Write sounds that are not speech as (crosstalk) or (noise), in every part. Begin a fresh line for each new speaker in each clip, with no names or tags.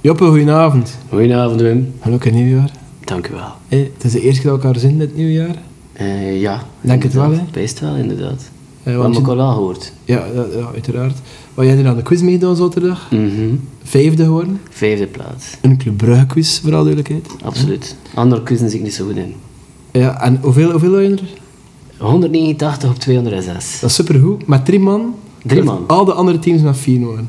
Joppe, goedenavond.
Goedenavond, Wim.
Gelukkig nieuwjaar.
Dank u wel.
Hé, het is de eerste keer dat we elkaar zien dit nieuwjaar.
Eh, ja.
Denk het wel,
inderdaad.
hè?
Best wel, inderdaad.
Eh,
We
want
hebben
je-
elkaar wel gehoord.
ja, dat- ja, uiteraard. Wat jij er aan de quiz meegedaan zaterdag?
Mhm.
Vijfde geworden.
Vijfde plaats.
Een Club Brugge quiz, voor alle duidelijkheid.
Absoluut. Hm. Andere kussen zit ik niet zo goed in.
Ja, en hoeveel, hoeveel had je er?
189 op 206.
Dat is supergoed. Met drie man.
Drie man.
Al de andere teams met vier man.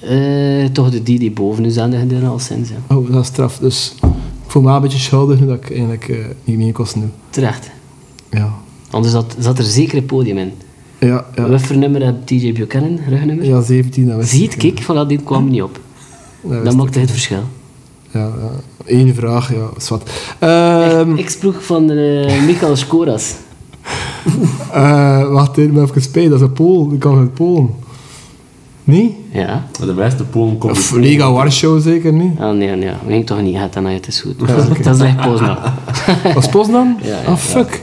Eh, toch de die die boven u zijn, die al sinds. Ja.
Oh, dat is straf. Dus ik voel me wel een beetje schuldig nu dat ik eigenlijk eh, niet mee kosten doe.
Terecht.
Ja.
Anders zat, zat er zeker een podium in.
Ja,
Ja.
ja.
nummer had DJ Buchanan, rugnummer.
Ja, 17, dat wist
Ziet,
ik.
kijk, voilà, dit kwam niet op.
wist
Dat maakte het verschil.
Ja, ja. Eén vraag, ja, is wat. Ehm,
Ik sprak van eh Michael Skoras.
Eh, wacht even, even spijt, dat is een Pool. Die kan uit Polen. Nee?
Ja.
Maar de beste Polen komt
Of
uit
Liga Warschau zeker niet.
Ah, nee, nee, dat ging toch niet. Het, dan het is goed. (laughs) Dat is echt Poznan.
Was Poznan?
(laughs) Ja, ja,
ah, fuck.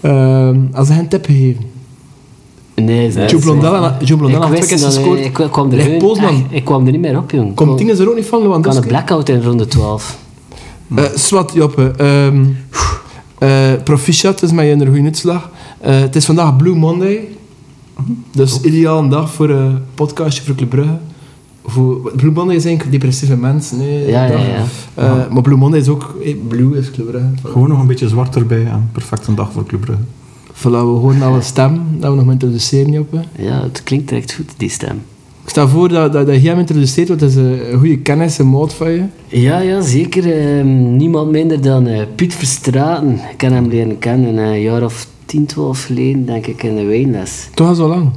Ehm, als hij een tip gegeven.
Nee, ze-
Joe
ze-
Blondella, Joe
Ik
Blondella had
wist
twee keer
dat-
gescoord.
Ik, ik kwam er
Leg
gewoon-
Poznan.
echt, ik kwam er niet meer op, jong.
Komt
Ik
Tines er ook niet van,
kwam- ik had
Lewandowski?
een blackout in ronde 12.
Eh, Swat, Joppe. ehm, eh, proficiat, dus met je een goede uitslag. Eh, het is vandaag Blue Monday. Dus ideaal een dag voor een podcastje voor Club Brugge. Voor, Blue Monday is eigenlijk depressieve mensen. Nee,
Ja, ja,
dag.
ja.
Eh, Maar Blue Monday is ook... eh, Blue is Club Brugge. Voilà.
Gewoon nog een beetje zwart erbij en perfect een dag voor Club Brugge.
Voilà, we horen alle stem. Dat we nog maar introduceren, Joppe.
Ja, het klinkt echt goed, die stem.
Ik stel voor dat, dat, dat jij hem introduceert, want dat is eh, een een goede kennis en maat van je.
Ja, ja, zeker. ehm, niemand minder dan eh, Piet Verstraten. Ik ken hem leren kennen eh, een jaar of 10, 12 geleden, denk ik, in de wijnles.
Toch al zo lang.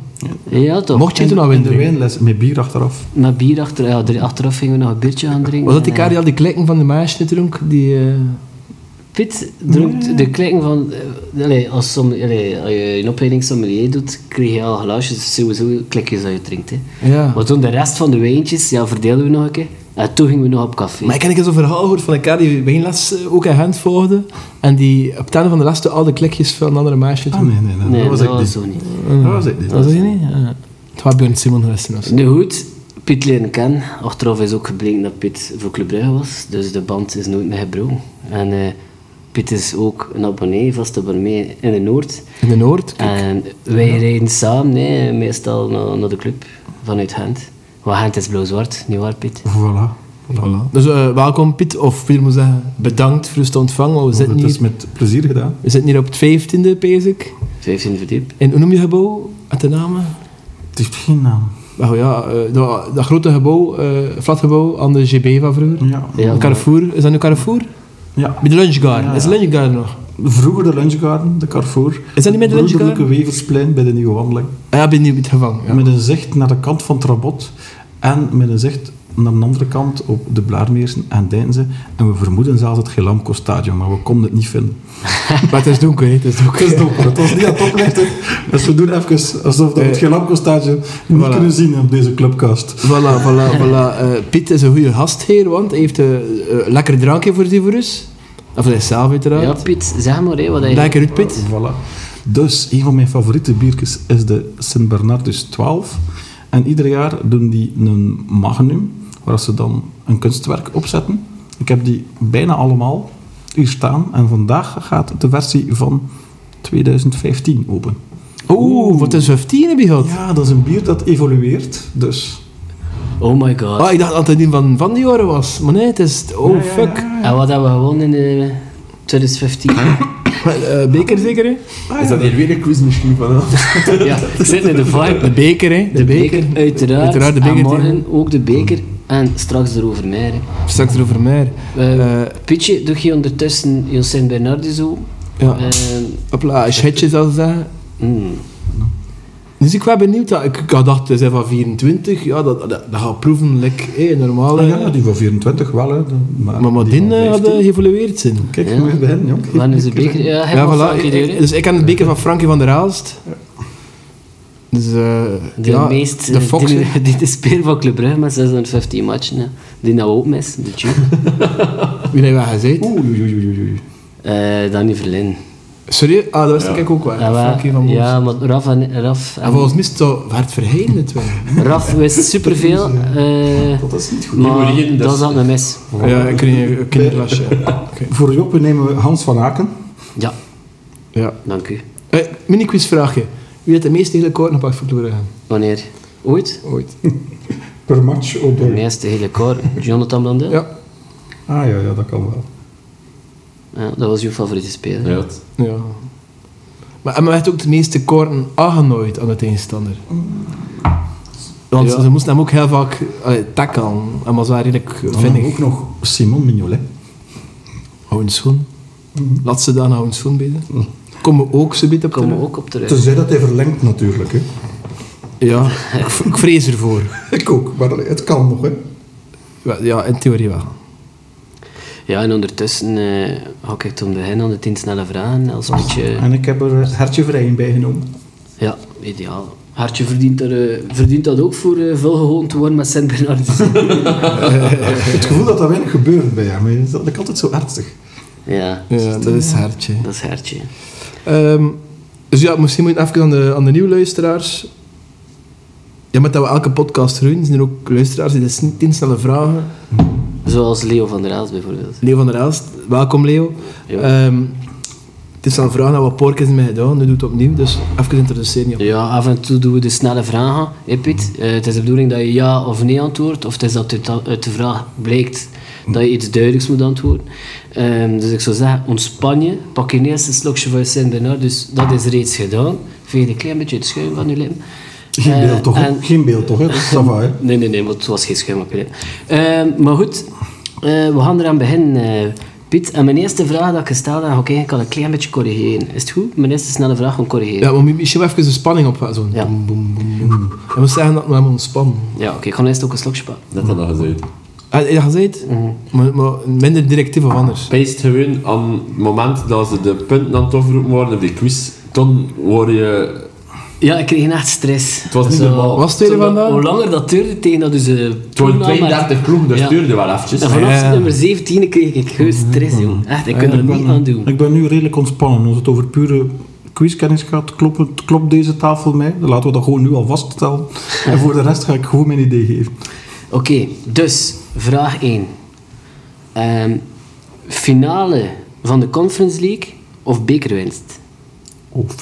Ja, toch?
Mocht je toen al
In de
winnen?
wijnles met bier achteraf.
Met bier achter, ja, er- achteraf gingen we nog een biertje gaan drinken.
Was dat die
en, eh,
kaart die al die klikken van de meisje dronk? Die... eh,
Piet drukt de klikken van... eh, allee, als, som, allee, als je een opleiding sommelier doet, krijg je al glaasjes, sowieso klikjes dat je drinkt. Hè.
Ja.
Maar toen de rest van de wijntjes, ja, verdeelden we nog een keer. En toen gingen we nog op café.
Maar ik heb een keer zo'n verhaal gehoord van een kerel die bij een les eh, ook in Gent volgde. En die op het einde van de les toen al de klikjes van een andere meisje
Ah,
toen.
nee, nee, nee.
nee,
dat was ik niet.
zo niet.
Dat was ik niet.
Ah, Dat is je niet? Ja. Het was Björn Simon geweest toen. of zo.
Nu goed, Piet leren kennen. Achteraf is ook gebleken dat Piet voor Club Brugge was. Dus de band is nooit meer gebroken. En eh, Piet is ook een abonnee, vaste abonnee in de Noord.
In de Noord.
En wij rijden samen, nee, meestal naar, naar de club vanuit Gent. Want Gent is blauw-zwart, niet waar Piet?
Voilà. voilà.
Dus eh, welkom Piet, of wie moet zeggen, bedankt voor het ontvangen. want We
Dat
zitten
is
hier,
dus met plezier gedaan.
we zitten hier op het 15e, Pezik.
15 verdiep.
In hoe noem je gebouw? Uit de namen?
Het heeft geen naam.
Nou ja, eh, dat, dat grote gebouw, eh flatgebouw aan de GB van vroeger.
Ja.
Ja.
Een Carrefour, is dat nu Carrefour?
ja.
Bij de Lunchgarden,
Ja,
is de
ja.
Lunchgarden nog?
Vroeger de Lunchgarden, de Carrefour.
Is dat niet met de
Broederlijke
Lunchgarden?
Weversplein bij de Nieuwe Wandeling.
Ah, Ja, ben je het gevangen. Ja.
Met een zicht naar de kant van het Rabot en met een zicht naar de andere kant op de Blaarmeersen en Deinze. En we vermoeden zelfs het Gelamco Stadion, maar we konden het niet vinden.
Maar het is donker, hè, het is donker.
Het is donker, het was niet aan het oplichten. Dus we doen even alsof we het Gelamco Stadion niet
Voilà.
kunnen zien op deze clubcast.
(laughs) Voilà, voilà, (laughs) voilà. Eh, Piet is een goede gastheer, want hij heeft een lekker drankje voor die voor ons. Of hij zelf
Ja,
uiteraard.
Piet, zeg maar, hé, wat hij...
Lekker uit, Piet.
Voilà. Dus een van mijn favoriete biertjes is de Sint Bernardus 12. En ieder jaar doen die een magnum, waar ze dan een kunstwerk opzetten. Ik heb die bijna allemaal hier staan. En vandaag gaat de versie van 2015 open.
Oeh, wat een 15 heb je gehad.
Ja, dat is een bier dat evolueert. Dus
Oh my god.
Ah, ik dacht dat het die van van die oren was. Maar nee, het is... Oh, fuck.
En wat hebben we gewonnen in eh, 2015?
Eh, beker zeker, hè?
Ah,
Is dat hier weer een quiz misschien van?
ja, ik zit in de vibe.
De beker, hè? De, beker.
Uiteraard.
Uiteraard, de beker.
En morgen ook de beker. En straks erover meer. hè.
Straks erover meer.
Eh,
Eh,
Pietje, doe je ondertussen je Sint Bernardi zo?
ja.
Eh,
Hopla, een schetje zal ze zeggen.
mm.
Dus ik was benieuwd. ja. Ik, ik had gedacht, ze zijn van 24. Ja, dat, dat, dat gaat proeven, like, hé, normaal.
ah
eh.
ja, die van 24 wel. Hè. De-
maar maar
die
die
van
eh,
15.
hadden geëvolueerd zijn.
Kijk,
Ja.
je mag beginnen, jong.
Wanneer is de beker? Ja, hij
Ja,
mag
voilà.
Frankie
Ik-
Deur, hè.
dus ik ken het beker van Frankie van der Aalst. Dus, eh,
De
ja,
meest...
De
eh,
Fox. hè.
(laughs) die, die de speler van Club Brugge met 615 matchen. hè. Die nou open is, de Tjup.
Wie hebben we gezeten?
Oei, oei, oei, oei, oei.
Eh Danny Verlin.
Sorry? Ah, dat wist
Ja.
ik ook wel.
Ja, maar-
Frankie van Boos.
ja, maar Raf en... Raf,
En volgens mij is het zo hard verheiden, het wel.
Raf wist superveel, eh,
Dat is niet goed.
maar
Die worden
dat zat me mis.
Ja, ik kreeg een
(laughs)
kinderlasje.
Voor Joppe nemen we Hans van Aken.
Ja,
Ja.
dank u.
Hey, mini-quizvraagje. Wie heeft de meeste hele korten gepakt voor Club Brugge?
Wanneer? Ooit?
Ooit.
Per match op
De meeste hele koor. Jonathan Blondel? Ja.
Ja.
Ah ja, ja, dat kan wel.
Dat was uw favoriete speler.
Ja, het-
Ja. Maar en men heeft ook de meeste korten aangenooid aan de tegenstander. Want
Ja.
ze moesten hem ook heel vaak uh, tackelen. En was wel redelijk
Dan hebben we
vinnig.
ook nog Simon Mignolet.
Hou een schoen. Laat ze dan hou een schoen bieden. Mhm. Komen we ook zo beetje op
Komen we
terug?
ook op terug.
Tenzij dat hij verlengt natuurlijk. Hè. (laughs)
Ja, ik, v- ik vrees ervoor.
Ik ook, maar het kan nog. Hè.
Wel, Ja, in theorie wel.
Ja, en ondertussen eh hak ik toen begin aan de tien snelle vragen. Als een beetje...
En ik heb er eh, Hertje Vrijen bij genomen.
Ja, ideaal. Hartje verdient, er, eh, verdient dat ook voor eh volgehoond te worden met Sint-Bernardus.
Het gevoel dat dat weinig gebeurt bij hem, hè, dat ik altijd zo ernstig.
(laughs) ja,
Ja, dat is eh, hartje.
dat is Hartje.
Ehm, dus ja, misschien moet je even aan de, aan de nieuwe luisteraars. Ja, met dat we elke podcast doen, zijn er ook luisteraars die dus tien snelle vragen.
Zoals Leo van der Aals bijvoorbeeld.
Leo van der Elst, welkom Leo.
Ja.
Ehm, het is een vraag dat we pork is mee gedaan, nu doet het opnieuw, dus even introduceren. joh.
Ja, af en toe doen we de snelle vragen. Hé, Piet, Eh, het is de bedoeling dat je ja of nee antwoordt. Of het is dat uit- uit de vraag blijkt dat je iets duidelijks moet antwoorden. Ehm, dus ik zou zeggen, ontspan je. Pak je eerste slokje van je Sint-Bernard. Dus dat is reeds gedaan. Veeg een klein beetje het schuim van je lippen.
Geen
Eh,
beeld toch? hè?
en-
Geen beeld toch? Hè? Dat is ça va, hè?
Nee, nee, nee, want het was geen schuim op je lip. Ehm, maar goed, eh, we gaan eraan beginnen, eh, Piet. En mijn eerste vraag dat ik gesteld heb, oké, ik kan een klein beetje corrigeren. Is het goed? Mijn eerste snelle vraag gewoon corrigeren.
Ja, maar misschien wel even de spanning op zo'n
Ja.
boem, boem, boem, boem. En we zeggen dat we hem ontspannen.
Ja, oké, ik ga eerst ook een slokje pakken.
Net aan dat gezegd.
Ah, ja, gezegd? Maar, maar minder directief of anders.
Peest gewoon aan het moment dat ze de punten aan het afroepen waren op die quiz, toen word je...
Ja, ik kreeg echt stress.
Het was niet normaal.
Was het weer
toen dat-
vandaan?
Hoe langer dat duurde tegen dat dus... eh,
Het waren
toenam, maar-
32 ploegen, dat
Ja.
stuurde wel eventjes.
En vanaf
Ja.
nummer 17 kreeg ik gewoon stress, jongen.
Mm-hmm.
Echt, ik kon er
ik,
niet aan doen.
ben, ik ben nu redelijk ontspannen. Als het over pure quizkennis gaat, klopt, het- klopt deze tafel mij? Dan laten we dat gewoon nu al vaststellen. en voor de rest ga ik gewoon mijn idee geven.
Oké, dus vraag 1. Ehm, finale van de Conference League of bekerwinst?
Of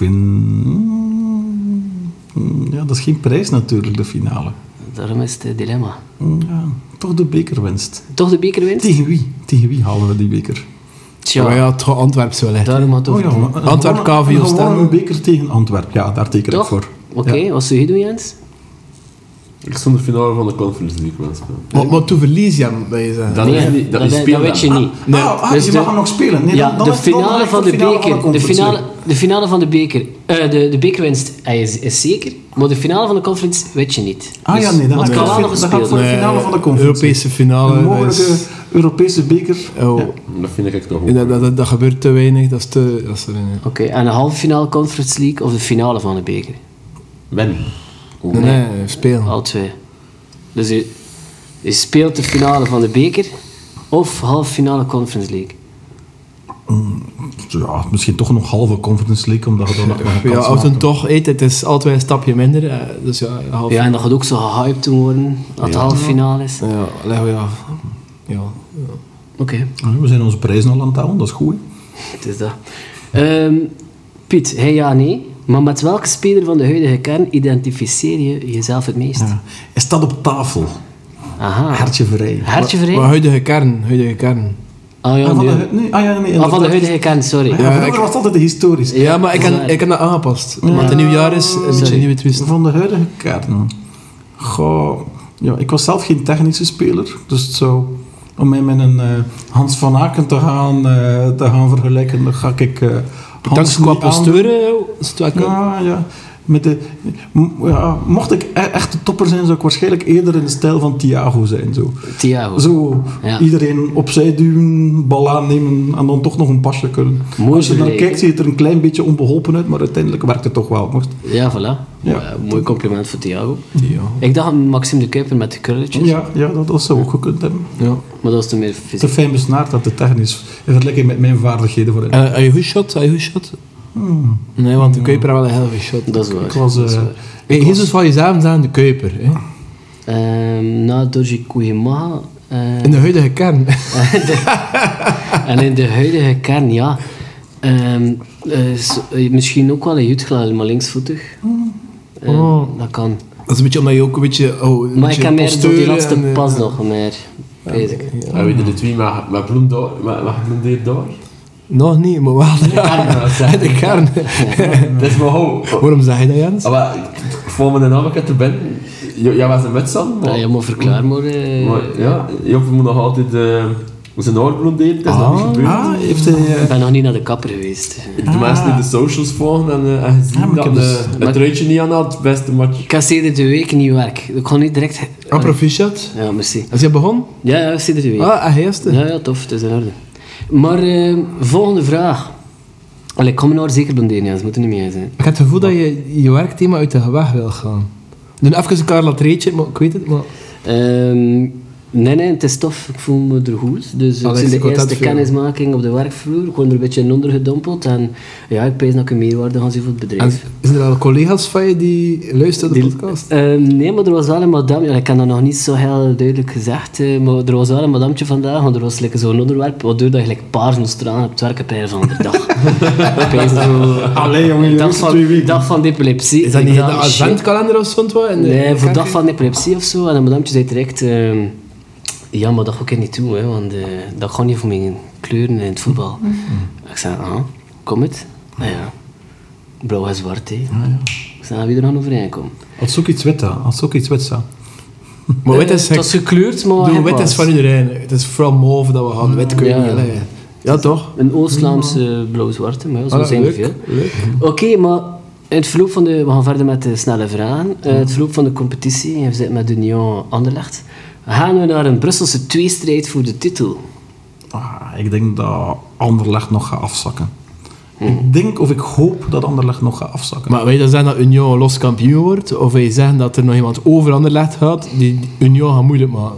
in... Ja, dat is geen prijs natuurlijk, de finale.
Daarom is het eh, dilemma.
Ja, toch de bekerwinst.
Toch de bekerwinst?
Tegen wie? Tegen wie halen we die beker? Oh
Ja,
Tja,
ja het gaat Antwerpen zo liggen.
daarom
Oh,
had het over-
maar-
Antwerp,
gewonnen-
KVO
gewonnen
staan.
een beker tegen Antwerp. Ja, daar teken ik
Toch?
voor.
Oké, wat zou je doen, Jens?
Ik stond de finale van de Conference League, mensen.
Maar, maar toen verlies je hem, wil je zeggen.
Ah,
Dat is
Nee,
niet... Dat
dat,
is
dat, dat weet je
speelbaar.
niet.
Nee, ah, ah,
dus
je
de-
mag hem nog spelen. Nee,
ja,
dan, dan
de
is het wel
finale
nog
van
de
de
finale van de
beker. De
Conference
finale, de finale van de beker. eh, de, de bekerwinst eh, is, is zeker, maar de finale van de conference weet je niet.
Ah ja, nee, dan
want het
heb je
Dus kan wel
het
nog
veel- dan
gespeeld
gaat
worden.
voor- finale van de conference.
Europese finale.
een
dat
mogelijke
is-
Europese beker.
oh,
Dat vind ik toch
ja,
goed.
dat, dat, dat gebeurt te weinig. Dat is te... Dat is er, ja.
Oké, en de halve finale conference league of de finale van de beker?
Win.
Nee, nee,
Oh.
spelen.
Al twee. Dus je, je speelt de finale van de beker of halve finale conference league.
Ja, misschien toch nog halve Conference League, omdat je dan nog (laughs) maar een
Ja,
kans
als
maakt.
een toch eet, het is altijd een stapje minder. eh, Dus ja, half.
Ja, en dat gaat ook zo gehyped toen worden, dat de halve finale is. Oké.
ja leggen we ja. Ja.
Ja, We zijn onze prijzen al aan het halen, dat is goed. hè.
Het is dat. Ehm, Piet, hey, ja, nee. Maar met welke speler van de huidige kern identificeer je jezelf het meest?
Ja. Hij staat op tafel.
Aha.
Hartje vrij.
Hertje
Maar
vrij?
huidige kern, huidige kern.
Ah ja,
Ah, van
nu.
de, hu- nee, ah, ja, nee,
Ah, van de
inderdaad.
huidige kern, sorry.
Ja, vroeger was het altijd historisch.
Ja, maar ik
dat
heb
is
ik heb dat aangepast. Omdat het nieuw jaar is, een beetje
Sorry.
een nieuwe twist.
Van de huidige kern. Goh. Ja, ik was zelf geen technische speler, dus het zou, om mij met een eh, Hans van Aken te gaan, eh, te gaan vergelijken, dan ga ik eh Hans
Dankzij qua
niet aan-
posturen is het wel kunnen.
Ja, ja. Met de, m- ja, mocht ik e- echt een topper zijn, zou ik waarschijnlijk eerder in de stijl van Thiago zijn. Zo,
Thiago.
zo
Ja.
iedereen opzij duwen, bal aannemen en dan toch nog een pasje kunnen.
Mooi
Als je dan
vergeleken.
kijkt, ziet het er een klein beetje onbeholpen uit, maar uiteindelijk werkt het toch wel. Mocht-
Ja, voilà.
Ja.
Eh, mooi compliment voor Thiago.
Ja.
Ik dacht aan Maxime de Kuiper met de krulletjes.
Ja, ja dat, dat zou ook gekund hebben.
ja.
Maar dat is toen meer
Te
fysiek.
Eh,
fijn besnaard dat de technisch in vergelijking met mijn vaardigheden voor
En had je goed shot? Had je goed shot? Nee, want de Kuiper had wel een helve shot.
Hmm. Dat is waar.
Ik was,
dat is
eh,
waar.
Hey, Jezus van Jezamen zijn de Kuiper. Hè?
Ehm, na Dorje Koeiemaha... eh,
In de huidige kern. (laughs)
(laughs) En in de huidige kern, ja. Ehm, eh, is, eh, misschien ook wel een jutglad, maar linksvoetig. Eh,
Oh.
Dat kan.
Dat is een beetje omdat je ook een beetje... Oh, een
Maar
beetje
ik heb meer door die
posturen
laatste
en, eh,
pas nog meer. Weet ik.
En weet je de twee, maar, maar bloem door, maar, maar bloem deed door.
Nog niet, maar wel. (laughs)
(laughs)
Ja,
de kern.
Dat is maar hoe.
Waarom zeg je dat, Jens?
Maar ik- voor mijn naam te ben, jij was een wedstrijd,
Ja,
maar...
ja, maar verklaar maar. eh.
maar ja, Joppe moet nog altijd eh, zijn haar bloem delen, dat is nog niet gebeurd.
Ah, heeft hij... eh,
Ik ben nog niet naar de kapper geweest.
De mensen die de socials volgen en, eh, en zien
Ah, maar ik
dat
heb dus-
eh, het truitje niet aan had, het beste match.
(laughs)
Ik had sinds de week nieuw werk. Ik kon niet direct...
Ah, proficiat.
Ja, merci.
Als je begon?
Ja, ja, sinds de week.
Ah, ah, eerste.
Ja, ja, tof. Het is in orde. Maar, eh, volgende vraag. Allee, kom nou zeker blonderen, ja. Ze moeten niet meer zijn.
Ik heb het gevoel dat je je werkthema uit de weg wil gaan. We doen even een Carla Treetje, maar ik weet het, maar...
Ehm, nee, nee, het is tof. Ik voel me er goed. Dus
Alex,
het is
ik
de
word
eerste
dat veel.
kennismaking op de werkvloer. Ik word er een beetje in ondergedompeld. En ja, ik pees dat ik een meerwaarde ga zien voor het
En
bedrijf.
zijn er al collega's van je die luisteren naar de podcast?
Ehm, nee, maar er was wel een madame. Ja, ik heb dat nog niet zo heel duidelijk gezegd. eh, maar er was wel een madamtje vandaag. Want er was like, zo'n onderwerp. Waardoor dat je like, paars moest eraan op het werk op een van de dag.
(laughs)
Ik pees zo...
Allee, jongen, de
dag
eerste
van,
twee weken.
dag van de epilepsie.
Is dat niet in
Ik
de
dacht, shit.
adventkalender of zo'n wat? In de-
Nee,
in de
voor
kerk?
dag van epilepsie of zo. En dan madamtje zei direct... ehm, ja, maar dat ga ik niet toe, hè, want eh, dat gaat niet voor mijn kleuren in het voetbal. Ik zei, ah, kom het? Nou ja, blauw en zwart, hè. Ik zei, ah, wie er nog overheen komt.
Als ook iets wit, hè. Als ook iets wit, zou.
Maar wit
Eh,
is...
Het was gekleurd, maar...
Doe,
hij
wit
was.
is van iedereen. hè. Het is vooral mauve dat we gaan. Wit kun je
Mm, Ja,
niet
ja.
leggen. Ja, toch?
Een Oost-Vlaamse blauw-zwarte, maar ja, zo
Ah,
zijn er
leuk,
veel.
leuk.
Oké, maar in het verloop van de... We gaan verder met de snelle vragen. Eh, het verloop van de competitie, en we zitten met Union Anderlecht. Gaan we naar een Brusselse tweestrijd voor de titel?
Ah, ik denk dat Anderlecht nog gaat afzakken.
Hmm.
Ik denk of ik hoop dat Anderlecht nog gaat afzakken.
Maar wil je dan zeggen dat Union los kampioen wordt? Of wil je zeggen dat er nog iemand over Anderlecht gaat die Union gaat moeilijk maken?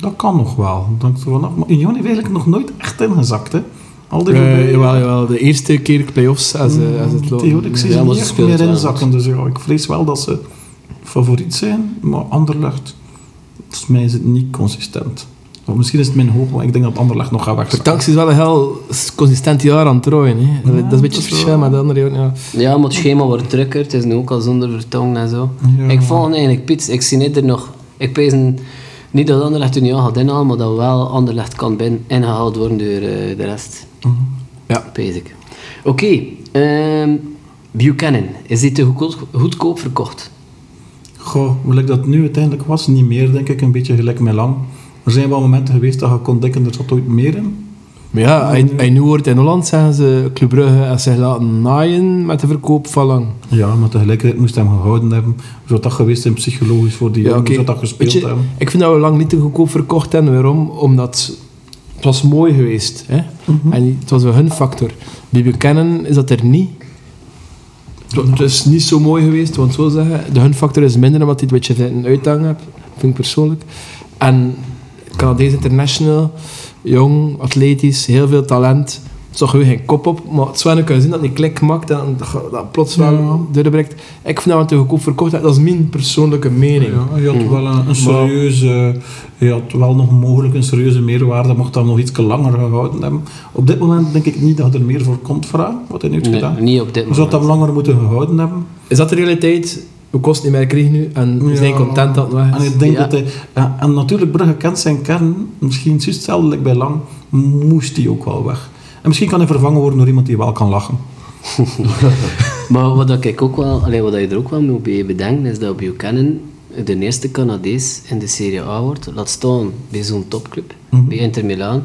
dat kan nog wel. Dat hangt er vanaf. nou, Maar Union heeft eigenlijk nog nooit echt ingezakt. Hè. Al die
Eh
voorbije-
jawel, jawel. De eerste keer playoffs als, eh, als het loopt.
Mm. Tegenwoordig zie je
Ja, maar
ze niet
ze
echt
speelt
meer
wel
inzakken. Dus ja, ik vrees wel dat ze favoriet zijn. Maar Anderlecht, volgens mij is het niet consistent. Of misschien is het mijn hoop, maar ik denk dat Anderlecht nog gaat wegzakken.
Vertanks Dus is wel een heel consistent jaar aan het rooien. Hè. Dat, dat is een beetje het
dat is
verschil met de andere jaren, ja.
Ja, maar het schema wordt drukker. Het is nu ook al zonder vertong en zo.
Ja.
Ik volg eigenlijk Piet. Ik zie niet er nog... Ik pees een- niet dat Anderlecht Union gaat inhalen, maar dat wel Anderlecht kan bin ingehaald worden door eh, de rest.
Mhm.
Ja.
Pees ik. Oké. ehm, Buchanan. Is dit te goedkoop, goedkoop verkocht?
Goh, gelijk dat nu uiteindelijk was, niet meer denk ik, een beetje gelijk Milan. Er zijn wel momenten geweest dat je kon denken, er zat ooit meer in.
Maar ja, hij, hij nu wordt in Holland, zeggen ze, Club Brugge, als ze laten naaien met de verkoop van lang.
Ja, maar tegelijkertijd moest hij hem gehouden hebben. Hoe zou dat geweest zijn psychologisch voor die jongen?
oké.
Hoe zou dus dat gespeeld
Weet je,
hebben?
Ik vind dat we lang niet te goedkoop verkocht hebben. Waarom? Omdat het was mooi geweest. Hè? En het was wel hun factor. Bij Buchanan is dat er niet. Het wa- Het is niet zo mooi geweest, want zo zeggen. De hun factor is minder omdat hij het een beetje een uitdaging hebt. Vind ik persoonlijk. En Canadees international, jong, atletisch, heel veel talent. Het zag gewoon geen kop op, maar het zou wel kunnen zien dat die klik maakt en dat ge- dat plots wel
Ja.
doorbreekt. Ik vind dat we te goedkoop verkocht hebben. Dat is mijn persoonlijke mening.
Ja, je had wel een, een serieuze, je had wel nog mogelijk een serieuze meerwaarde, mocht dat nog iets langer gehouden hebben. Op dit moment denk ik niet dat er meer voor komt, Fra, wat hij nu heeft
Nee,
gedaan.
niet op dit
Je zou
moment.
dat langer moeten gehouden hebben.
Is dat de realiteit? We kosten niet meer krijgen nu en we
Ja.
zijn content dat het weg
En
is.
ik denk
Ja.
dat hij, en, en natuurlijk, Brugge kent zijn kern, misschien juist hetzelfde like bij Lang, moest hij ook wel weg. En misschien kan hij vervangen worden door iemand die wel kan lachen.
Maar wat dat ik ook wel, allee, wat je er ook wel moet bij bedenken, is dat Buchanan de eerste Canadees in de Serie A wordt. Laat staan bij zo'n topclub,
Mhm.
bij Inter Milaan.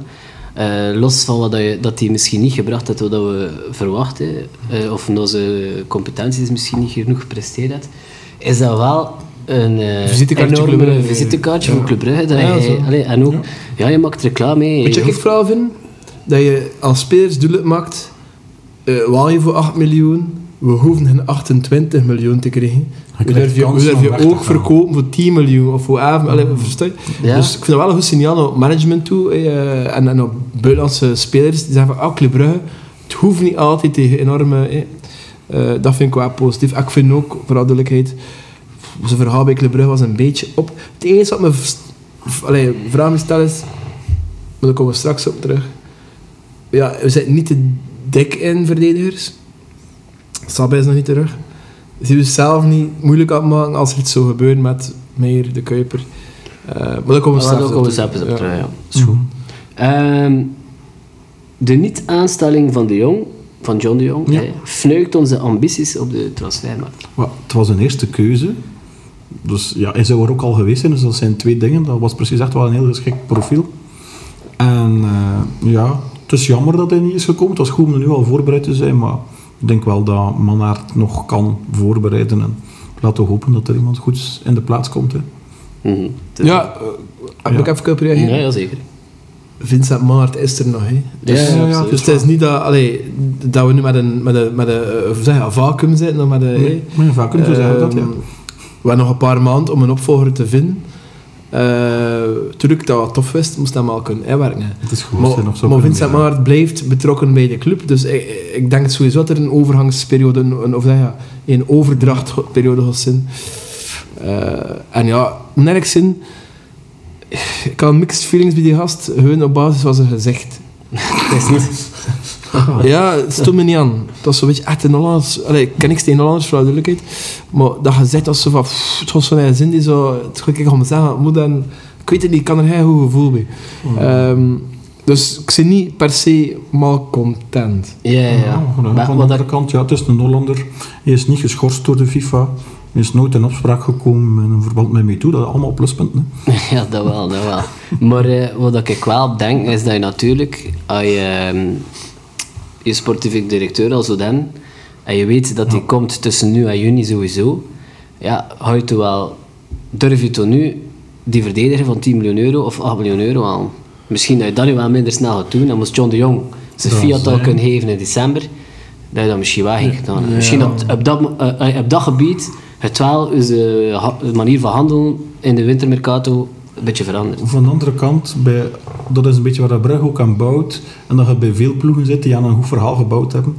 Eh, los van wat dat je- dat hij misschien niet gebracht had wat dat we verwachten, eh, of dat ze competenties misschien niet genoeg gepresteerd had, is dat wel een eh,
Visitekaartje
enorme
Club Brugge.
visitekaartje voor Club Brugge. Dat
Ja,
hij-
zo.
allee, en ook, ja. je maakt reclame
Weet
mee.
je
Je
wat ik
hoeft-
vooral vind? Dat je als spelers doelen maakt, eh waal je voor 8 miljoen, we hoeven geen 28 miljoen te krijgen. We
krijgt
durven je, we
kansen om
durven je
weg te
ook
gaan.
verkopen voor 10 miljoen of voor 11 miljoen. Allee, versta je?
Ja.
Dus ik vind dat wel een goed signaal op management toe eh, en, en op buitenlandse spelers. Die zeggen van, ah, Club Brugge, het hoeft niet altijd tegen enorme... eh, Eh, dat vind ik wel positief. En ik vind ook, voor alle duidelijkheid, zijn verhaal bij Club Brugge was een beetje op. Het enige wat me v- v- allee, vraag me stel is, maar daar komen we straks op terug. Ja, we zitten niet te dik in verdedigers. Sabé is nog niet terug. Ze we zelf niet moeilijk aan het maken als er iets zou gebeuren met Meijer, de Kuiper. Eh, maar daar komen we
Maar
straks
daar
op
komen we
terug.
zelfs op
Ja.
terug, ja. Is goed. Ehm, de niet-aanstelling van de Jong, van John de Jong,
Ja.
hè, fneukt onze ambities op de transfermarkt.
Maar het was een eerste keuze. Dus ja, hij zou er ook al geweest zijn. Dus dat zijn twee dingen. Dat was precies echt wel een heel geschikt profiel. En eh, ja, het is jammer dat hij niet is gekomen. Het was goed om er nu al voorbereid te zijn. Maar ik denk wel dat Mannaert nog kan voorbereiden. En laten we hopen dat er iemand goeds in de plaats komt. Hè.
Mhm. Dus-
Ja, eh, heb ik
Ja.
even kunnen reageren?
ja, ja, zeker.
Vincent Maart is er nog, hè. Dus,
Ja, ja, ja,
dus het is niet dat, allee, dat we nu met een, met een, met een, eh, hoe zeg je, een vacuüm zitten. of Met een,
Nee, maar ja, vaak kunnen we zeggen dat, ja.
Ehm, We hebben nog een paar maanden om een opvolger te vinden. Eh tuurlijk, dat wat tof is, moest dat maar kunnen inwerken. hè.
Het is goed.
Maar, maar Vincent Maart blijft betrokken bij de club. Dus ik, ik denk sowieso dat er een overgangsperiode, een, een- of zeg ja, een overdrachtperiode gaat zijn. Eh, en ja, nergens in. Ik had mixed feelings bij die gast. Gewoon op basis van zijn gezicht.
Het is niet.
Ja, het stond me niet aan. Het was zo'n beetje echt een Hollands... Allee, ik ken niks tegen Hollanders, voor de duidelijkheid. Maar dat gezegd was zo van... pff, het was van een zin die zo... Het ging ik om zeggen. Moet dan, ik weet het niet, ik kan er geen goed gevoel bij. Ehm, dus ik ben niet per se mal content.
Ja, ja, ja.
Ja, van de,
Maar
Oh, van
wat
de andere
ik- (laughs)
kant, ja, het is een Hollander. Hij is niet geschorst door de FIFA. Hij is nooit in opspraak gekomen in verband met MeToo. Dat is allemaal pluspunten. hè.
Ja, dat wel, dat wel. Maar eh, wat ik wel denk, is dat je natuurlijk, als je ehm, je sportieve directeur al zo dan, en je weet dat die komt tussen nu en juni sowieso, ja, ga je toch wel, durf je toch nu die verdediger van 10 miljoen euro of 8 miljoen euro aan? Misschien dat je dat nu wel minder snel gaat doen, dan moest John de Jong zijn fiat al kunnen geven in december, dat je dat misschien wel ging gedaan. hebben. Misschien dat op dat, mo- eh, eh, op dat gebied het wel is de ha- de manier van handelen in de wintermercato een beetje veranderd.
Van de andere kant, bij, dat is een beetje waar dat Brugge ook aan bouwt. En dat je bij veel ploegen zit die aan een goed verhaal gebouwd hebben.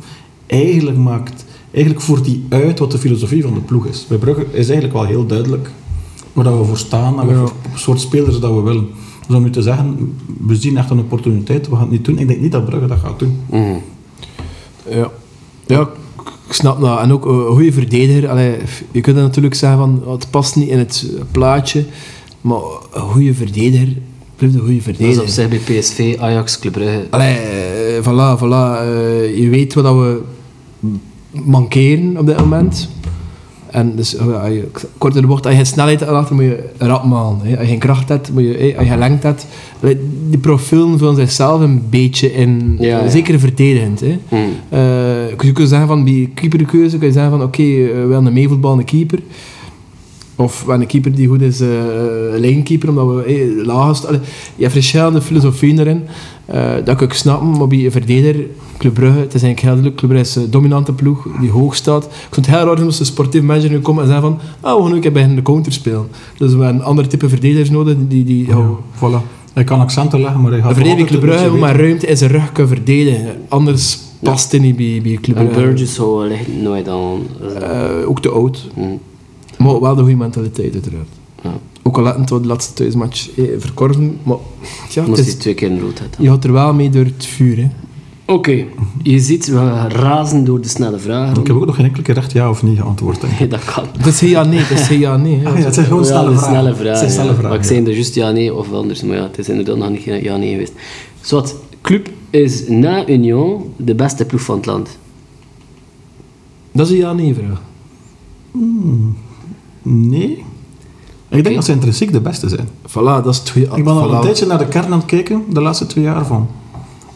Eigenlijk maakt... Eigenlijk voert die uit wat de filosofie van de ploeg is. Bij Brugge is eigenlijk wel heel duidelijk waar dat we voor staan en wat voor soort spelers dat we willen. Dus om nu te zeggen, we zien echt een opportuniteit, we gaan het niet doen. Ik denk niet dat Brugge dat gaat doen.
Ja. Ja, ik- ik snap dat. En ook eh, een goede verdediger. Allee, je kunt dan natuurlijk zeggen van... oh, het past niet in het eh, plaatje. Maar een goede verdediger... Blijft een goede
Dat
verdediger.
is op zich bij PSV, Ajax, Club Brugge.
Allee, eh, voilà, voilà. eh, je weet wat dat we mankeren op dit moment. En dus, eh, als je, kort in de bocht, als je geen snelheid hebt achter, moet je rap malen. hè. Als je geen kracht hebt, moet je, eh, als je geen lengte hebt. Allee, Die profielen vullen zichzelf een beetje in.
Ja, ja.
Zeker verdedigend. Hè.
Mm.
Eh, je kunt zeggen van die keeperkeuze, kun je zeggen van oké, eh, we hebben een meevoetballende keeper. Of we hebben een keeper die goed is, eh lijnkeeper, omdat we eh, laag staan. Allee, Je hebt verschillende filosofieën erin. Eh, dat kan ik snappen, maar bij een verdediger, Club Brugge, het is eigenlijk heel duidelijk, Club Brugge is een dominante ploeg, die hoog staat. Ik vind het heel raar als een sportief manager nu komt en zegt van, ah, we gaan nu een keer beginnen de counter spelen. Dus we hebben een ander type verdedigers nodig die... die
Ja, voilà. Hij kan accenten leggen, maar hij gaat
een verdediger
altijd
Club
een
Brugge moet
beetje
maar ruimte in zijn rug kunnen verdedigen. Anders past hij niet bij, bij
Eh,
Club
En
Brugge.
Burgess zo ligt nooit aan.
Eh, ook te oud.
Mm.
Maar wel de goede mentaliteit, uiteraard.
Ja.
Ook al hadden we de laatste thuismatch eh, verkorven. Maar ja, het
Moest hij
is,
twee keer een rood hebben.
je gaat er wel mee door het vuur. Hè.
Oké, je ziet, we razen door de snelle vragen.
Mhm. Ik heb ook nog geen enkele keer echt ja of nee geantwoord. Denk ik.
Nee, dat kan.
Het is geen ja, nee. Het is geen ja, nee. hè.
Ah (laughs) ja, het zijn gewoon
Ja,
snelle
de
vragen.
snelle vragen.
Het zijn snelle
ja.
vragen.
Maar ik zei er juist ja, nee of anders. Maar ja, het is inderdaad nog niet geen ja, nee geweest. Zwat, club is na Union de beste ploeg van het land.
Dat is een ja, nee vraag.
Nee. Ik denk dat ze intrinsiek de beste zijn.
Voilà, dat is het goede
Ik ben al een
Ah, voilà.
tijdje naar de kern aan het kijken, de laatste twee jaar van.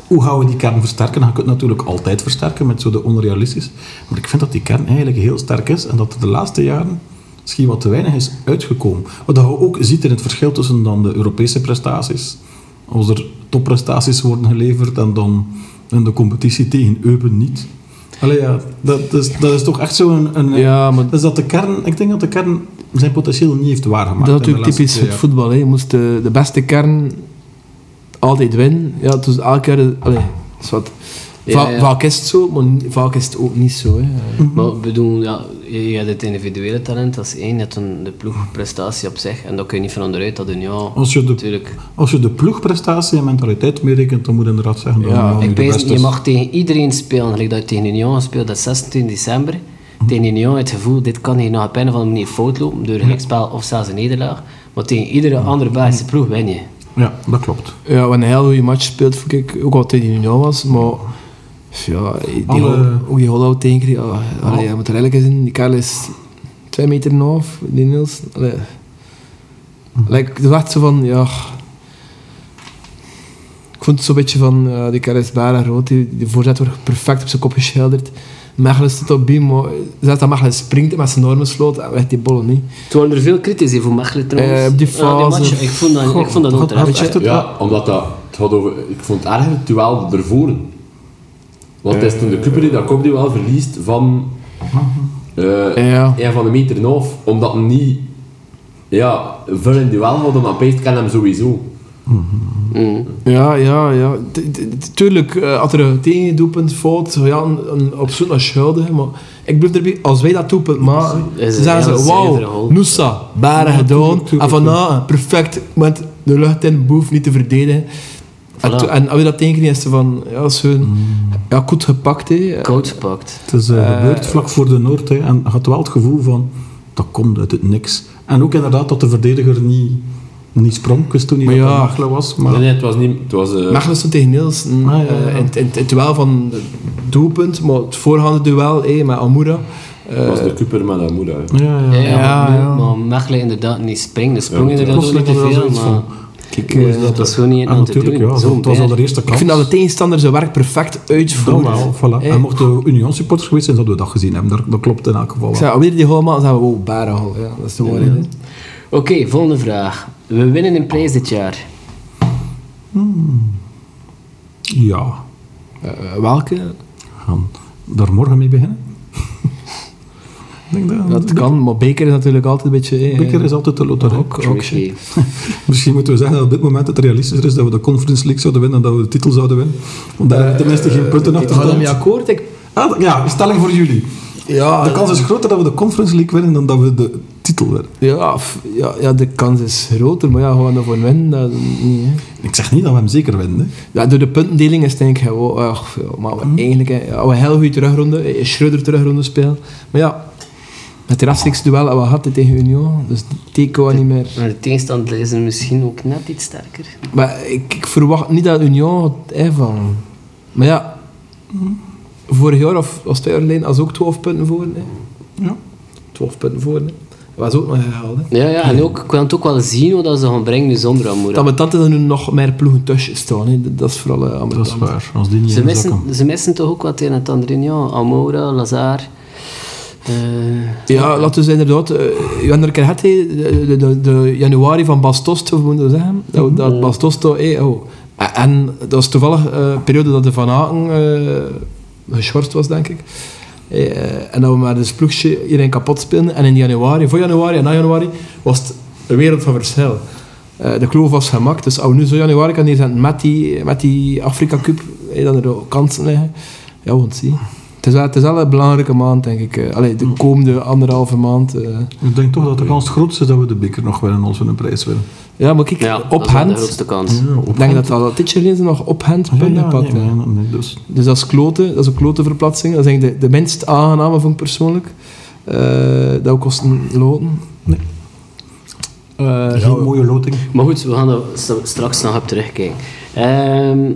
Hoe gaan we die kern versterken? Dan kun je het natuurlijk altijd versterken met zo de onrealistisch. Maar ik vind dat die kern eigenlijk heel sterk is en dat er de laatste jaren misschien wat te weinig is uitgekomen. Wat je ook ziet in het verschil tussen dan de Europese prestaties, als er topprestaties worden geleverd en dan in de competitie tegen Eupen niet. Allee, ja, dat is, dat is toch echt zo'n... Een,
Ja, maar
Dus dat de kern, ik denk dat de kern zijn potentieel niet heeft waargemaakt.
dat is
in de
natuurlijk
laatste
typisch
twee
het
jaar.
voetbal. Hè. Je moest de, de beste kern altijd winnen. Ja, dus elke keer... Allee, dat is wat. Va-
ja.
Vaak is het zo, maar ni- vaak is het ook niet zo. Hè.
Hm. Mhm.
Maar ik bedoel, ja, je je hebt het individuele talent, dat is één. Je hebt een, de ploegprestatie op zich. En dat kun je niet van onderuit. Dat doen, ja,
Als je, de,
natuurlijk.
als je de ploegprestatie en mentaliteit meerekent, dan moet je inderdaad zeggen dat
Ja,
Union
Ik
niet de
weet,
beste
je
is.
mag tegen iedereen spelen. Gelijk dat je tegen Union gespeeld hebt, 16 december. Tegen Union het gevoel, dit kan hier nog op een of andere manier fout lopen. Door een gelijkspel of zelfs een nederlaag. Maar tegen iedere andere Belgische ploeg win je.
Ja, dat klopt.
Ja, wanneer een heel goede match speelt, vond ik ook al tegen Union was, maar ja, die
Alle-
Alle... hoe die Hollout tegenkreeg, oh, allee, je moet er eerlijk in zijn, die kerel is twee meter en een half, die Niels. Allee. Like, het was echt zo van, ja... Ik vond het zo'n beetje van, eh, die kerel is bijna groot, die, die voorzet wordt perfect op zijn kop geschilderd. Mechelen staat op beam, maar zelfs dat Mechelen springt met zijn armen sloot, en weg die bollen niet.
Toen waren er veel kritisch hè, voor Mechelen trouwens.
Eh, op die
Ja,
fase.
match, ik vond dat, ik vond dat
God,
ook terecht.
echt het-
Ja, omdat dat, het gaat over, ik vond het erger het duel ervoor. Want het is
Eh,
toen de Cooper die dat kopduel verliest van eh
Ja.
een van de meter en een half. Omdat hem niet ja, veel in duel had, omdat Peest kan hem sowieso.
Ja, ja, ja. T- t- t- Tuurlijk, eh, had er een tegendoelpunt fout, zo ja, een, een, op zoek naar schuldigen, maar ik blijf erbij, als wij dat doelpunt maken,
Is
ze
een
zeggen
heel
ze,
zuivere
wauw,
goal."
Noosa, baren gedaan,
tuurlijk,
en
tuurlijk,
vanavond, perfect, met de lucht in, boef, niet te verdedigen. En,
Voilà.
to- en als je dat tegenkrijgt, is het van, ja, schoon,
Mm.
ja, goed gepakt, hè.
Koud gepakt.
Het is eh,
Eh,
gebeurd vlak voor de Noord. Hè, en je had wel het gevoel van, dat komt uit het niks. En ook inderdaad dat de verdediger niet, niet sprong. Ik wist toen niet
Maar
dat
ja.
dat Machelen was. Maar
Nee, nee, het was niet... Het was, eh,
Mechelen stond tegen Niels mm,
Ah, ja, ja.
eh, in, in- in het duel van het doelpunt, maar het voorgaande duel hé, met Amura.
het
eh,
was de Cooper met haar moeder.
ja, ja.
Ja,
ja.
Ja,
maar,
ja.
maar Mechelen inderdaad niet springen. De sprong
Ja,
inderdaad ook niet
plotseling
te
hadden we
veel,
zoiets
maar...
kijk,
Hoe
eh,
is dat was gewoon niet
En
aan te
natuurlijk,
doen.
ja,
Zo'n
het was al
beer.
de eerste kans.
ik vind dat de tegenstander zijn werk perfect
Dat
uitvoert.
wel, voilà.
Hey.
En mochten Union supporters geweest zijn, zouden we dat gezien hebben. Dat, dat klopt in elk geval
Ik
wel.
zei, alweer die goalman, dan zeggen we, wow, Barahol. Ja, dat is de waarheid. hè.
Oké, volgende vraag. We winnen een prijs dit jaar.
Ja,
Eh, eh, welke?
gaan daar morgen mee beginnen. Ik denk dat,
Dat kan, maar beker is natuurlijk altijd een beetje... eh,
Beker is altijd de loterij.
ook, ook shit.
Tricky.
Misschien moeten we zeggen dat op dit moment het realistischer is dat we de Conference League zouden winnen dan dat we de titel zouden winnen. Want daar hebben we tenminste geen punten
Ik
achter
ga
staan.
ermee akkoord. eh, Ik,
Ah, d- ja, stelling voor jullie. Ah,
ja,
De kans is groter dat we de Conference League winnen dan dat we de titel winnen.
Ja, f- ja, ja, de kans is groter, maar ja, gewoon daarvoor winnen, dat niet, hè.
Ik zeg niet dat we hem zeker winnen. hè.
Ja, door de puntendeling is het denk ik gewoon... eh, ach, ja, maar we-
Hm?
eigenlijk, hè, ja, we heel goede terugronde, een Schreuder terugronde spelen. Maar ja, het rechtstreeks duel dat we hadden tegen Union, dus die kon niet meer...
Maar de tegenstander is er misschien ook net iets sterker.
Maar ik, ik verwacht niet dat Union het hè, van. Maar ja, vorig jaar of als twee jaar geleden was ook 12 punten voor. Hè.
Ja.
12 punten voor. Hè. Was ook nog gehaald. Hè.
Ja, ja, en ook, ik kan het ook wel zien wat dat ze gaan brengen nu zonder Amoura.
Dat met dat er nu nog meer ploegen tussen staan. Hè. Dat dat is vooral eh, aan
Dat is waar. Als die niet
Ze
in zakken.
missen, ze missen toch ook wat in het andere, ja. Amoura, Lazar. eh,
Ja, laten we inderdaad. eh, Je hebt er een keer gehad, hè, de, de, de januari van Bastos, te moeten zeggen. Dat, we- dat Bastos toch. hè, oh. En- En dat is toevallig eh, een periode dat de Van Aken eh geschorst was, denk ik. Eh, en dat we maar een ploegje iedereen kapot speelden. En in januari, voor januari en na januari, was het een wereld van verschil. Eh, de kloof was gemaakt. Dus als we nu zo januari kan zijn met die, met die Afrika Cup, eh, dat er ook kansen liggen. Ja, we gaan het zien. Het is, wel, het is wel een belangrijke maand, denk ik. Eh, Allee,
Mm.
de komende anderhalve maand. eh.
Ik denk toch dat de kans het grootste is dat we de beker nog winnen als we een prijs winnen.
Ja, maar kijk,
ja, dat
op
is wel de
hand.
grootste kans.
Ja, Ah,
Ik denk dat al dit jaar geleden nog op hand
Ja,
punten
ja,
gepakt
nee,
hebben.
nee, nee, nee, dus.
Dus dat is kloten, dat is een klote verplaatsing. Dat is eigenlijk de, de minst aangename, vond ik persoonlijk. Eh, dat we kosten loten.
Nee.
Eh,
Geen mooie loting.
Maar goed, we gaan er st- straks nog op terugkijken. Ehm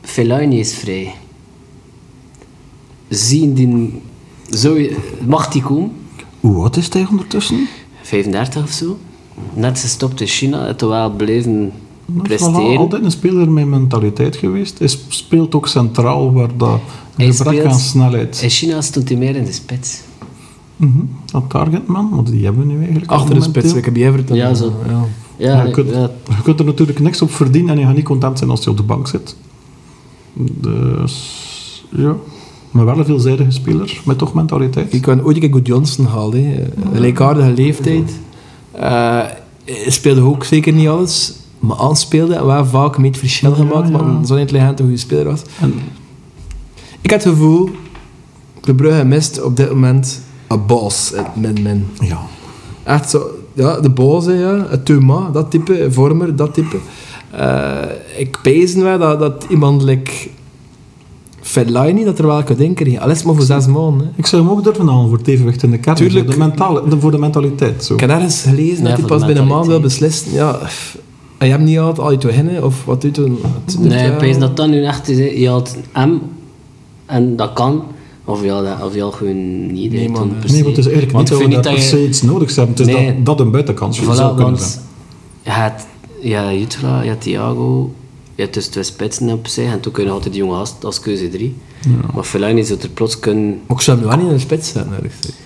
Fellaini is vrij. Zien die... Zou je, mag die komen?
Hoe oud is hij ondertussen?
35 of zo. Net gestopt in China, het wel blijven
Dat is wel
presteren.
altijd een speler met mentaliteit geweest. Hij speelt ook centraal waar dat
Hij
gebrek
speelt-
aan snelheid.
In China stond hij meer in de spits.
Mhm. Dat targetman, want die hebben we nu eigenlijk.
achter de
momenteel.
spits, ik heb je Everton.
Ja, zo.
Ja.
Ja,
Maar je, kunt,
ja,
je kunt er natuurlijk niks op verdienen en je gaat niet content zijn als je op de bank zit. Dus ja. Maar wel een veelzijdige speler met toch mentaliteit.
Ik kan ooit een keer Good Johnson halen. hè. Een gelijkaardige leeftijd. Eh, hij speelde ook zeker niet alles. me aanspeelde. En we hebben vaak mee het verschil
Ja,
gemaakt,
ja.
maar zo'n intelligente goede speler was.
En,
Ik had het gevoel, Club Brugge mist op dit moment een boss met men.
ja.
Echt zo, ja, de boss, hè, ja. het Thuma, dat type, Vormer, dat type. Eh, ik pezen wel dat, dat iemand like Fellaini, dat er wel kan denken. ja. Al is het maar voor zes maanden. hè.
Ik zou hem ook durven halen voor het evenwicht in de kern.
Tuurlijk.
Voor de, mentale, de- voor de mentaliteit. Zo.
Ik heb ergens gelezen
Ja,
dat hij
voor
pas
de
binnen een maand wil
mentaliteit.
beslissen. Ja, pff, en je hebt niet altijd al je te hinnen, of wat doet toen?
Nee, ik pees dat dat nu echt is. hè. Je had M en dat kan. Of je had, of je had gewoon niet. hè,
Nee, man,
toen
hè.
per
Nee,
se.
want het is eigenlijk
Want
niet
ik vind
dat we
niet
daar per
dat
se
je...
iets nodig hebben. Het is
Nee.
dat, dat een buitenkans voor zou
Voilà,
kunnen zijn.
want je had, ja, Jutla, je had Thiago, je had dus twee spitsen op zich. En toen kun je nog altijd die jonge gast als keuze drie. Maar Fellaini zou er plots kunnen...
Maar ik zou hem nu wel niet in de spits zetten, eerlijk gezegd.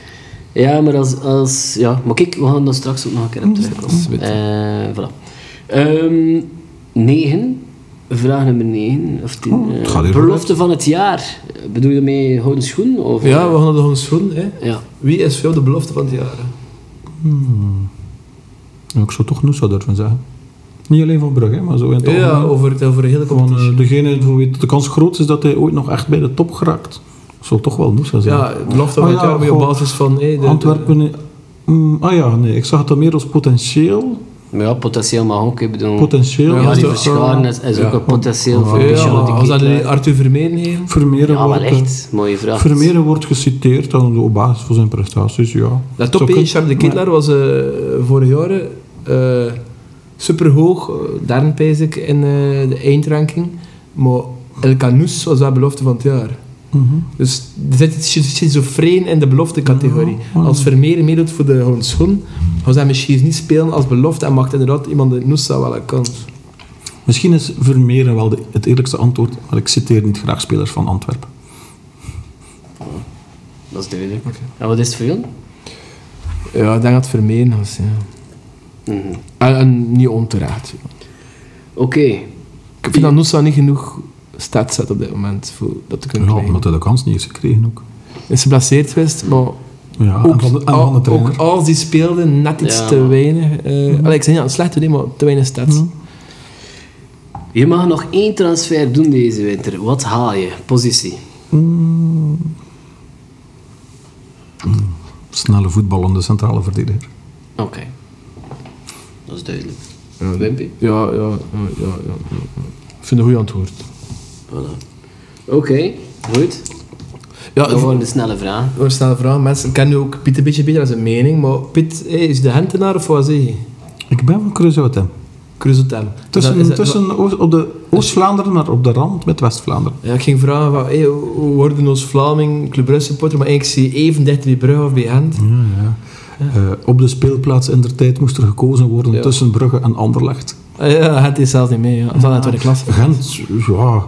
Ja, maar als, als... Ja, maar kijk, we gaan daar straks ook nog een keer
Mm.
op terugkomen. Eh voilà. Ehm, negen. Vraag nummer 9 of 10.
Oh, het gaat hier
belofte van het jaar. Eh, Bedoel je mee houden schoen? Of, eh,
Ja, we gaan het nog eens doen. Hè.
Ja.
Wie is veel de belofte van het jaar? hè?
Ja, ik zou toch Noosa durven zeggen. Niet alleen van Brugge, maar zo in het
Ja,
algemeen.
over, het- over de hele
Van
competitie.
eh, degene voor wie het de kans groot is dat hij ooit nog echt bij de top geraakt. Zou toch wel Noosa zijn.
eh, Ah, ja, belofte van
Oh
het
ja,
jaar moet je op
goh.
basis van... Hey, de- de-
Antwerpen... eh, mm, ah ja, nee. Ik zag het dan meer als potentieel.
Maar ja, potentieel mag ook. Ik bedoel,
Potentieel.
ja,
Ja,
die
toch,
verscharen is, is ook een potentieel voor
Ja,
Michel
maar
de
als dat
Ketelaar.
nu Arthur Vermeeren geven...
Vermeeren
Ja, maar
wordt, eh,
echt. Mooie vraag.
Vermeeren wordt geciteerd aan- op basis van zijn prestaties, ja.
Dat
Zou
topje
kunnen,
Charles de
maar-
Kittler was eh vorig jaar eh superhoog. eh, Daarin pijs ik in eh, de eindranking. Maar El Canus was wel belofte van het jaar.
Mhm.
Dus er zit iets schi- schizofreen in de beloftecategorie.
ja.
Als Vermeer meedoet voor de Hoorn Schoen, gaan ze hem misschien niet spelen als belofte en maakt inderdaad iemand de Noosa wel een kans.
Misschien is Vermeeren wel de- het eerlijkste antwoord, maar ik citeer niet graag spelers van Antwerpen.
Dat is duidelijk. En wat is het voor jou?
Ja, ik denk dat Vermeer was. Ja.
Mhm.
En, en niet onterecht.
Oké.
Ik vind dat Noosa niet genoeg stats zet op dit moment voor dat te kunnen
Ja,
krijgen.
omdat hij de kans niet heeft gekregen ook.
Is geblesseerd geweest, maar
Ja, en
ook,
van de, en
al-
van de trainer. Mhm.
ook als die speelde net iets
Ja,
te
man.
weinig. eh allee, ik zei niet aan het slecht doen, maar te weinig stats.
Je mag nog één transfer doen deze winter. Wat haal je? Positie.
Snelle voetballende centrale verdediger.
Oké. Dat is duidelijk. Wimpy?
Ja, ja, ja, ja, ja. Ik vind het een goed antwoord.
Voilà. Oh. Oké, goed.
Ja,
Dan
voor-
worden de snelle vraag.
voor een snelle vraag. Mensen kennen ook Piet een beetje beter als een mening, maar Piet hey, is de hentenaar of wat zeg je?
Ik ben van Creusotem.
Cruzotem.
Tussen, tussen Oost- op de Oost-Vlaanderen, maar op de rand met West-Vlaanderen.
Ja, ik ging vragen van, hey, hoe hoe worden ons Vlaming Club Brugge supporter, maar eigenlijk zie je even dicht bij Brugge of bij Gent.
Ja, ja. Eh, op de speelplaats in der tijd moest er gekozen worden
Ja.
tussen Brugge en Anderlecht.
Ah, Ja, Gent is zelfs niet mee, ja. Dat is al in de tweede klasse.
Gent, ja,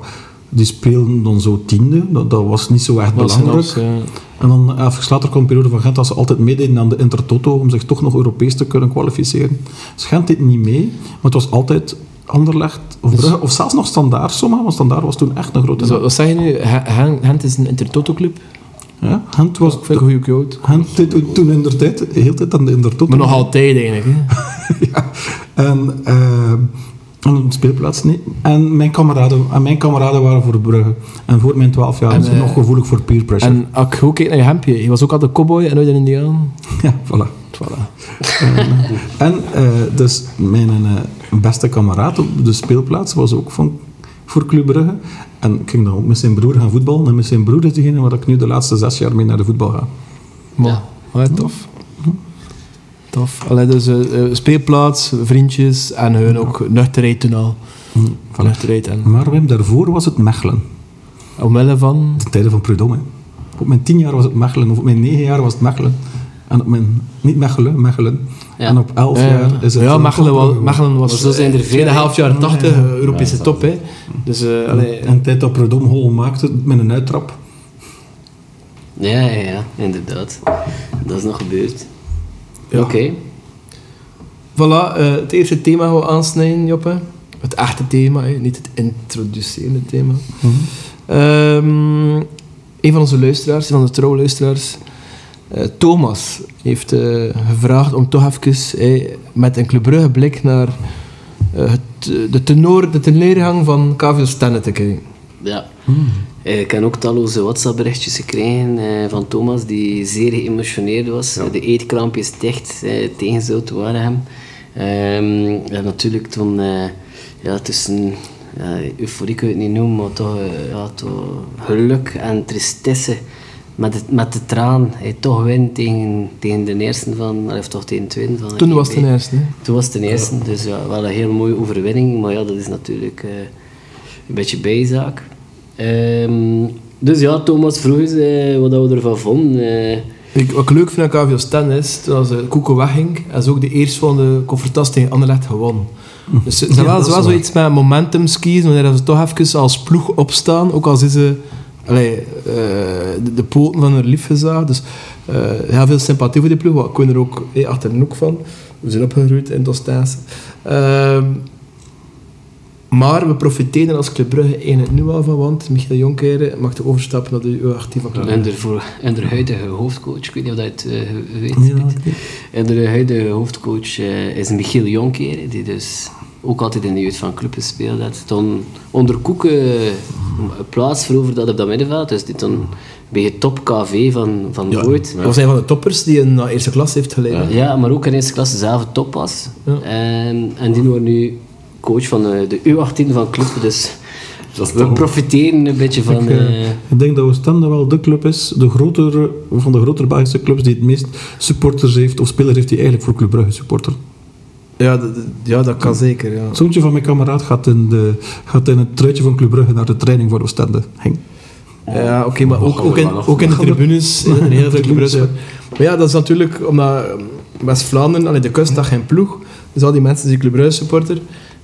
die speelden dan zo tiende. Dat, dat was niet zo echt
Dat is
belangrijk.
een abs- ja.
En dan even later kwam een periode van Gent dat ze altijd meededen aan de Intertoto om zich toch nog Europees te kunnen kwalificeren. Dus Gent deed niet mee, maar het was altijd Anderlecht of Brugge, of zelfs nog Standaard sommigen, want Standaard was toen echt een grote
Dus wat,
naam.
wat zeg je nu? Hen- Hen- Gent is een intertoto-club.
Ja, Gent was
Ik vind het een goede quote.
Gent deed toen in de tijd, heel tijd aan de Intertoto.
Maar nog altijd eigenlijk. Hè.
(laughs) ja. En eh, en op de speelplaats niet. En mijn, kameraden, en mijn kameraden waren voor Brugge. En voor mijn 12 jaar
En,
zijn
eh,
nog gevoelig voor peer pressure.
En als ik ook kijk naar je hempje, je was ook altijd cowboy en nooit een indiaan.
(laughs) Ja, voilà. en eh, dus mijn eh, beste kameraad op de speelplaats was ook van, voor Club Brugge. En ik ging dan ook met zijn broer gaan voetballen. En met zijn broer is degene waar ik nu de laatste zes jaar mee naar de voetbal ga.
Maar,
Ja.
allee, tof. Tof. Allee, dus eh, eh, speelplaats, vriendjes en hun ook nuchterheid toen al.
Voilà.
Nuchterheid en
Maar Wim, daarvoor was het Mechelen.
omwille van...
De tijden van Prudhomme. Op mijn tien jaar was het Mechelen. Of op mijn negen jaar was het Mechelen. En op mijn... Niet Mechelen, Mechelen.
Ja.
En op elf
Ja,
jaar is het...
ja
eh,
Mechelen
toch
was,
Brugge.
Mechelen was
Maar zo zijn er
eh,
veel,
tweede
hè.
helft jaren 80, eh, Europese top. Hè. Dus eh, allee,
En de tijd dat Prudhomme hol maakte met een uittrap.
Ja, ja, ja, inderdaad. Dat is nog gebeurd.
Ja.
Oké.
Voilà, eh, het eerste thema gaan we aansnijden, Joppe. Het echte thema, hè, niet het introducerende thema. Ehm, een van onze luisteraars, een van de trouwe luisteraars, eh, Thomas, heeft eh, gevraagd om toch even hè, met een Club Brugge blik naar eh, eh, het, de tenor, de teneergang van KVL Stenne te kijken.
Ja.
Hmm.
Eh, Ik heb ook talloze WhatsApp-berichtjes gekregen eh, van Thomas, die zeer geëmotioneerd was. Eh, De eetkrampjes dicht eh, tegenzout waren hem. Ehm, en natuurlijk toen, eh, ja, tussen ja, euforie kun je het niet noemen, maar toch, eh, ja, toch geluk en tristesse met, het, met de traan. Hij toch wint tegen, tegen de eerste van, of toch tegen de tweede van.
Toen was het de
IB.
eerste. hè.
Toen was het de eerste, dus ja, wel een heel mooie overwinning. Maar ja, dat is natuurlijk eh, een beetje bijzaak. Ehm, dus ja, Thomas vroeg eens eh, wat dat we ervan vonden. eh.
Ik, wat ik leuk vind aan KVO Stan is, toen als Koeko wegging, en ze ook de eerste van de confertas tegen Anderlecht gewonnen. Dus ze ze
Ja,
wel,
dat
ze
is
wel
waar.
zoiets met momentum skis, wanneer ze toch even als ploeg opstaan, ook al zijn ze allee, eh, de, de poten van hun lief gezaagd. Dus eh, heel veel sympathie voor die ploeg, want ik woon er ook eh, achter een hoek van. We zijn opgegroeid in Dostaanse. maar we profiteren er als Club Brugge in het nu al van, want Michiel Jonker mag de overstap naar de U18 van Club Brugge.
En de, voor, en de huidige hoofdcoach, ik weet niet of dat je het eh, ge- weet.
Ja,
Piet.
oké.
En de huidige hoofdcoach eh, is Michiel Jonker, die dus ook altijd in de jeugd van club gespeeld had. Toen onder Koeken plaats veroverd had op dat middenveld, dus die toen bij het top KV van, van
Ja,
ooit.
Dat was een van de toppers die een naar eerste klas heeft geleid. hè.
Ja, maar ook in eerste klasse zelf top was.
Ja.
En, en die wordt nu coach van eh, de U18 van Club. Dus
Dat is
we
toch-
profiteren een beetje van.
Ik, eh,
eh,
ik denk dat Oostende wel de club is, de grotere, van de grotere Belgische clubs, die het meest supporters heeft, of spelers heeft die eigenlijk voor Club Brugge supporter.
Ja, dat, dat- ja, dat kan zeker. Ja.
Het zoontje van mijn kameraad gaat in, de, gaat in het truitje van Club Brugge naar de training voor Oostende. Henk.
Ja, oké, maar ook, ook, in, ook in de tribunes zijn er heel veel
Tribunes,
Brugge. Maar ja, dat is natuurlijk omdat eh, West-Vlaanderen, allee, de kust, dat geen ploeg. Dus al die mensen zijn Club Brugge supporter.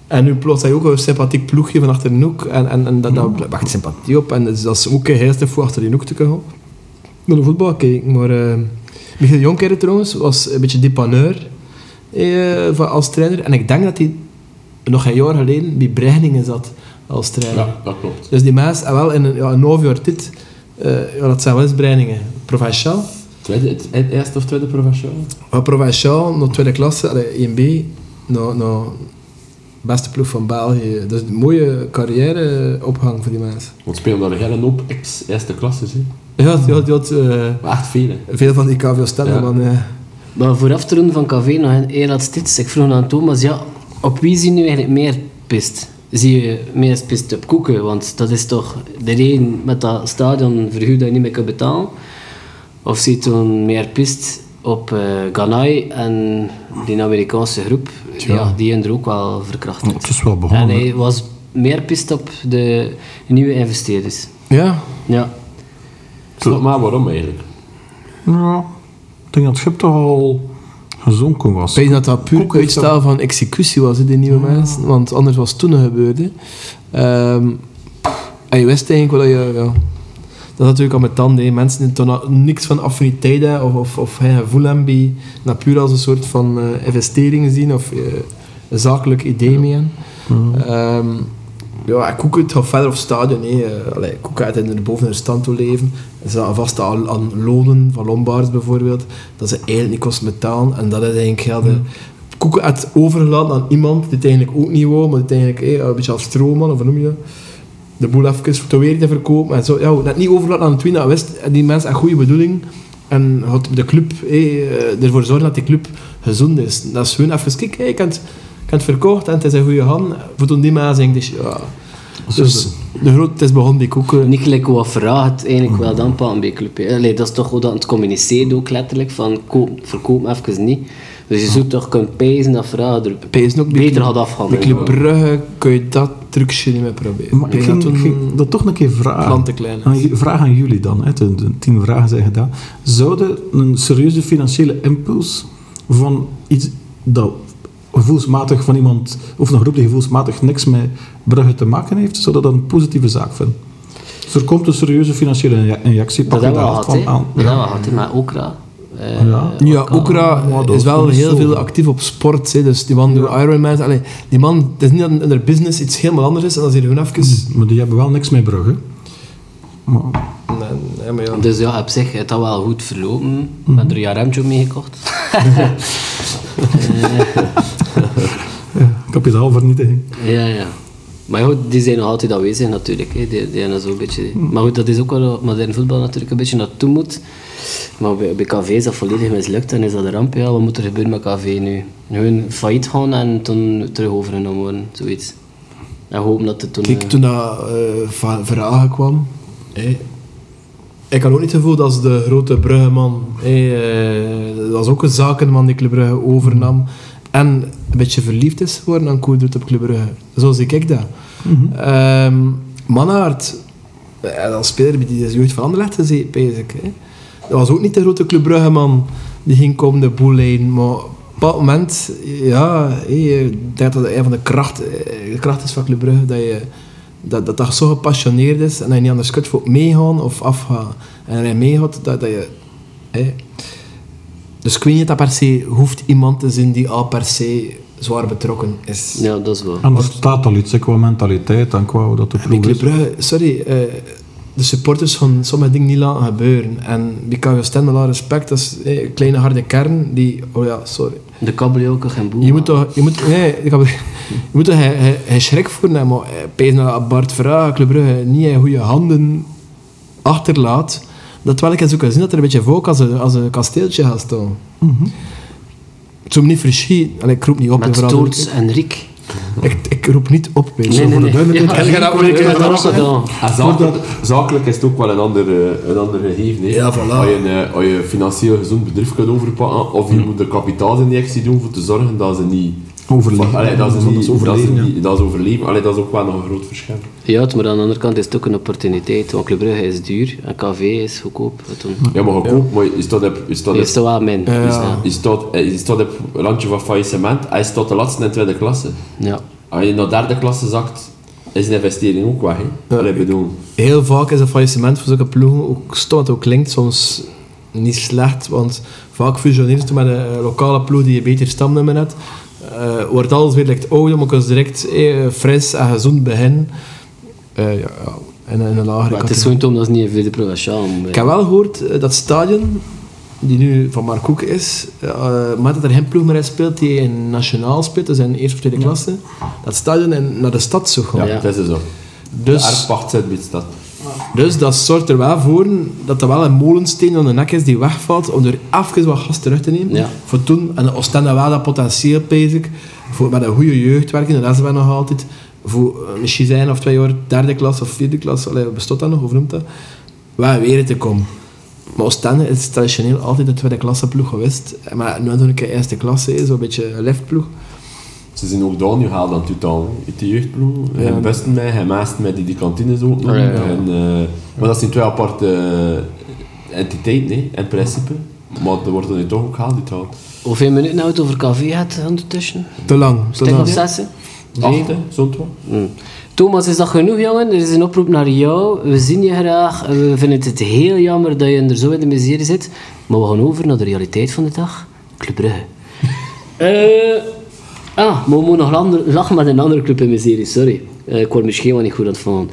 En nu plots heb je ook een sympathiek ploegje van achter de hoek. En, en, en dat, dat Mm. wacht sympathie op. En dus dat is ook een heerste voor achter die hoek te gaan. Naar de voetbal kijken. Maar eh Michiel Jonker trouwens was een beetje depaneur eh, van- als trainer. En ik denk dat hij nog een jaar geleden bij Breiningen zat als trainer.
Ja, dat klopt.
Dus die mensen, en wel in een, ja, een half jaar dit, eh, ja, dat zijn wel eens breiningen. Provinciaal.
Tweede, het, het eerste of tweede provinciaal?
Maar provinciaal, naar tweede klasse, allee, 1B, naar, naar beste ploeg van België. Dus een mooie carrièreopgang voor die mensen.
Want spelen daar een hele hoop ex-eerste klasse, zie.
Ja, had, die had, die had, eh,
Maar echt veel, hè.
veel van die KVO stemmen,
Ja.
man. eh.
maar vooraf te doen van KV nog een heel laatste iets. Ik vroeg aan Thomas: ja, op wie zien nu eigenlijk meer pist? Zie je meer pist op Koeken? Want dat is toch de reden met dat stadionverhuur dat je niet meer kan betalen. Of zie je toen meer pist op eh Ganai en die Amerikaanse groep? Ja, die hebben er ook wel verkracht.
Het is wel
En
begonnen.
hij was meer pist op de nieuwe investeerders.
Ja,
Ja.
Snap maar waarom eigenlijk.
Ja, ik denk dat het schip toch al gezonken was.
ik weet dat dat puur
Koeken heeft
uitstel van executie was, hè, die nieuwe mensen. Want anders was het toen nog gebeurd. hè. Ehm, en je wist eigenlijk wel dat je... Ja, dat is natuurlijk al met tanden. hè. Mensen die toch niks van affiniteit hebben of, of, of geen gevoel hebben bij... Dat puur als een soort van eh, investering zien of eh, een zakelijk idee mee hebben. Ehm, ja, en Koeken, het gaat verder op het stadion. hè. Eh, allee, Koeken gaat in de boven de stand toe leven. Ze gaan vast aan, aan lonen van Lombards bijvoorbeeld. Dat ze eigenlijk niet kost betalen. En dat is eigenlijk ja, de, Koeken had overgelaten aan iemand die het eigenlijk ook niet wou. Maar die het eigenlijk eh, een beetje als stroomman, of hoe noem je dat? De boel even te weer te verkopen. En zo. Ja, dat niet overlaten aan het wien. Dat wist die mensen een goede bedoeling. En had de club eh, eh, ervoor zorgen dat die club gezond is. Dat is hun even kijken. Hey, ik heb het- ik heb het verkocht en het is een goede hand. Voor toen die mensen denk ik, ja,
Zo is
dus
het.
de groot, het is begonnen die koeken.
Niet gelijk wat vraag het eigenlijk wel dan pakken bij club. hè. Allee, dat is toch hoe dat het communiceert ook letterlijk. Van koop, verkoop me even niet. Dus je zoekt toch kunnen pijzen dat vragen er
Pees ook bij
beter
Club-
had
Bij
afgehandeld.
Club Brugge kun je dat trucje niet meer proberen.
Maar
denk
ik ging,
dat
ik
toen
ging dat toch een keer
plan
vragen.
te klein is.
Aan, ju- vraag aan jullie dan, hè, de, de tien vragen zijn gedaan. Zouden een serieuze financiële impuls van iets dat gevoelsmatig van iemand, of een groep die gevoelsmatig niks met Brugge te maken heeft, zou dat dan een positieve zaak vinden? Dus er komt een serieuze financiële inje- injectie, pak
Dat
je
hebben
daar
we al
af
gehad,
van
hè.
aan.
Dat hebben we al gehad, hè, maar Okra. eh,
Ja.
Ja,
Okra.
Okra
maar dat
is
is
wel
niet
heel
zo.
veel actief op sport. Hè. Dus die man doet Ironman. Allee, die man, het is niet dat in haar business iets helemaal anders is. En dat is hier gewoon even...
Maar die hebben wel niks met Brugge. Maar,
Nee, nee, maar ja.
Dus ja, op zich, het had wel goed verlopen. We hebben er een mee gekocht.
ik heb op jezelf vernietiging.
Ja, ja. Maar goed, die zijn nog altijd aanwezig natuurlijk. Hè. Die, die hebben zo'n beetje...
Hm.
Maar goed, dat is ook wel wat modern voetbal natuurlijk een beetje naartoe moet. Maar bij, bij KV is dat volledig mislukt en is dat een ramp. Ja, wat moet er gebeuren met KV nu? Gewoon failliet gaan en toen terug overgenomen worden, zoiets. En hopen dat het toen...
Kijk,
eh,
toen dat eh, Van Verhagen kwam, eh, ik had ook niet het gevoel dat ze de grote Bruggeman, eh, eh, dat was ook een zakenman die Club Brugge overnam, en een beetje verliefd is geworden aan Koerdert op Club Brugge. Zo zie ik dat. Ehm Mannaert, eh, als speler bij die is jeugd van Anderlecht gezeten, pijs ik, hè. Dat was ook niet de grote Club Bruggeman die ging komen de boel leiden, maar op dat moment, ja, hé, ik denk dat dat een van de krachten de kracht is van Club Brugge, dat je dat, dat, dat zo gepassioneerd is en dat je niet anders kunt voor meegaan of afgaan. En als je meegaat, dat, dat je... hé. Dus ik weet niet dat per se hoeft iemand te zijn die al per se zwaar betrokken is.
eh, Ja, dat is wel.
Ah.
En er staat al iets, hè, qua mentaliteit en qua hoe dat de
Bij
ploeg
Club
is.
Brugge, sorry, eh, de supporters gaan sommige dingen niet laten gebeuren. En bij KV Stijn, met alle respect, dat is eh, een kleine harde kern die... Oh ja, sorry.
De kabeljauw ook geen boel.
Je moet toch... Je moet, nee, ik heb, (laughs) je moet toch geen- geen- geen schrik voor hebben. Maar eh, pees naar Bart Vraag, Club Brugge, niet in goede handen achterlaat. Dat wel ik eens ook gezien dat er een beetje volk als een, als een kasteeltje gaat staan. Het zou me niet verschieten. Allee, Ik roep niet op. hè,
Mhm. Met
vooral-
Toorts en Riek.
ik, ik roep niet op, weet je.
Nee, nee, nee.
duidelijkheid.
Ja,
En ga dat
ik
ook een keer
heb dat ook
verrassen, hè?
gedaan.
En zakelijk, zakelijk is het ook wel een ander, eh, een ander gegeven. hè.
Ja, voilà.
Als je een, eh, als je een financieel gezond bedrijf kunt overpakken, of je moet er kapitaalinjectie doen om te zorgen dat ze niet...
Overleven.
Allee, dat,
Dat
ze
is
niet,
overleven,
dat,
ja.
ze niet, dat is overleven. Allee, dat is ook wel nog een groot verschil.
Ja, het- maar aan de andere kant is het ook een opportuniteit. Want Club Brugge is duur en KV is goedkoop. Toen
Ja, maar goedkoop, maar je staat op... Je staat op-
is er wel min.
Ja.
Dus, ja.
je staat- eh, je staat op het randje van faillissement en je staat de laatste in tweede klasse.
ja.
Als je naar derde klasse zakt, is de investering ook weg. hè.
Ja.
Allee, bedoel...
Heel vaak is een faillissement voor zulke ploegen, ook stom dat het ook klinkt, soms niet slecht, want vaak fusioneren ze met een eh, lokale ploeg die een beter stamnummer had. Eh wordt alles weer licht ouder, maar kunnen ze direct eh, fris en gezond beginnen. Eh, ja, ja, in, een- in een lagere
Maar het is
categorie.
gewoon toom dat is niet een vierde provinciaal.
Ik heb wel gehoord eh, dat stadion, die nu van Mark Koek is, eh, maar dat er geen ploeg meer in speelt die in nationaal speelt, dus in eerste of tweede klasse, dat stadion in, naar de stad zou gaan.
Ja,
Ja.
dat is zo.
Dus,
De erfpacht zit bij de stad.
Dus dat zorgt er wel voor dat er wel een molensteen aan de nek is die wegvalt om er even wat gas terug te nemen.
Ja.
Voor toen, en Oostende wel dat potentieel, pees ik, voor, met een goede jeugd werken, dat is wel nog altijd, voor eh, misschien zijn of twee jaar derde klas of vierde klas, allee, bestaat dat nog, hoe noemt dat? Wel weer te komen. Maar Oostende is traditioneel altijd een tweede klasse ploeg geweest, maar nu toen ik in eerste klasse is, zo'n beetje een liftploeg.
Ze zijn ook daar nu gehaald aan het totaal. Uit de jeugdploeg. Hij
Ja.
besten mij, hij meest mij die die kantines ook
Ja, ja, ja.
En, eh, maar dat zijn twee aparte eh, entiteiten, hè, in principe. Maar er wordt er nu toch ook gehaald uit Haal.
Hoeveel minuten nou het over KV gaat ondertussen?
Te lang. Te
Stuk of
lang.
zes? hè?
Acht, hè, zo'n twee.
Mm. Thomas, is dat genoeg, jongen? Er is een oproep naar jou. We zien je graag. We vinden het heel jammer dat je er zo in de miserie zit. Maar we gaan over naar de realiteit van de dag. Club Brugge. Eh, ah, maar we moeten nog ander- lachen met een andere club in miserie. Sorry. Eh, ik word misschien wel niet goed aan het vallen.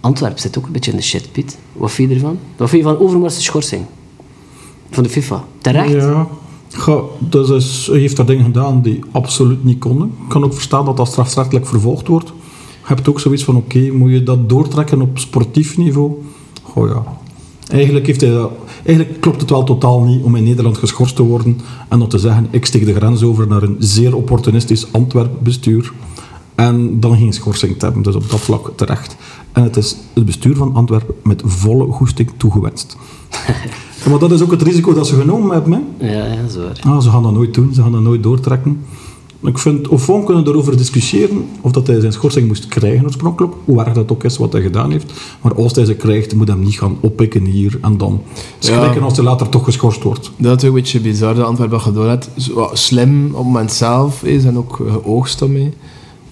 Antwerpen zit ook een beetje in de shit, Piet. Wat vind je ervan? Wat vind je van Overmars' schorsing? Van de FIFA. Terecht?
Ja. Ga, dus is, hij heeft daar dingen gedaan die absoluut niet konden. Ik kan ook verstaan dat dat strafrechtelijk vervolgd wordt. Je hebt ook zoiets van, oké, moet je dat doortrekken op sportief niveau? Goh ja. Eigenlijk, heeft hij dat, eigenlijk klopt het wel totaal niet om in Nederland geschorst te worden en dan te zeggen, ik steek de grens over naar een zeer opportunistisch Antwerp-bestuur en dan geen schorsing te hebben. Dus op dat vlak terecht. En het is het bestuur van Antwerpen met volle goesting toegewenst. maar dat is ook het risico dat ze genomen hebben. Hè?
Ja, ja, dat is waar.
Ah, ze gaan dat nooit doen, ze gaan dat nooit doortrekken. Ik vind, Ofon kunnen erover discussiëren of dat hij zijn schorsing moest krijgen oorspronkelijk, hoe erg dat ook is wat hij gedaan heeft. Maar als hij ze krijgt, moet hij hem niet gaan oppikken hier en dan. Schrikken
Ja.
als hij later toch geschorst wordt.
Dat is ook een beetje bizar dat Antwerpen dat gedaan heeft. Zo, wat Slim op het moment zelf is en ook geoogst daarmee.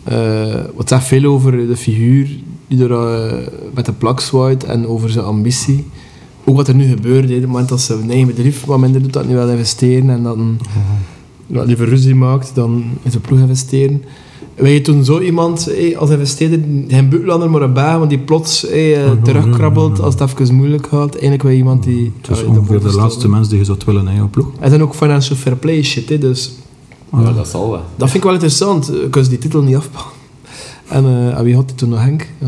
Eh, wat zegt veel over de figuur die er eh, met de plak zwaait en over zijn ambitie. Ook wat er nu gebeurt, hè, op het moment dat ze een eigen bedrijf wat minder doet, dat nu wel investeren en dan wat liever ruzie maakt dan in zijn ploeg investeren. Wil je toen zo iemand eh, als investeerder, geen buitenlander maar een baan, want die plots eh, eh,
Mhm.
terugkrabbelt als het even moeilijk gaat. Eigenlijk wil je iemand die...
Het is
ja, die
ongeveer de
bovenste-
laatste mens die je zou willen in jouw ploeg.
en dan ook financial fair play shit, hè, dus
Ja, dat zal wel.
Dat vind ik wel interessant. Ik was die titel niet afpakken. En, eh, en wie had die toen nog? Henk? Ja.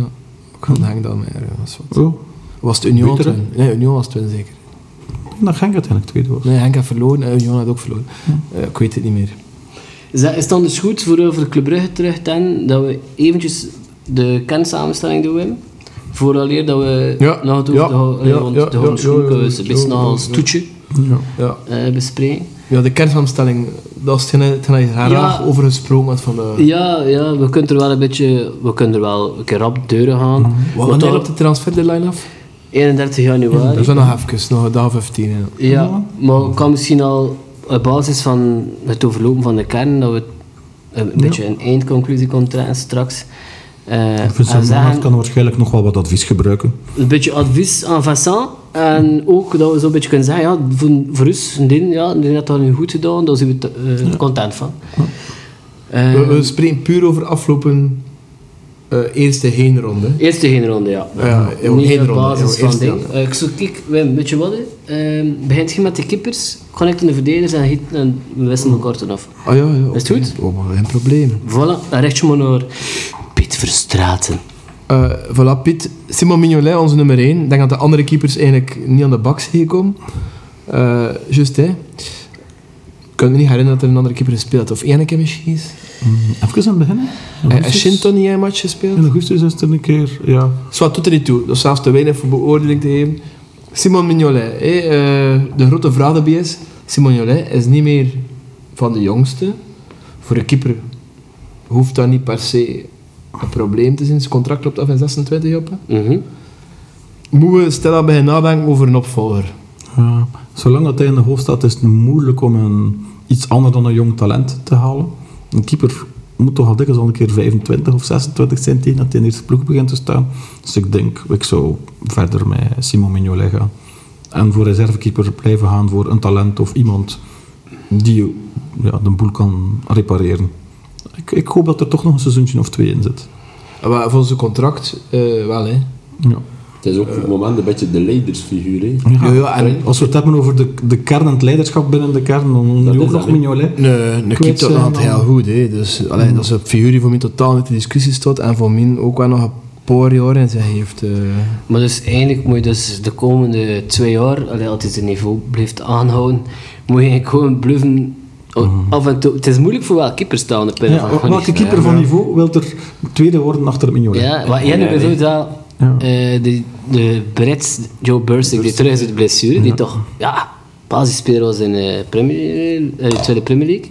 Ik had Henk dan mee. Dat is wat.
Oh,
Was het Union
Beter, hè?
toen? Nee, Union was toen zeker.
Oh, dan ging het eigenlijk tweede was.
Nee, Henk had verloren en Union had ook verloren. Eh, ik weet het niet meer.
Is, dat, is het dan dus goed voor, voor Club Brugge terug te hebben, dat we eventjes de kennsamenstelling doen, Wim? Vooraleer dat we
Ja,
nog het
ja,
over de ho- eh,
ja,
rond
ja,
de
ja,
Hollandse
ja, ja,
Schoenkeus een
ja,
beetje
ja,
nog als
ja.
toetje
Ja.
Ja,
eh, bespreken.
ja de kernsamstelling, dat is hetgeen hetgeen dat je graag
Ja.
over gesproken had van de...
Ja, ja, we kunnen er wel een beetje, we kunnen er wel een keer rap deuren gaan.
Wat
Want
Wanneer
dan-
op de transferdeadline af?
31 januari.
Dat is wel nog even, nog een dag of 15. Ja.
Ja, maar ik kan misschien al op basis van het overlopen van de kern, dat we een beetje een eindconclusie kunnen trekken straks. Eh,
Ik vind
en
Sam Bernard
zeggen,
kan waarschijnlijk nog wel wat advies gebruiken.
een beetje advies aan Vincent. En ook dat we zo'n beetje kunnen zeggen, ja, voor, voor ons, Din, ja, Din had dat nu goed gedaan, daar zijn we te- eh, content van. Eh,
We, we spreken puur over afgelopen eh, eerste heenronde. hè.
Eerste geen ronde, ja.
Ja, ja,
Niet
geen
op
ronde,
basis
ja,
van
eerste
ding.
ronde.
Eh, ik zou kijk, Wim, weet je wat? hè? Ehm, begint je met de kippers, connecten de verdedigers en, hit- en we wisselen elkaar toen af.
Ah ja, ja.
Is het
oké.
goed?
Oh, maar geen probleem.
Voilà, dan richt je maar naar Piet Verstraten.
Eh voilà, Piet. Simon Mignolet, onze nummer 1. Ik denk dat de andere keepers eigenlijk niet aan de bak zijn gekomen. Eh Justin. Ik kan me niet herinneren dat er een andere keeper gespeeld had. Of één keer misschien eens.
Even aan het begin. hè.
Eh,
In
Heeft
augustus-
Shinton niet een match gespeeld?
In augustus is het een keer, ja.
Zwat doet er niet toe. Dat is zelfs te weinig voor beoordeling te geven. Simon Mignolet. hè, eh, de grote vraag daarbij is... Simon Mignolet is niet meer van de jongste. Voor een keeper hoeft dat niet per se een probleem te zijn. Zijn contract loopt af in 26 op. hè. Moeten we stellen bij nadenken over een opvolger?
Ja, zolang dat hij in de hoofdstad is, is het moeilijk om een, iets anders dan een jong talent te halen. Een keeper moet toch al dikwijls al een keer 25 of 26 zijn tegen dat hij in de eerste ploeg begint te staan. Dus ik denk, ik zou verder met Simon Mignolet gaan. En voor reservekeeper blijven gaan voor een talent of iemand die ja, de boel kan repareren. Ik, ik hoop dat er toch nog een seizoentje of twee in zit.
Maar volgens het contract eh, wel, hè.
Ja.
Het is ook voor het moment een beetje de leidersfiguur. Hè.
Ja, ja, en...
Als we het hebben over de, de kern en het leiderschap binnen de kern, dan moet je
is
ook
dat,
nog
hè.
Mignolet.
Nee, de
Kwijt
keeper
zijn
had
dan-
heel goed, hè. Dus allee, dat is een figuur die voor mij totaal niet in discussie stond. En voor mij ook wel nog een paar jaar in zijn heeft. eh,
Maar dus eigenlijk moet je dus de komende twee jaar, allee, als het niveau blijft aanhouden, moet je eigenlijk gewoon bluffen. Af en toe, het is moeilijk voor welke keeper staan de
Mhm. Ja,
pinnen van Gonissen,
welke
hè.
keeper van niveau wil er tweede worden achter Mignolet?
Ja, maar jij nu
nee,
bijvoorbeeld wel
Ja.
eh, de, de Brits, Joe Bursik, die terug is uit de blessure, die toch ja, basisspeler was in de Premier, eh, de Tweede Premier League.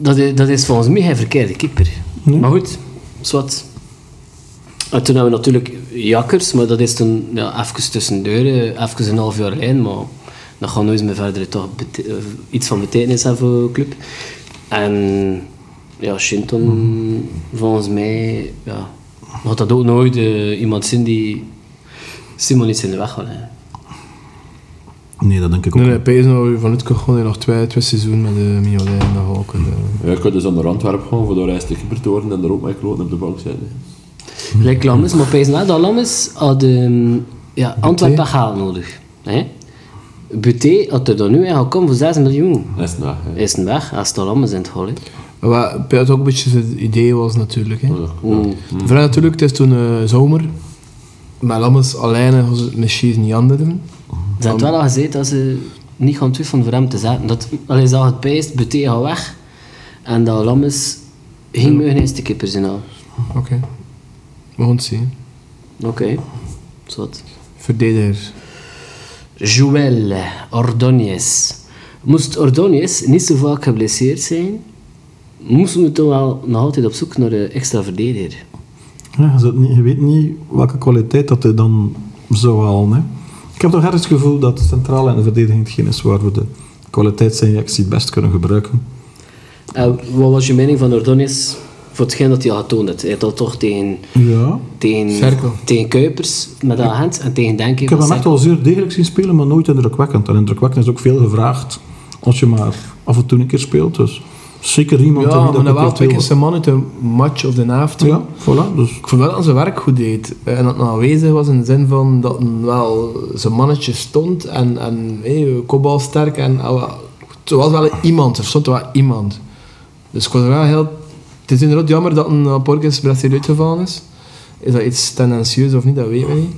Dat is, dat is volgens mij geen verkeerde keeper. Maar goed, zwart. En toen hebben we natuurlijk Jakkers, maar dat is toen ja, even tussendoor, eh, even een half jaar lijn, maar dat gaat nooit meer verder toch bete- eh, iets van betekenis hebben voor de club. En ja, Shinton, volgens mij, ja, had dat ook nooit eh, iemand zijn die Simon iets in de weg wil. hè.
Nee, dat denk ik ook
Nee,
niet.
nee, Pees nou vanuit gewoon nog twee, twee seizoenen met de Mignolet en dat ook.
Ja, je kunt dus aan de Antwerpen gaan voor de reis te keeper te worden en er ook met kloten op de bank zitten.
Lijkt Lammes, maar pijs na dat Lammes had ehm, ja, Antwerpen haal nodig. Hè? Buté had er dan nu eigenlijk komen voor 6 miljoen.
Dat is na. hè.
Is een weg, als het Lammes in het hol. hè.
Wat Pees ook een beetje het idee was natuurlijk. Hè.
Mm.
Vooral natuurlijk, het is toen eh, zomer. Met Lammers alleen eh, was het misschien niet aan te doen.
Ze had wel al gezegd dat ze niet gaan twijfelen voor hem te zetten. Dat, allee, ze had het pijst, Buté gaat weg. En dat Lammes ging meugen eens de keeper zijn al.
Oké. We gaan het zien.
Oké, zot.
Verdediger.
Joël Ordóñez. Moest Ordóñez niet zo vaak geblesseerd zijn, moesten we toch wel nog altijd op zoek naar een extra verdediger.
Ja, je, zit niet- je weet niet welke kwaliteit dat hij dan zou halen. Hè. Ik heb toch ergens het gevoel dat centraal en de verdediging hetgeen is waar we de kwaliteitsinjectie het best kunnen gebruiken.
En wat was je mening van Ordóñez voor hetgeen dat hij al getoond heeft? Hij had al toch tegen,
Ja.
tegen,
Cerkel.
tegen Kuipers met dat hand en tegen Denken.
Ik heb hem echt wel zeer degelijk zien spelen, maar nooit indrukwekkend. En indrukwekkend is ook veel gevraagd als je maar af en toe een keer speelt. Dus zeker iemand die
Ja, maar
dat
dan wel
eventueel-
twee keer zijn man uit de match of de avond.
Ja, voilà. Dus
Ik vond wel dat zijn werk goed deed. Eh, En dat het aanwezig was in de zin van dat hij wel zijn mannetje stond en, en hey, kopbal sterk en al wel er was wel iemand, er stond wel iemand. Dus ik was wel heel... Het is inderdaad jammer dat een eh, Borges Brazil uitgevallen is. Is dat iets tendentieus of niet, dat weten we niet.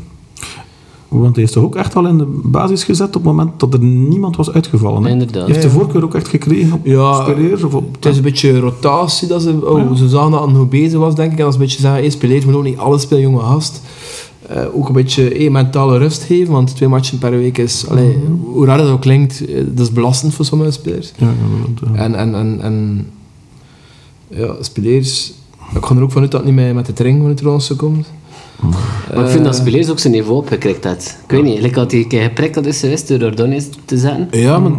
Want hij is toch ook echt al in de basis gezet op het moment dat er niemand was uitgevallen. Hè?
Inderdaad.
Hij heeft de
Ja, ja.
voorkeur ook echt gekregen op
Ja,
Speleers of op...
Het is een beetje rotatie. Dat ze, oh,
Ja.
ze zagen dat het nog bezig was, denk ik. En als ze een beetje zeggen, hey, speleers moet ook niet alles spelen, jonge gast. Eh, ook een beetje hey, mentale rust geven, want twee matchen per week is... allee,
Mhm.
Hoe raar dat ook klinkt, eh, dat is belastend voor sommige spelers.
Ja, ja, dat, eh, ja.
En, en, en, en ja, spelers. Ik ga er ook vanuit dat het niet mee met de training van het Rolandse komt.
Maar ik vind dat Speleers ook zijn niveau opgekrikt had. Ik weet niet, like had hij een keer geprikt dat is geweest door Ordonez te zetten.
Ja, maar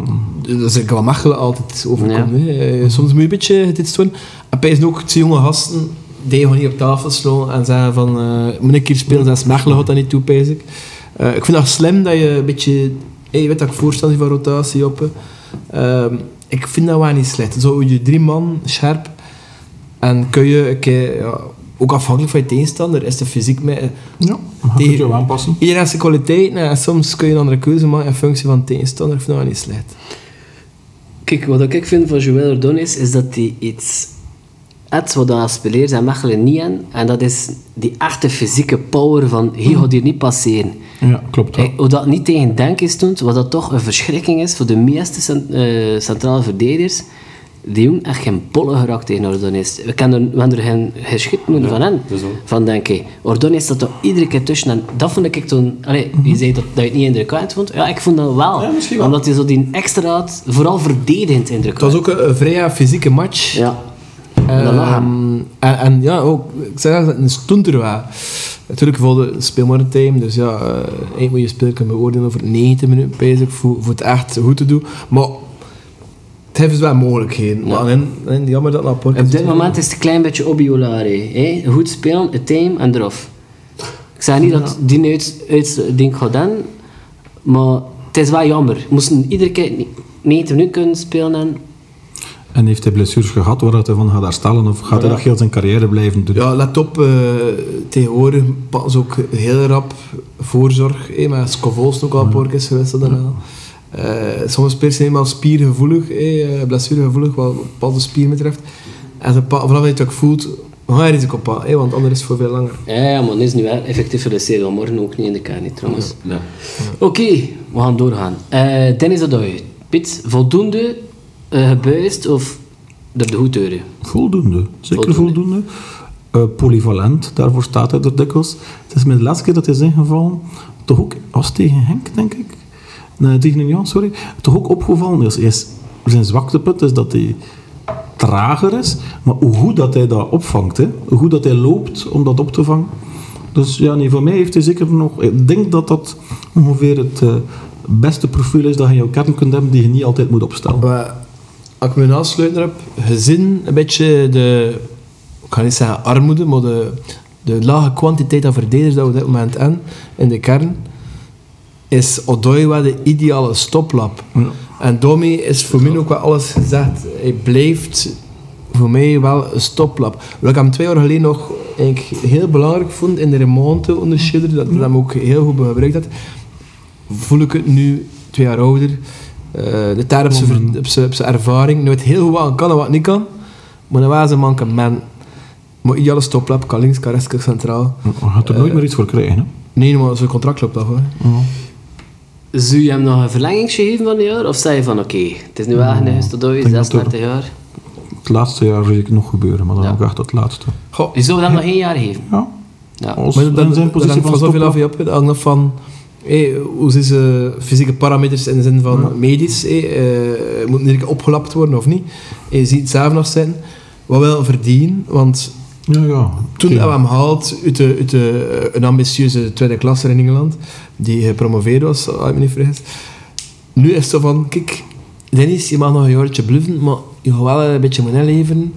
dat is eigenlijk wat Mechelen altijd overkomt.
Ja.
hè. Eh, Soms moet je een beetje dit doen. En pijs ook, die jonge gasten, die gewoon niet op tafel slaan en zeggen van, eh, moet ik hier spelen, zelfs Mechelen gaat dat niet toe, pijs ik. Eh, ik vind dat slim dat je een beetje, hey, je weet dat ik voorstander ben van rotatie op. hè. Ehm, ik vind dat wel niet slecht. Zo je drie man, scherp, en kun je een keer, ja, ook afhankelijk van je tegenstander, is de fysiek mee.
ja, maar je
Die-
kunt je wel aanpassen.
Iedereen heeft zijn kwaliteiten en soms kun je een andere keuze maken in functie van de tegenstander. Ik vind dat wel niet slecht.
Kijk, wat ik vind van Joël Ordonez is dat hij iets had wat dat Speleers en Mechelen niet hebben. En dat is die echte fysieke power van, hier gaat hier niet passeren.
Ja, klopt. Ja.
Hey, hoe dat niet tegen denken is toen, wat dat toch een verschrikking is voor de meeste cent- eh, centrale verdedigers. Die jongen echt geen bolle geraakt tegen Ordonez. We, kennen er, we hebben er geen geschiedenis van hen.
dat is wel.
Van denk ik, Ordonez zat er iedere keer tussen. En dat vond ik toen... Allee, je zei dat, dat je het niet indrukwekkend vond. Ja, ik vond dat wel.
Ja, misschien wel.
Omdat hij zo die extra had, vooral verdedigend indruk
Het was ook een, een vrij fysieke match.
Ja.
Ehm,
dat lag hem.
en, en ja, ook, ik zei dat het stond er wel. Natuurlijk voor de speelmorgentijd, dus ja, eh één moet je spelen kunnen beoordelen over 90 minuten bezig voor, voor het echt goed te doen. Maar het heeft dus wel mogelijkheden. Maar en, en, jammer dat nou Laporte...
Op dit moment is het een klein beetje obiolare. hè. Goed spelen, het team en eraf. Ik zeg niet dat die uit, uit ding gaat doen, maar het is wel jammer. We moesten iedere keer ni- 90 minuten kunnen spelen en
En heeft hij blessures gehad waaruit hij van gaat herstellen? Of gaat hij dat heel zijn carrière blijven doen?
Ja, let op, eh, tegenwoordig pakken ze ook heel rap voorzorg. Hey, maar Scovols ook al een paar keer geweest daarna. Eh, sommige spelers zijn helemaal spiergevoelig, hey, eh, blessuregevoelig, wat bepaalde spier betreft. En ze pakken, vanaf dat je het ook voelt, we gaan je risico pakken, hey, want anders is het voor veel langer.
ja, ja, maar het is nu wel effectief voor de serie. Morgen ook niet in de kern, trouwens.
Ja.
Oké, we gaan doorgaan. Eh Dennis Adoy, Piet, voldoende eh gebuist of er de goedeuren?
Voldoende, zeker
Voldoende.
voldoende. Eh, polyvalent, daarvoor staat hij er dikwijls. Het is mij de laatste keer dat hij is ingevallen, toch ook, als tegen Henk, denk ik. Nee, tegen Union, sorry. Toch ook opgevallen is. Hij is zijn zwaktepunt is dat hij trager is, maar hoe goed dat hij dat opvangt, hè? hoe goed dat hij loopt om dat op te vangen. Dus ja, nee, voor mij heeft hij zeker nog... Ik denk dat dat ongeveer het eh, beste profiel is dat je in jouw kern kunt hebben, die je niet altijd moet opstellen.
Maar als ik me aansluit heb, gezien een beetje de, ik ga niet zeggen armoede, maar de, de lage kwantiteit aan verdedigers dat we op dit moment hebben, in de kern, is Odoi wel de ideale stoplap. En Domi is voor mij ook wel alles gezegd. Hij blijft voor mij wel een stoplap. Wat ik hem twee jaar geleden nog eigenlijk heel belangrijk vond in de remonte onder Schilder, dat hij hem ook heel goed gebruikt had, voel ik het nu, twee jaar ouder, eh, de taar op zijn ver- op zijn op zijn ervaring. Nu weet heel goed wat hij kan en wat niet kan, maar dan was een mankement. Maar ideale stoplap, kan links, kan rechts, kan centraal.
Je gaat er nooit meer iets voor krijgen. Hè?
Nee, maar zijn contract loopt af hoor.
Zou je hem nog een verlenging geven van een jaar? Of zei je van oké, het is nu wel genoeg, tot ooit,
denk dat
36 jaar.
Het laatste jaar zie ik nog gebeuren, maar dan ook echt het laatste.
Goh,
Je zou hem nog één jaar geven.
Ja.
Ja.
Als
Maar dat,
in
dat,
zijn
dat
positie
hangt
van
van zoveel af
stopper.
je op. Dat hangt af van hé, hoe zijn ze fysieke parameters in de zin van medisch. hé, eh, moet er opgelapt worden of niet? je ziet het zelf nog zijn. Wat wel verdienen, want
Ja, ja.
toen ah,
Oké.
dat we hem haalt uit, de, uit de, eh, een ambitieuze tweede klasse in Engeland, die gepromoveerd was, als ik me niet vergis. Nu is het zo van, kijk, Dennis, je mag nog een jaartje bluffen, maar je gaat wel een beetje moeten inleveren.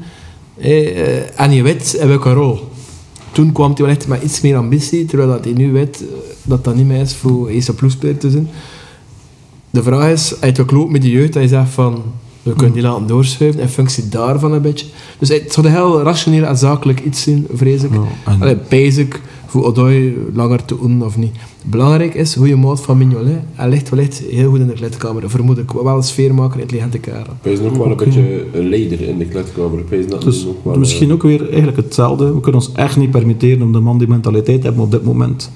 Hé, eh, en je weet in welke rol. Toen kwam hij wel echt met iets meer ambitie, terwijl dat hij nu weet eh, dat dat niet meer is voor eerste ploegspeler te zijn. De vraag is, uit de kloot met die jeugd, dat je zegt van, We kunnen
Hmm.
die laten doorschuiven in functie daarvan een beetje. Dus het zou een heel rationeel en zakelijk iets zijn, vrees ik.
Ja, en-
Allee, basic, voor Odoi langer te doen of niet. Belangrijk is hoe je maat van Mignolet. Hij ligt wellicht heel goed in de kleedkamer, vermoed ik. Wel een sfeermaker, intelligente kerel.
Wij zijn ook wel een
Oké.
beetje een leider in de kleedkamer. Wij zijn dat
Dus
ook wel, eh,
misschien ook weer eigenlijk hetzelfde. We kunnen ons echt niet permitteren om de man die mentaliteit hebben op dit moment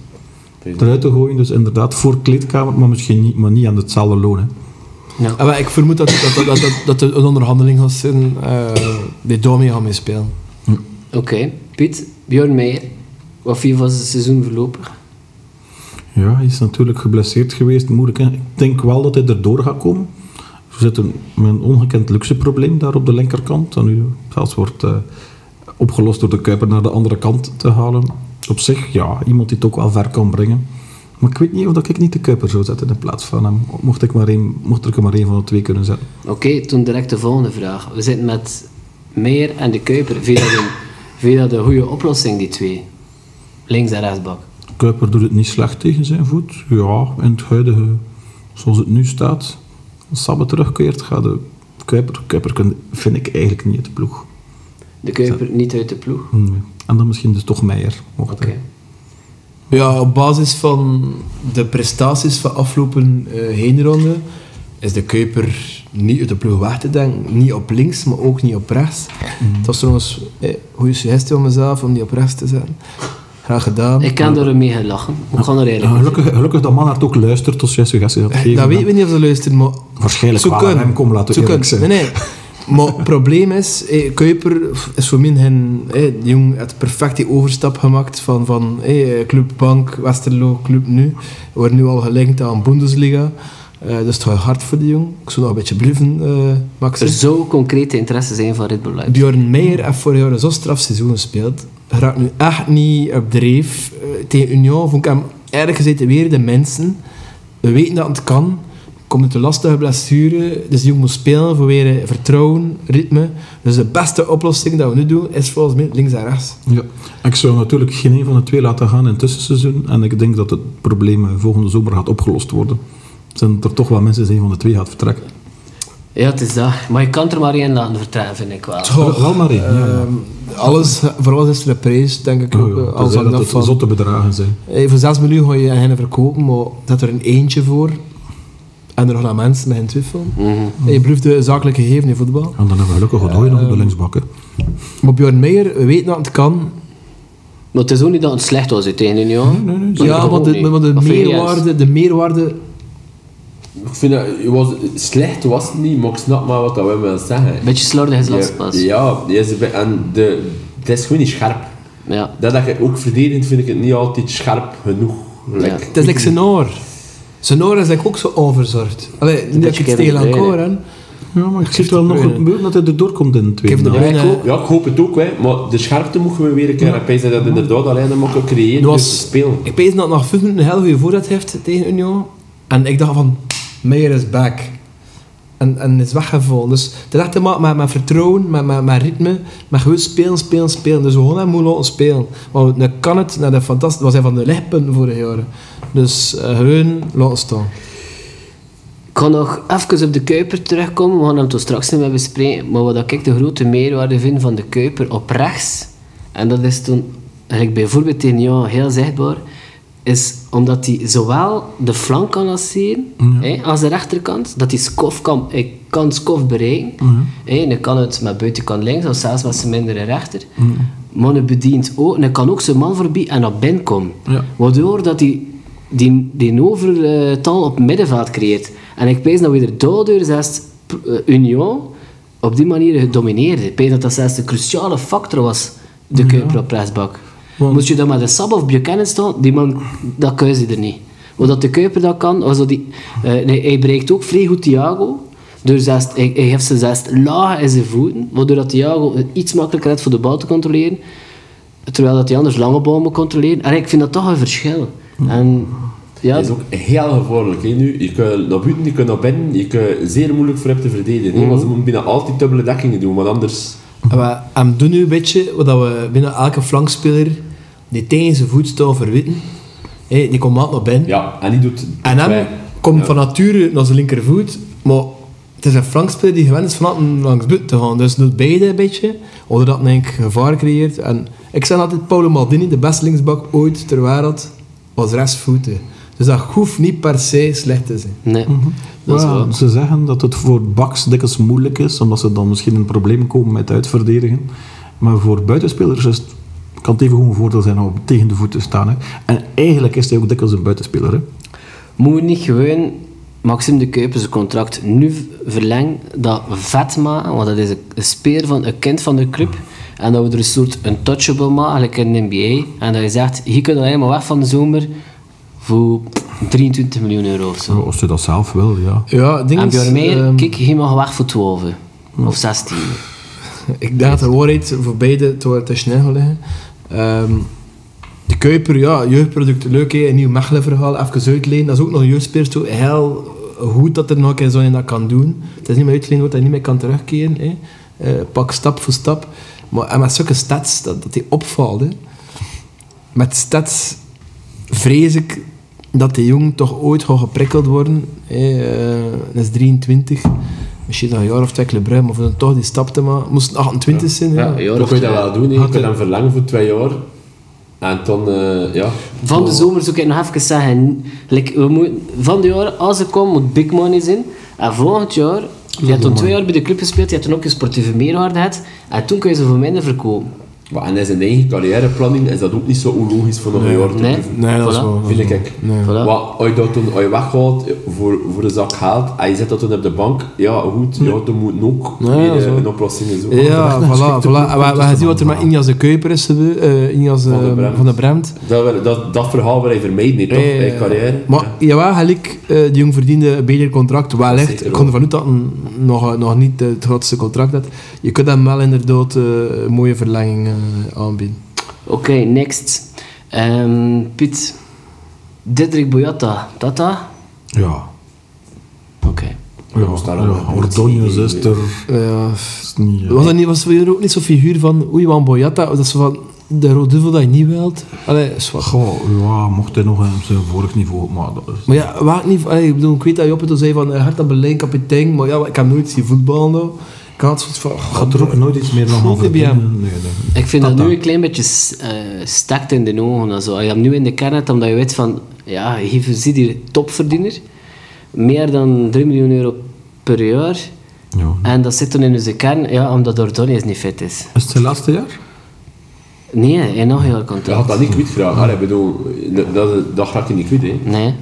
wij zijn-
eruit te gooien. Dus inderdaad, voor kleedkamer, maar misschien niet, maar niet aan hetzelfde loon. hè.
Ja.
En wel, ik vermoed dat dat, dat, dat, dat, dat er een onderhandeling gaat zijn eh, die Domi gaat meespelen.
Oké, Piet, Bjorn Meijer. Wat viel was het seizoen voorlopig?
Ja, hij is natuurlijk geblesseerd geweest. Moeilijk, hè. Ik denk wel dat hij erdoor gaat komen. Er zit een, een ongekend luxe probleem daar op de linkerkant. Dat nu zelfs wordt eh, opgelost door de Kuiper naar de andere kant te halen. Op zich, ja, iemand die het ook wel ver kan brengen. Maar ik weet niet of dat ik niet de Kuiper zou zetten in plaats van hem. Mocht ik, maar één, mocht ik er maar één van de twee kunnen zetten.
Oké, toen direct de volgende vraag. We zitten met Meijer en de Kuiper. Vind je dat een, vind je dat een goede oplossing, die twee? Links en rechtsbak.
Kuiper doet het niet slecht tegen zijn voet. Ja, in het huidige, zoals het nu staat, als Sabbe terugkeert, gaat de Kuiper, Kuiper kun- vind ik eigenlijk niet de ploeg.
De Kuiper niet uit de ploeg.
Nee. En dan misschien dus toch Meijer. Mocht
Oké.
hij.
Ja, op basis van de prestaties van afgelopen eh, heenronde is de Kuiper niet uit de ploeg weg te denken. Niet op links, maar ook niet op rechts. Dat is trouwens eh, een goede suggestie van mezelf om die op rechts te zetten. Graag gedaan.
Ik kan er mee gaan lachen. We gaan er
Ja,
eigenlijk over.
gelukkig, gelukkig dat Manhart ook luistert als jij suggesties had gegeven.
Eh, dat weten we niet of ze luisteren, maar
Waarschijnlijk
Ze
wel aan
kunnen.
hem komen, laten we
Ze
eerlijk
kunnen.
zijn.
Nee, nee. Maar het probleem is, eh, Kuiper is voor mij geen... eh, die jong heeft perfect die overstap gemaakt van, van eh, Club Bank, Westerlo, Club Nu. Wordt nu al gelinkt aan Bundesliga. Eh, dus het gaat hard voor die jong. Ik zou nog een beetje blijven, eh Max.
Er zou concrete interesse zijn van Red Bull Leipzig.
Bjorn Meijer heeft vorig jaar een zo straf seizoen gespeeld. Raakt nu echt niet op dreef. Eh, tegen Union vond ik hem erg gezet weer de mensen. We weten dat het kan. Komt het een lastige blessure. Dus die jongen moet spelen voor weer eh, vertrouwen, ritme. Dus de beste oplossing dat we nu doen is volgens mij links en rechts.
Ja. Ik zou natuurlijk geen een van de twee laten gaan in het tussenseizoen. En ik denk dat het probleem eh, volgende zomer gaat opgelost worden. Zijn er toch wel mensen zijn van de twee gaat vertrekken.
Ja, het is dat. Maar je kan er maar één laten vertrekken, vind ik wel.
Wel- wel maar één, ja, ja.
Ehm, alles, voor alles is er een prijs, denk ik. ook,
Oh, ja.
eh, alles
Tenzij
hangt
dat
af
het
van-
zotte bedragen zijn.
Eh, voor 6 miljoen ga je hen verkopen, maar dat er een eentje voor. En er gaan mensen met hen twijfelen.
Mhm.
En je blijft de zakelijke gegeven in voetbal.
En dan hebben we gelukkig wat hooi nog op de linksbakken.
Maar Björn Meijer weet dat het kan.
Maar het is ook niet dat het slecht was uiteindelijk, ja.
nee, nee,
Maar
ja,
dat
maar
ook
de,
niet.
maar de,
Of vind je juist?
meerwaarde, de meerwaarde...
Ik vind dat, je was, slecht was het niet, maar ik snap maar wat dat wij willen zeggen.
Beetje slordig is
ja,
laatste pas. Ja.
ja, die is bij- en de, het is gewoon niet scherp. Dat, dat je ook verdedigend vind ik het niet altijd scherp genoeg. Like,
Het is like Senor. Senor is like ook zo onverzorgd. Allee, niet dat ik
beetje
iets
Kevin
tegen
De Bruyne.
Lancor heb.
Ja, maar ik zit wel nog gebeuren dat hij erdoor komt in de tweede.
Kevin De
helft.
Ja, ik
Bruyne...
hoop, ja, ik hoop het ook, hè. maar de scherpte mogen we weer een keer. Ik denk dat dat inderdaad alleen dan mogen creëren
Dat was-
dus spelen.
Ik weet dat het nog 5 minuten een heel goede voorzet heeft tegen Union. En ik dacht van, Meijer is back. En, en is weggevallen. Dus het is echt te maken met, met vertrouwen, met, met, met ritme. Maar gewoon spelen, spelen, spelen. Dus we gaan hem moeten laten spelen. Want dan kan het, naar de fantastisch, was hij van de lichtpunten vorig jaar. Dus eh, gewoon laten staan.
Ik ga nog even op de Kuiper terugkomen. We gaan hem toch straks niet meer bespreken. Maar wat ik de grote meerwaarde vind van de Kuiper op rechts... En dat is toen, eigenlijk bijvoorbeeld tegen jou heel zichtbaar... Is omdat hij zowel de flank kan lanceren... Hè, als de rechterkant. Dat hij skof kan, hij kan skof bereiken. Hè, en hij kan het met buitenkant links... Of zelfs met zijn mindere rechter. Maar hij bedient ook... En hij kan ook zijn man voorbij en naar binnen komen.
Ja.
Waardoor dat die, die, die overtal op middenveld creëert. En ik pees dat we er daardoor zelfs eh, Union op die manier gedomineerd. Ik pees dat dat zelfs de cruciale factor was, de Kuiper op rechtsbak.
Want-
Moest je dan met een Sab of Buchanan staan, die man, dat keuze er niet. Wat dat de Kuiper dat kan, was dat die, eh, nee, hij bereikt ook vrij goed Thiago. Door zelfs, hij, hij heeft ze zelfs laag in zijn voeten, waardoor dat Thiago het iets makkelijker had voor de bal te controleren. Terwijl dat die anders lange bomen controleren. En ik vind dat toch een verschil. En ja,
Dat is ook heel gevaarlijk. Hè, nu. Je kunt naar buiten, je kunt naar binnen. Je kunt zeer moeilijk voor hem te verdedigen. hè, Want ze moeten bijna altijd dubbele dekkingen doen, want anders...
En we en doen nu een beetje wat dat we binnen elke flankspeler die tegen zijn voet staat verwitten. Hé, die komt maat naar binnen.
Ja, en die doet...
En hem
wij-
komt
Ja.
van nature naar zijn linkervoet, maar Het is een flankspeler die gewend is van altijd langs buiten te gaan. Dus doet beide een beetje. Omdat dat denk ik gevaar creëert. En ik zeg altijd Paolo Maldini, de beste linksbak ooit ter wereld, was rechtsvoeten. Dus dat hoeft niet per se slecht te zijn.
Nee.
Ja,
Dat is wel.
Ze zeggen dat het voor backs dikwijls moeilijk is, omdat ze dan misschien in problemen komen met uitverdedigen. Maar voor buitenspelers is het, kan het even goed een voordeel zijn om tegen de voet te staan. Hè. En eigenlijk is hij ook dikwijls een buitenspeler. Hè.
Moet niet gewoon Maxim de Kuiper zijn contract nu v- verlengen, dat vet maken, want dat is een een speer van een kind van de club. En dat we er een soort untouchable maken, eigenlijk in de NBA. En dat je zegt, hier kunnen we helemaal weg van de zomer voor 23 miljoen euro of zo.
Als je dat zelf wil, ja.
Ja, het ding
En
is,
Björn
ehm,
kijk, hier mag weg voor 12 of 16.
Ik denk dat de waarheid voor beide te, te snel gaat liggen. Ehm, de Kuiper, ja, jeugdproduct, leuk hè, een nieuw Mechelen-verhaal, even uitleen. Dat is ook nog een jeugdspeler, zo heel goed dat er nog een keer zo in dat kan doen. Het is niet meer uitleen wat hij niet meer kan terugkeren. Hè. Eh, pak stap voor stap. Maar, en met zulke stats, dat, dat hij opvalt. Hè. Met stats vrees ik dat de jong toch ooit gaat geprikkeld worden. Hè. eh, dat is 23. Misschien nog een jaar of twee Club Brugge, maar voor dan toch die stap te maken. Moest het 28 zijn? Ja.
Ja,
Dan
of
kun je dat
twee.
wel doen, hè. je kunt hem verlengen voor twee jaar. En dan, eh, ja.
Van de zomer zou ik nog even zeggen. like, we moeten- van de jaar, als ik kom, moet big money zijn. En volgend jaar, je hebt toen twee jaar bij de club gespeeld, je hebt toen ook een sportieve meerwaarde gehad. En toen kun je ze voor minder verkopen.
Maar, en in zijn eigen carrièreplanning is dat ook niet zo onlogisch voor nog een jaar te
Nee.
blijven.
Nee, dat is
Voilà.
wel. dat is
Vind
wel.
ik.
Nee.
Voilà.
Maar als je dat toen als je weghaalt voor, voor een zak geld en je zet dat toen op de bank, ja goed, ja, dan moet ook
Nee,
weer
dat is
eh,
wel-
een oplossing zoeken.
Ja, voilà. voilà. En We, we gaan zien wat er met Injas de Kuiper is gebeurd. eh, Injas eh,
Van de Bremt.
van de Bremt.
Dat, wil- dat, dat verhaal wil hij vermijden, niet, toch?
Eh,
in je carrière.
Maar jawel, gelijk, eh die jong verdiende een beter contract. Wellicht,
Zeker
ik kon ervan uit dat hij nog, nog niet het grootste contract had. Je kunt hem wel inderdaad eh, een mooie verlenging eh, aanbieden.
Oké, next. Ehm, Piet. Diederik Boyata. Tata?
Ja.
Oké.
Ja, ja. Ordonez is er.
Ja.
Is niet, eh,
was, dat niet, was er ook niet zo'n figuur van oei, Wan Boyata? Dat is zo van de rode duivel dat je niet wilt. Allee, zwart.
Goh, ja, mocht hij nog op zijn vorig niveau, maar dat is...
Maar ja, waar ik niet... allee, ik bedoel, ik weet dat Joppe toen zei van eh, Hertha Berlijn, kapitein. Maar ja, ik heb nooit zien voetballen. nou. Ik had zoiets van...
Gaat er ook nooit iets meer nog
Goed,
over
IBM.
verdienen? Nee, nee.
Ik vind dat
Tata.
nu een klein beetje s- eh, stekt in de ogen. En zo. Als je hem nu in de kern hebt, omdat je weet van... Ja, hier zit hier een topverdiener. Meer dan 3 miljoen euro per jaar.
Ja.
En dat zit dan in onze kern, ja, omdat Ordonez niet fit is.
Is het zijn laatste jaar?
Nee, in nog een jaar
Je had
contract.
dat niet kwijt graag. Allee, ik bedoel, eh, dat, dat, dat raak je niet kwijt, hè.
Nee.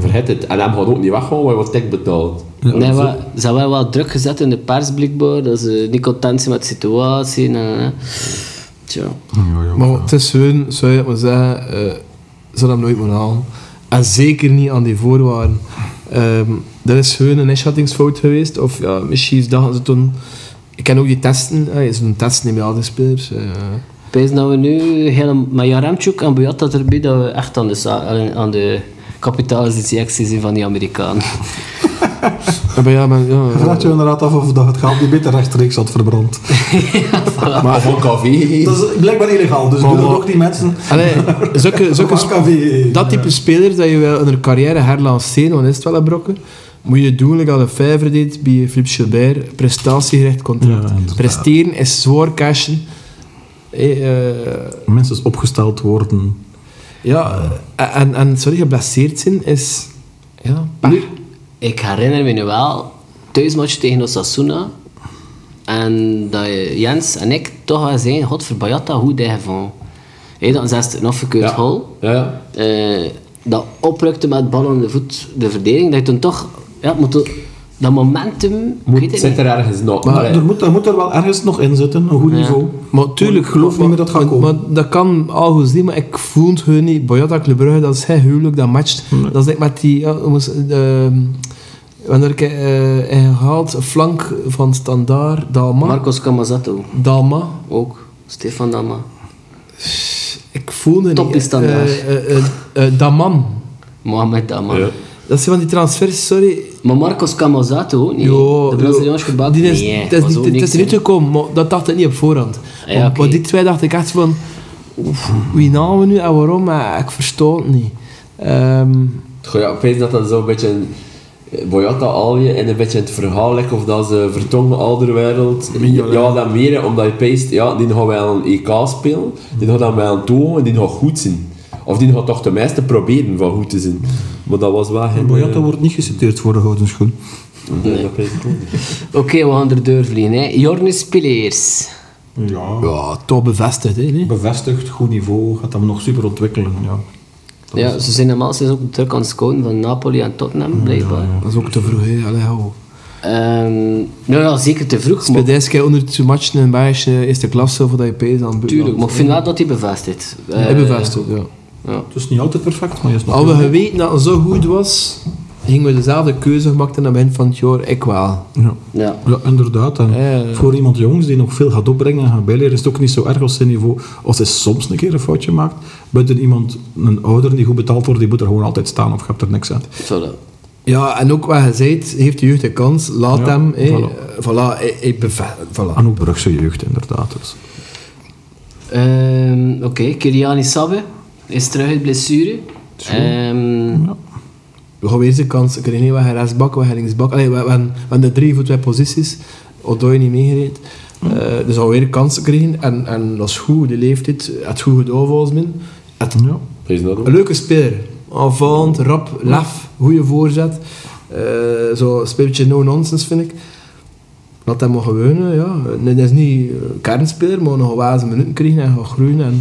Vergeet het. En hem gaat ook niet weggaan, want hij wordt dik betaald.
nee, maar ze hebben wel druk gezet in de pers, blijkbaar. Dat ze niet content zijn met de situatie. na, na, na. Tja.
Ja, ja.
Maar het is hun, zou je het maar zeggen, eh ze hadden hem nooit moeten halen. En zeker niet aan die voorwaarden. Ehm dat is hun een inschattingsfout geweest. Of ja, misschien dachten ze toen... Ik ken ook die testen. eh, ze doen testen niet bij al die spelers. eh.
Ik Pees dat we nu helemaal... Maar Jaramchuk en Boyat dat erbij dat we echt aan de, za- aan de kapitalisatie zijn van die Amerikanen.
Ja, maar ja, maar, ja,
Je vraagt je inderdaad af of dat het geld niet beter rechtstreeks had verbrand.
Maar van café gegeven.
Dat is blijkbaar illegaal, dus doen
maar-
ook die mensen.
Allee, zulke, zulke
Van KV.
dat type speler dat je wel in een carrière herlanceren, want is het wel een brokken, moet je doen, like al een vijver deed bij Philippe Gilbert, prestatiegericht
Ja,
contract.
inderdaad.
Presteren is zwaar cashen. Eh, eh,
Mensen is opgesteld worden.
Ja, en, en sorry, geblesseerd zijn is... Ja,
Nu, ik herinner me nu wel, thuismatch tegen Osasuna. En dat je- Jens en ik toch wel zijn, godver Boyata, hoe deed je van? Hé, dan zegt het een afgekeurd goal.
Ja, ja.
eh, dat oprukte met ballen in de voet, de verdediging, dat je toen toch, ja, moet dat- dat momentum, ik weet
Moet,
het
zit
niet.
er ergens nog.
Maar
Allee.
er moet, er moet er wel ergens nog in zitten, een goed niveau.
Maar tuurlijk,
Ik geloof
maar-
niet meer dat het gaat
maar-
komen.
Maar dat kan al goed zien, maar ik voel het hun niet. Boyata Club Brugge, dat is heel huwelijk, dat matcht. Dat is ik met die... Ja, hoe moest- ehm, wanneer ik eh in gehaald, flank van Standaard, Dalma.
Marcos Camazato,
Dalma.
ook. Stefan Dama.
Ik voel het
Top
niet.
is Standaard.
Eh, eh, eh, eh, Daman.
Mohamed Dama.
Ja.
Dat zijn van die transfers, sorry.
Maar Marcos Camazato ook niet.
Jo,
de Braziliaanse gebak.
die is,
nee,
het is,
was
niet-
ook
het is
niks,
er niet
hè.
gekomen, maar dat dacht ik niet op voorhand.
Ja,
maar,
oké.
maar die twee dacht ik echt van, oef, wie namen we nu en waarom? Maar ik verstond het niet. Ehm,
Goh, ja, ik weet dat dat zo een beetje een, Boyata Alje en een beetje het verhaal, like, of dat ze vertongen Alderwereld.
Mignolet.
Ja, dat meer, hè, omdat je peest, ja, die gaan wel een EK spelen, die gaan dan wel een toon en die gaan goed zijn. Of die gaat toch de meeste proberen van goed te zijn. Maar dat was wel geen...
Boyata
eh,
wordt niet geciteerd voor de gouden schoen.
nee, dat peest ik niet.
Oké, we gaan er deur vliegen. Hè. Jornis Pileers.
Ja.
Ja, toch bevestigd, hè? nee?
Bevestigd, goed niveau, gaat hem nog super ontwikkelen. Ja.
Ja, ze zijn normaal ze zijn ook druk aan het scouten van Napoli en
Mm,
Tottenham, blijkbaar.
Dat is ook te vroeg, hè? Allee, ho.
Ehm, nou ja, zeker te vroeg. Maar,
Speel deze keer onder twee matchen in Belgische eerste klasse voordat je pees aan het
tuurlijk, maar
buitenland.
ik vind wel dat hij bevestigt. Eh,
Hij bevestigd, ja.
ja.
Het is niet altijd perfect, maar je is nog
Al we
heel-
geweten dat het zo goed was, gingen we dezelfde keuze gemaakt en aan het begin van het jaar. Ik wel.
ja.
Ja.
ja, inderdaad. En
Eh.
Voor iemand jongs die nog veel gaat opbrengen en gaat bijleren, is het ook niet zo erg als zijn niveau. Als hij soms een keer een foutje maakt, buiten iemand, een ouder die goed betaald wordt, die moet er gewoon altijd staan of je hebt er niks aan.
Voilà.
Ja, en ook wat je zei, heeft de jeugd de kans, laat
Ja,
hem. Hé.
voilà.
Eh, Voilà, ik, ik bevestig. Voilà.
En ook Brugse jeugd, inderdaad. Dus.
Ehm, Oké, Kyliani Sabbe is terug uit blessure. Ehm,
We gaan weer zijn kans. Ik weet niet wat hij rechtsbak, wat hij linksbak. Allee, we, we, hebben- we hebben de drie voor twee posities. Odoi niet meegereed. Eh dus alweer kansen kregen. En, en dat is goed, die leeftijd. Het goed gedaan volgens mij. Het,
Ja.
Pees dat ook?
Een leuke speler. Aanvallend, rap, laf, goede voorzet. Eh zo een beetje no-nonsense, vind ik. Laat hem maar geweunen, ja. Nee, dat is niet eh, kernspeler, maar nog wel eens minuten krijgen en gaan groeien. En,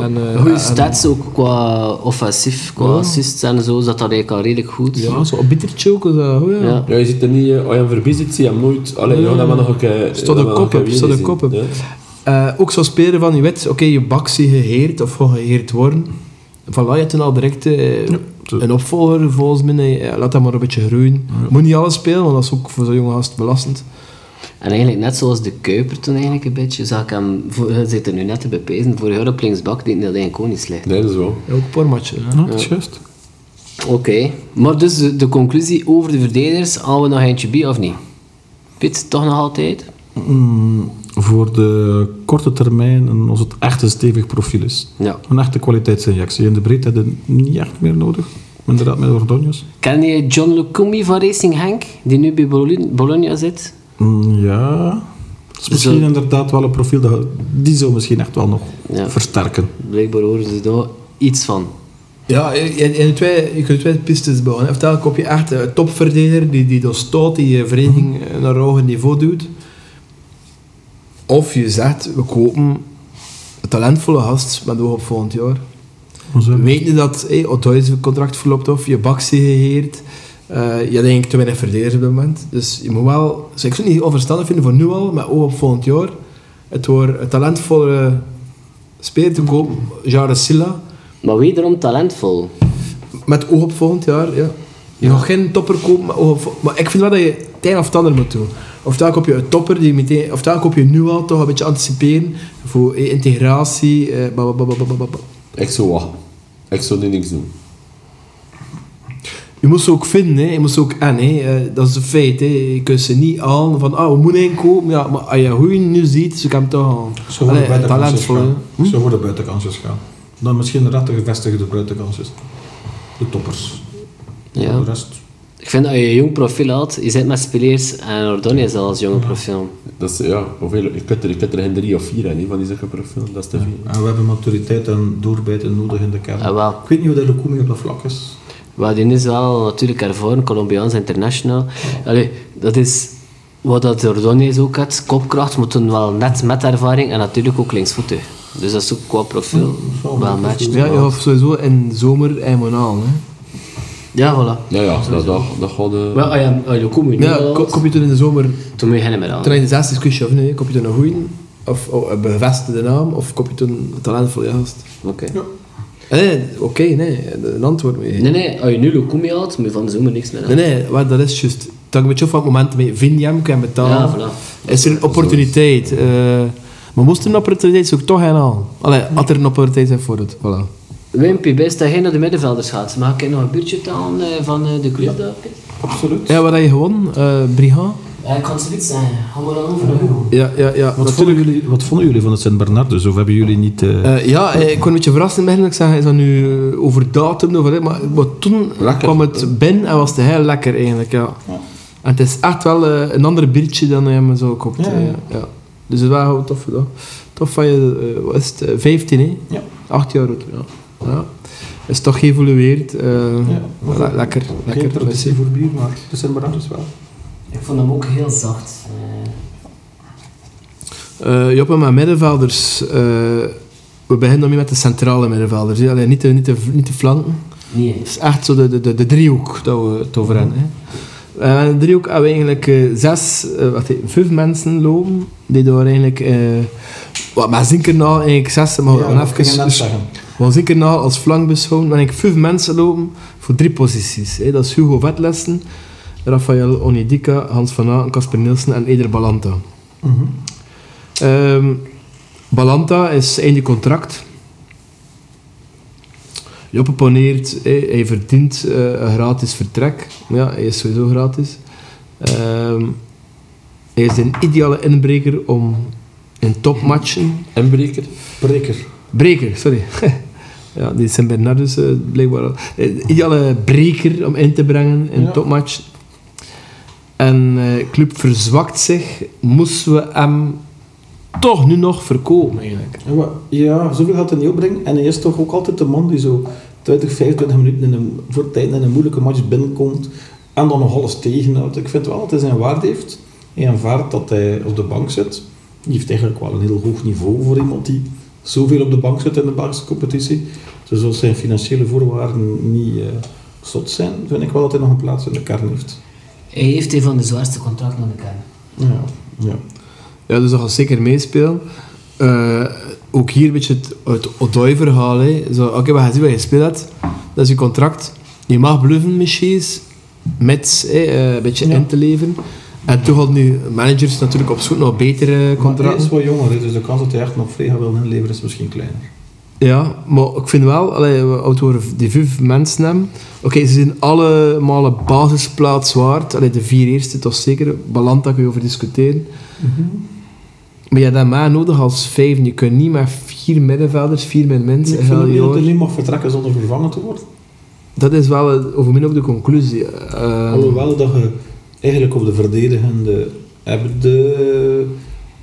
en, eh,
Goede
en-
stats ook qua offensief, qua assists en zo, is dat dat eigenlijk al redelijk goed.
Ja, zo een bittertje ook. Zo, goed, ja.
Ja.
Ja, je ziet er niet... eh, Als je hem verbiest, ziet, zie je hem nooit. Alleen, ja, dat we nog een keer...
Staat de
dat we nog
kop
een
op,
keer
staat de
winnen
kop op.
zien, ja.
Eh, ook zo'n spelen van je wet, oké, je bak zie geheerd of gaat geheerd worden. Voilà, je toen al direct eh,
zo.
een opvolger volgens mij. eh, laat dat maar een beetje groeien. Moet niet alles spelen, want dat is ook voor zo'n jonge gast belastend.
En eigenlijk net zoals de Kuiper toen eigenlijk een beetje, zag ik hem, voor- hij zit er nu net te bepezen, voor jaar op linksbak deed hij dat eigenlijk ook niet slecht.
Nee, dat is wel.
Ja, ook een paar matchen. hè.
Ja, dat is juist.
Oké, maar dus de, de conclusie over de verdedigers, halen we nog eentje bij of niet? Pit, toch nog altijd?
Mm, voor de korte termijn, en als het echt een stevig profiel is.
Ja.
Een echte kwaliteitsinjectie. In de breedte hebben we niet echt meer nodig. Inderdaad, met Ordonjes.
Ken je John Lucumi van Racing Henk, die nu bij Bologna, Bologna zit?
Mm, ja. Dat is misschien
Zo.
inderdaad wel een profiel dat, die zou misschien echt wel nog
Ja.
versterken.
Blijkbaar horen ze daar iets van.
Ja, in, in- in twee, je kunt twee pistes bouwen. hè. Ofwel koop je echt een topverdediger die, die dat stoot, die je vereniging
Mhm.
eh, naar een hoger niveau duwt. Of je zegt, we kopen een talentvolle gast met oog op volgend jaar.
Maar ze
We
hebben-
weten dat hey, Otto zijn contract verloopt of je Baxi geheerd. Eh, je hebt eigenlijk te weinig verdedigers op dit moment. Dus je moet wel... Dus ik zou het niet onverstandig vinden voor nu al, maar ook op volgend jaar. Het wordt een talentvolle speler te kopen, Jaren Silla.
Maar wederom talentvol.
Met oog op volgend jaar, ja. Je gaat geen topper kopen, met oog op vol- maar ik vind wel dat je het een of het ander moet doen. Ofwel koop je een topper, die meteen, ofwel koop je nu al toch een beetje anticiperen voor eh, integratie, eh, ba, ba, ba, ba, ba, ba, ba.
Ik zou wachten. Ik zou nu niks doen.
Je moet ze ook vinden, hè. je moet ze ook aan. Hè. Eh, dat is een feit. Hè. Je kunt ze niet aan van, ah, we moeten inkopen. Ja, maar als je goed nu ziet, ze kan hem toch aan.
Zo worden
Allee,
buitenkansjes
talentvol,
gaan.
hè. Hm?
Zo worden buitenkansjes gaan. Dan misschien inderdaad de gevestigde buitenkansjes. De toppers.
Ja.
De rest.
Ik vind dat je een jong profiel had. Je zit met Spileers en Ordonez al als jonge profiel.
Dat is, ja, hoeveel, je, kunt er, je kunt er geen drie of vier aan, hè, van die zulke profielen. Dat is te veel.
En we hebben maturiteit en doorbijten nodig in de kern.
Ah, wel.
Ik weet niet hoe dat Lukumi op dat vlak is.
Wel, die is wel natuurlijk ervoor, Colombiaans international. Allee, dat is wat dat Ordonez ook had. Kopkracht, maar toen wel net met ervaring en natuurlijk ook linksvoetig. Dus dat is ook qua profiel
wel
wel
een
matcht.
Ja, je hoeft sowieso in de zomer eenmaal hè.
Ja, voilà.
Ja, ja, dat, dat, dat gaat... eh,
Wel, ah ja, ah, je komt nu
Ja,
al.
ko- koop je toen in de zomer
Toen moet je geen meer aan.
Toen in de zesde discussie of nee, koop je toen een goeie, of oh, een bevestigde naam, of koop je toen een talentvol gast?
Oké.
Nee, oké, nee, een antwoord moet je geven.
Nee, nee, als je nu Lukumi had, moet je van de zomer niks meer aan.
Nee, nee, wat, dat is juist. Dat ik met je van het moment mee vind je hem, kan je betalen.
Ja,
Is er een opportuniteit? eh, maar moest er een opportuniteit zoek toch een aan. Allee, had er een opportuniteit zijn voor het, voilà.
Wimpy, best dat jij naar de middenvelders gaat. Mag ik nog een buurtje talen eh, van eh, de club daar? Piet?
Absoluut.
Ja, wat heb je gewonnen? eh Brigand?
Ja, ik kan het zoiets zeggen. Gaan we dan over naar Hugo?
Ja, ja, ja.
Wat
natuurlijk.
vonden, jullie, wat vonden jullie van het Sint-Bernardus? Dus Of hebben jullie niet... eh,
Eh, ja, eh, ik kon een beetje verrast in het begin. Ik zei, is dat nu eh, over datum? Of, wat, maar, maar toen
Lekker.
kwam het binnen en was het heel lekker eigenlijk, ja. En het is echt wel eh, een ander biertje dan je me zo koopt.
Ja,
eh,
ja.
ja. Dus het was wel tof gedaan. Tof van je, eh, wat is het, eh, 15 hè?
Ja.
8 jaar oud, ja. ja. Is toch geëvolueerd. eh,
maar
le- lekker, lekker.
Geen traditie voor bier, maar de Sint-Bernardus wel.
Ik vond hem ook heel zacht. Eh,
Eh, Joppe, maar middenvelders. eh, we beginnen dan mee met de centrale middenvelders. hè. Allee, niet, de, niet, de, niet de flanken.
nee.
Het is echt zo de, de, de, de driehoek dat we het over hebben. Hè. En in de driehoek hebben we eigenlijk eh, zes, eh, wacht even, vijf mensen lopen. Die daar eigenlijk... eh wat, maar Zinkernaal eigenlijk zes, maar we gaan even... dus-
zeggen.
Want zeker na als flank beschouwen, dan heb ik vijf mensen lopen voor drie posities. Hè. Dat is Hugo Vetlessen, Rafael Onidika, Hans van Aken, Casper Nielsen en Eder Balanta. Ehm, Balanta is einde contract. Joppe poneert, hè, hij verdient eh, een gratis vertrek. Maar ja, hij is sowieso gratis. Ehm, hij is een ideale inbreker om in topmatchen
Inbreker.
Breker.
Breker, sorry. (laughs) ja, die zijn Bernardus eh blijkbaar al. Eh, ideale breker om in te brengen in
Ja.
topmatch. En eh club verzwakt zich. Moesten we hem toch nu nog verkopen eigenlijk?
Ja, maar- Ja, zoveel gaat hij niet opbrengen. En hij is toch ook altijd de man die zo 20, 25 minuten in een, voor tijd in een moeilijke match binnenkomt. En dan nog alles tegenhoudt. Ik vind wel dat hij zijn waarde heeft. Hij aanvaardt dat hij op de bank zit. Die heeft eigenlijk wel een heel hoog niveau voor iemand die zoveel op de bank zit in de Belgische competitie. Dus als zijn financiële voorwaarden niet eh zot zijn, vind ik wel dat hij nog een plaats in de kern heeft.
Hij heeft een van de zwaarste contracten aan de kern.
Ja, ja.
Ja, dus dat gaat zeker meespelen. Eh, ook hier een beetje het, het Odoi-verhaal. hè. Zo, Oké, we gaan zien wat je speelt. hebt. Dat is je contract. Je mag bluffen misschien, met eh, een beetje
Ja.
in te leveren. En toen hadden nu managers natuurlijk op zoek naar betere
Maar hij
contracten.
is wel jonger, hè, dus de kans dat hij echt nog vrij gaat willen inleveren is misschien kleiner.
Ja, maar ik vind wel, allee, we als we over die vijf mensen hebben, oké, ze zijn allemaal een basisplaats waard. Allee, de vier eerste toch zeker, Balanta kun je over discussiëren. Maar je hebt dat maar nodig als vijf. Je kunt niet met vier middenvelders, vier met mensen.
ik vind ook
gaan,
niet dat
joh.
hij niet mag vertrekken zonder vervangen te worden.
Dat is wel eh, over min ook de conclusie. eh,
Alhoewel dat je eigenlijk op de verdedigende hebben de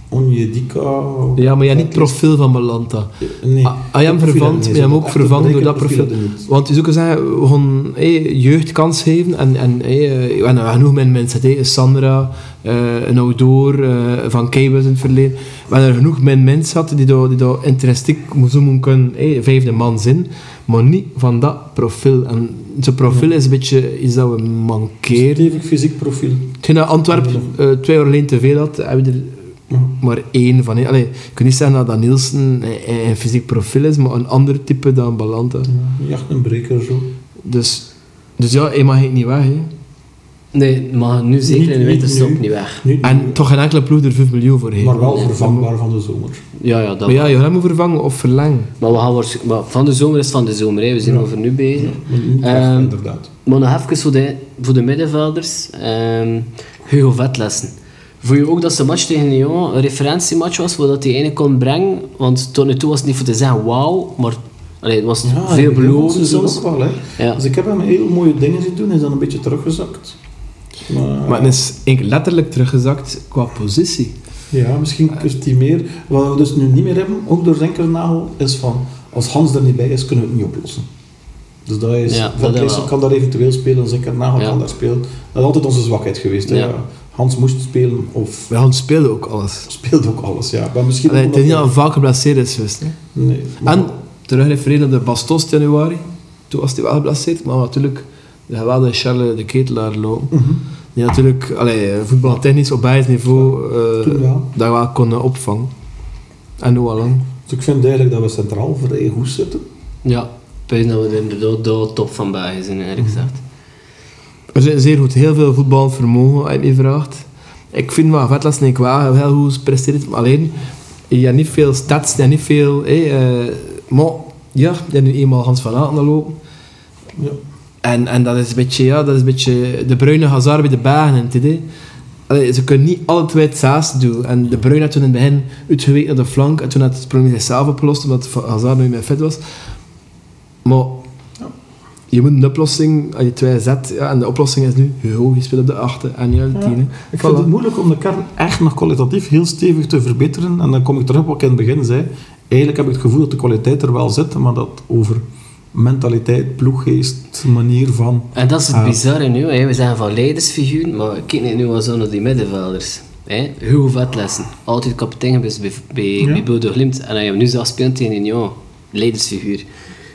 Onjedika.
ja, maar je hebt niet het profiel van Balanta.
Nee.
Ah, ah, je hebt hem vervangen, maar je hebt hem ook vervangen door dat profiel. Want je zou kunnen zeggen, we gaan hé, jeugd kans geven. En, en hé, eh, we hebben genoeg mijn mensen. Hé. Een Sandra, eh, een Oudoor, eh, Van Kei was in het verleden. We hebben er genoeg mijn mensen gehad die daar, die daar intrinsiek moesten moeten kunnen. hé, vijfde man zijn. Maar niet van dat profiel. En zijn profiel is een beetje iets dat we mankeren.
Stevig fysiek profiel.
Hetgeen dat Antwerpen eh, twee jaar alleen te veel had, hebben we er maar één van. hé. Allee, ik kan niet zeggen dat, dat Nielsen eh, eh, een fysiek profiel is, maar een ander type dan Balanta.
Jacht een breker zo.
Dus, dus ja, hij mag het niet weg. Hè.
Nee, maar nu zeker
Niet-
in de
niet
winterstop
nu.
niet weg.
Niet
En
nieuw,
toch geen enkele ploeg er 5 miljoen voor heeft.
maar
Maar,
wel vervangbaar van de zomer.
Ja, ja, dat
ja, je gaat hem vervangen of verlengen.
Maar, we gaan waarsch- maar van de zomer is van de zomer, hè. we zijn
Ja.
over nu bezig.
Maar niet weg,
Ehm,
inderdaad.
Maar nog even voor de, voor de middenvelders. ehm, Hugo Vetlessen. Voel je ook dat zijn match tegen Lyon een referentiematch was, waar dat hij ene kon brengen? Want tot nu toe was het niet voor te zeggen wauw, maar allee, het was
Ja,
veel
dat
belovend
is
soms.
ook wel, hè.
Ja.
Dus ik heb hem heel mooie dingen zien doen, hij is dan een beetje teruggezakt. Maar,
Maar het is eigenlijk letterlijk teruggezakt qua positie.
Ja, misschien heeft hij meer. Wat we dus nu niet meer hebben, ook door Zinkernagel, is van als Hans er niet bij is, kunnen we het niet oplossen. Dus dat is,
Ja, dat
Van
wel.
Kleesel kan daar eventueel spelen, Zinkernagel
Ja.
kan daar spelen. Dat is altijd onze zwakheid geweest. hè.
Ja.
Ja. Hans moest spelen of
Wij gaan spelen ook alles.
speelde ook alles. Ja. Maar misschien
Allee, het is niet
omdat-
al vaak geblesseerd is geweest. Hè.
Nee, maar-
En terugrefereren op de Bastos in januari. Toen was hij wel geblesseerd, maar natuurlijk de geweldige Charles de Ketelaar lopen.
Mhm.
Die natuurlijk allee, voetbaltechnisch op bijniveau
Toen
eh
wel.
dat wel kon eh, opvangen. En nu al lang.
Dus ik vind eigenlijk dat we centraal vrij goed zitten.
Ja, ik weet dat we er inderdaad de top van België zijn, eerlijk gezegd.
Er zijn zeer goed, heel veel voetballend vermogen, als je het mij vraagt. Ik vind wel Vetlas en wel heel goed presteert, maar alleen, je hebt niet veel stats, je hebt niet veel... Hé, eh, maar ja, je hebt nu eenmaal Hans van Aten lopen.
Ja.
En, en dat, is een beetje, ja, dat is een beetje de bruine hazard bij de bagen. En, Allee, ze kunnen niet alle twee het saast doen. En de Bruyne had toen in het begin uitgeweken naar de flank. En toen had het probleem zichzelf opgelost, omdat Van Hazard nu meer fit was. Maar je moet een oplossing, als je twee zet, ja, en de oplossing is nu, joh, je speelt op de achter en je op de
Ja.
tiende.
Ik vind
Voilà.
het moeilijk om de kern echt nog kwalitatief heel stevig te verbeteren. En dan kom ik terug op wat ik in het begin zei. Eigenlijk heb ik het gevoel dat de kwaliteit er wel zit, maar dat over mentaliteit, ploeggeest, manier van...
En dat is het
Ah.
bizarre nu. Hè. We zeggen van leidersfiguren, maar kijk niet nu al zo naar die middenvelders. Hè. Hugo Vetlessen, altijd kapitein geweest bij, bij, bij Bodo Glimt. En hij heeft nu zelf speelt tegen Union. Leidersfiguur.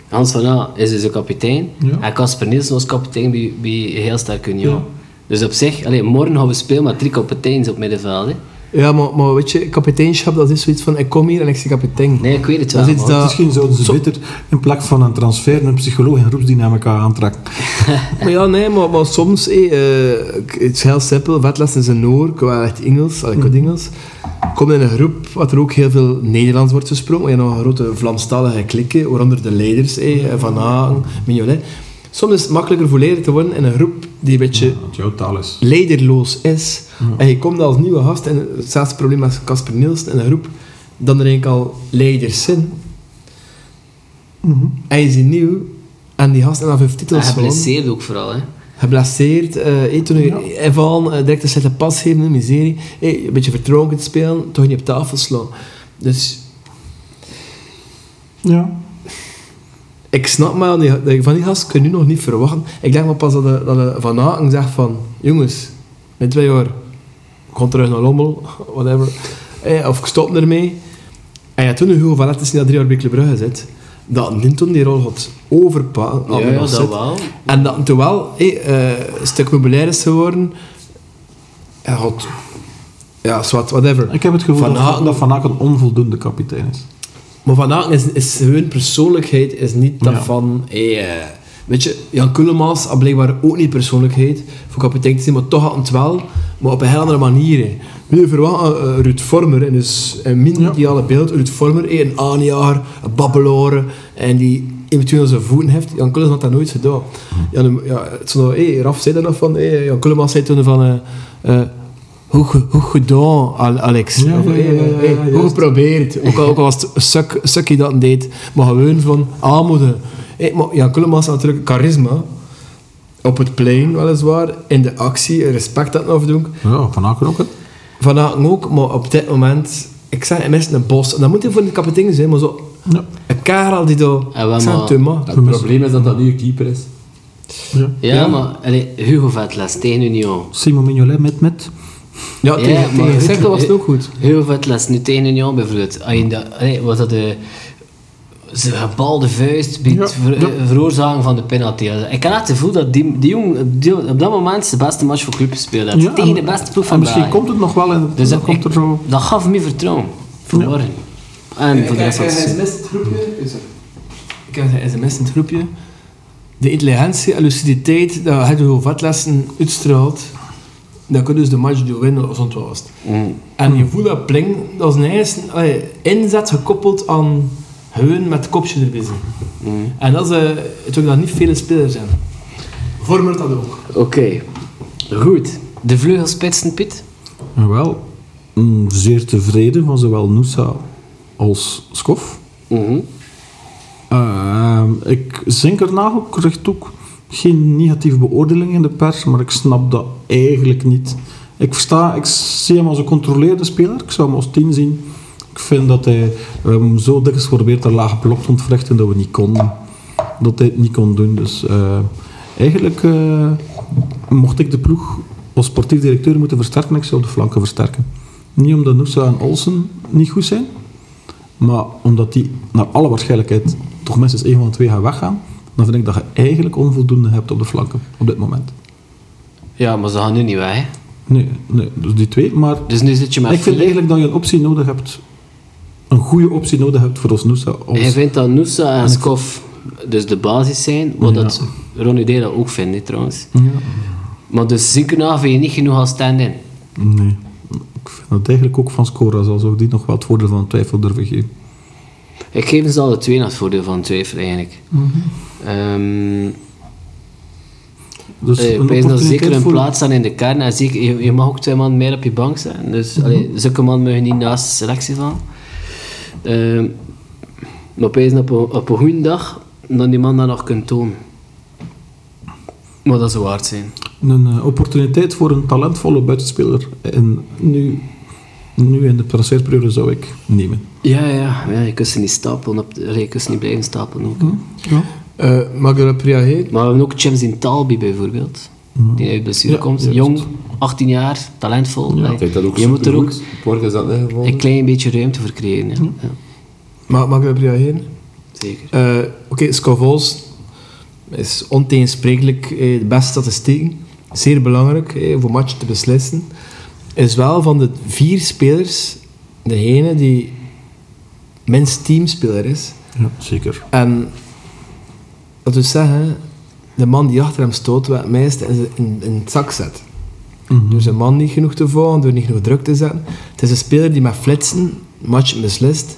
Hans van A is dus een kapitein.
Ja.
En Casper Nielsen was kapitein bij, bij heel sterk Union.
Ja.
Dus op zich, allee, morgen gaan we spelen met drie kapiteins op middenveld. Hè.
Ja, maar, maar weet je, kapiteinschap, dat is zoiets van, ik kom hier en ik zie kapitein.
Nee, ik weet het wel.
dat is iets
man.
dat...
Misschien zouden ze
Zo-
beter in plaats van een transfer een psycholoog en groepsdynamica aantrekken.
Maar ja, nee, maar, maar soms, hé, eh, ik- het is heel simpel. Vetles is een Noor, ik wel echt Engels, allee, ik word Engels. Ik Kom in een groep waar er ook heel veel Nederlands wordt gesproken, maar je hebt nog een grote Vlaamstalige klikken, waaronder de leiders, hé, eh, Van Hagen, Mignolet. Soms is het makkelijker voor leider te worden in een groep die een beetje
Wat jouw taal is.
leiderloos is. En je komt als nieuwe gast, en hetzelfde probleem als Casper Nielsen in een groep, dan er eigenlijk al leiders zijn. En je is nieuw, en die gast heeft al vijf
En
titels gewonnen
geblesseerd ook vooral. Hè.
geblesseerd. eh eh, toen hij invallen, eh, direct een slechte pas geven, een miserie. Eh, een beetje vertrouwen spelen, toch niet op tafel slaan. Dus
Ja.
ik snap maar, die- dat je van die gast kun je nu nog niet verwachten. Ik denk maar pas dat, de, dat de Van Aken zegt van, jongens, in twee jaar, ik ga terug naar Lommel, (laughs) whatever. Eh, of ik stop ermee. En ja, toen Hugo van Lettens die al drie jaar bij Club Brugge zit, dat Ninton die rol had overpakken.
Ja, ja, Oh, dat wel.
En dat toen wel hé, eh, een stuk meubilair is geworden. En had... Ja, zwart, whatever.
Ik heb het gevoel
Van
dat,
Haken-
dat Van Aken onvoldoende kapitein is.
Maar Van Aken is, is hun persoonlijkheid is niet dat
Ja.
van... hé, eh, weet je, Jan Kullemaas had blijkbaar ook niet persoonlijkheid. Voor kapitein te zijn, maar toch had het wel. Maar op een heel andere manier. hè. Nu verwacht eh, eh, Ruud Vormer, en dus een minder
Ja.
ideale beeld. Ruud Vormer, hé, een aanjager, een babbeloren. En die eventueel zijn voeten heeft. Jan Kullemaas had dat nooit gedaan.
Hm.
Jan, de- ja, het is nog, hé, Raf zei daar nog van... hé, Jan Kullemaas zei toen van... eh, eh, hoe, ge- hoe gedaan, Al- Alex.
Ja,
Of,
ja,
hey,
ja, ja,
hey,
ja,
hoe
juist.
geprobeerd. Ook al, ook al was het suk, sukkie dat hij deed. Maar gewoon van aanmoedigen. Hey, maar Jan Kullemaas had natuurlijk charisma. Op het plein, weliswaar. In de actie. Respect dat afdoen.
Ja, Van Aken ook. hè.
Van Aken ook. Maar op dit moment... Ik zeg, hij mist een bos. En dat moet hij voor de kapitein zijn. Maar zo...
Ja.
Een kerel die daar...
En wel
Ik zeg,
maar-
Thomas.
Het probleem is dat dat nu een keeper is.
Ja.
Ja, maar allee, Hugo Vetles tegen Union.
Simon Mignolet met met.
Ja, tegen,
Ja, maar
tegen
weet
Sikkel
je, eh,
was het ook goed.
Heel vet les nu tegen een jaar bijvoorbeeld. Als je dat- allee, Wat dat de zijn gebalde vuist bij het
Ja,
ver-
ja.
veroorzaken van de penalty. Also, Ik had echt het gevoel dat die, die jongen op die- op dat moment zijn beste match voor club speelde. had.
Ja,
tegen
en-
de beste ploeg
en
van
Misschien
België.
komt het e- nog wel en
Dus
dan
dat,
komt er
ik-
zo...
dat gaf me vertrouwen. Voor
Ja.
morgen. En voor de rest van het seizoen.
het groepje. Ik heb een sms in het groepje. De intelligentie en luciditeit, dat had je gewoon vetlessen uitstraalt. Dan kun je dus de match door winnen of zo'n was. het.
Mm.
En je voelt dat pling, dat is een eigen- allee, inzet gekoppeld aan hun met het kopje erbij zijn.
Mm.
En dat is eh, toen dat niet vele spelers zijn. Vormer dat ook.
Oké. Goed. De vleugelspitsen, Piet.
Wel, mm, zeer tevreden van zowel Noosa als Skof.
Mhm.
Ehm, ik Zinkernagel krijgt ook geen negatieve beoordeling in de pers, maar ik snap dat eigenlijk niet. Ik versta, ik zie hem als een controleerde speler. Ik zou hem als 10 zien. Ik vind dat hij we hebben hem zo dikwijls geprobeerd een lage blok te ontwrichten dat we niet konden. Dat hij het niet kon doen. Dus eh, eigenlijk eh, mocht ik de ploeg als sportief directeur moeten versterken, ik zou de flanken versterken. Niet omdat Noosa en Olsen niet goed zijn, maar omdat die naar alle waarschijnlijkheid toch minstens één van de twee gaan weggaan, dan vind ik dat je eigenlijk onvoldoende hebt op de flanken op dit moment.
Ja, maar ze gaan nu niet weg. hè.
Nee, nee dus die twee. Maar
Dus nu zit je met
ik vind
vier.
eigenlijk dat je een optie nodig hebt, een goede optie nodig hebt voor ons Noosa. Als,
Hij vindt dat Noosa en Skof dus de basis zijn, wat dat Ronnie Dela ook vindt hè, trouwens.
Ja.
Maar dus Zinkerna vind je niet genoeg als stand-in.
Nee. Ik vind dat eigenlijk ook van Scora, zal ik die nog wel het voordeel van de twijfel durven geven.
Ik geef ze alle
Mhm.
twee naar het voordeel van de twijfel eigenlijk. Ehm,
Dus
Eh,
een
Ik wijs dat zeker
opportuniteit
een
voor-
plaats staan in de kern. En zeker, je, je mag ook twee man meer op je bank zijn. Dus
Mhm.
allee, zulke man mag je niet naast de selectie van. Ehm, maar ik wijs op een, op een goede dag dat die man dat nog kunt tonen. Maar dat zou waard zijn.
Een eh, opportuniteit voor een talentvolle buitenspeler. En nu, nu in de transferperiode zou ik nemen.
Ja, ja, ja, je kunt ze niet stapelen. Op de, allee, je kunt ze niet blijven stapelen ook. hè.
Ja.
Eh Magdalena Priahe,
Maar we hebben ook James in Talbi bijvoorbeeld. Die uit blessure
Hmm. Ja,
komt.
juist.
Jong, 18 jaar, talentvol. Allee,
Ik denk dat ook
je moet er ook
supergoed. Morgen is dat net gevonden.
een klein beetje ruimte voor creëren. Ja.
Hmm.
Ja,
Ma Magdalena Priahe.
zeker.
Eh, Oké, Scavols is ontegensprekelijk eh, de beste statistieken. Zeer belangrijk eh, voor matchen te beslissen. Is wel van de vier spelers degene die minst teamspeler is.
Ja, zeker.
En dat wil zeggen, de man die achter hem stoot, wat het meeste in, in, in het zak zet. Door zijn man niet genoeg te volgen, door niet genoeg druk te zetten. Het is een speler die met flitsen matchen beslist.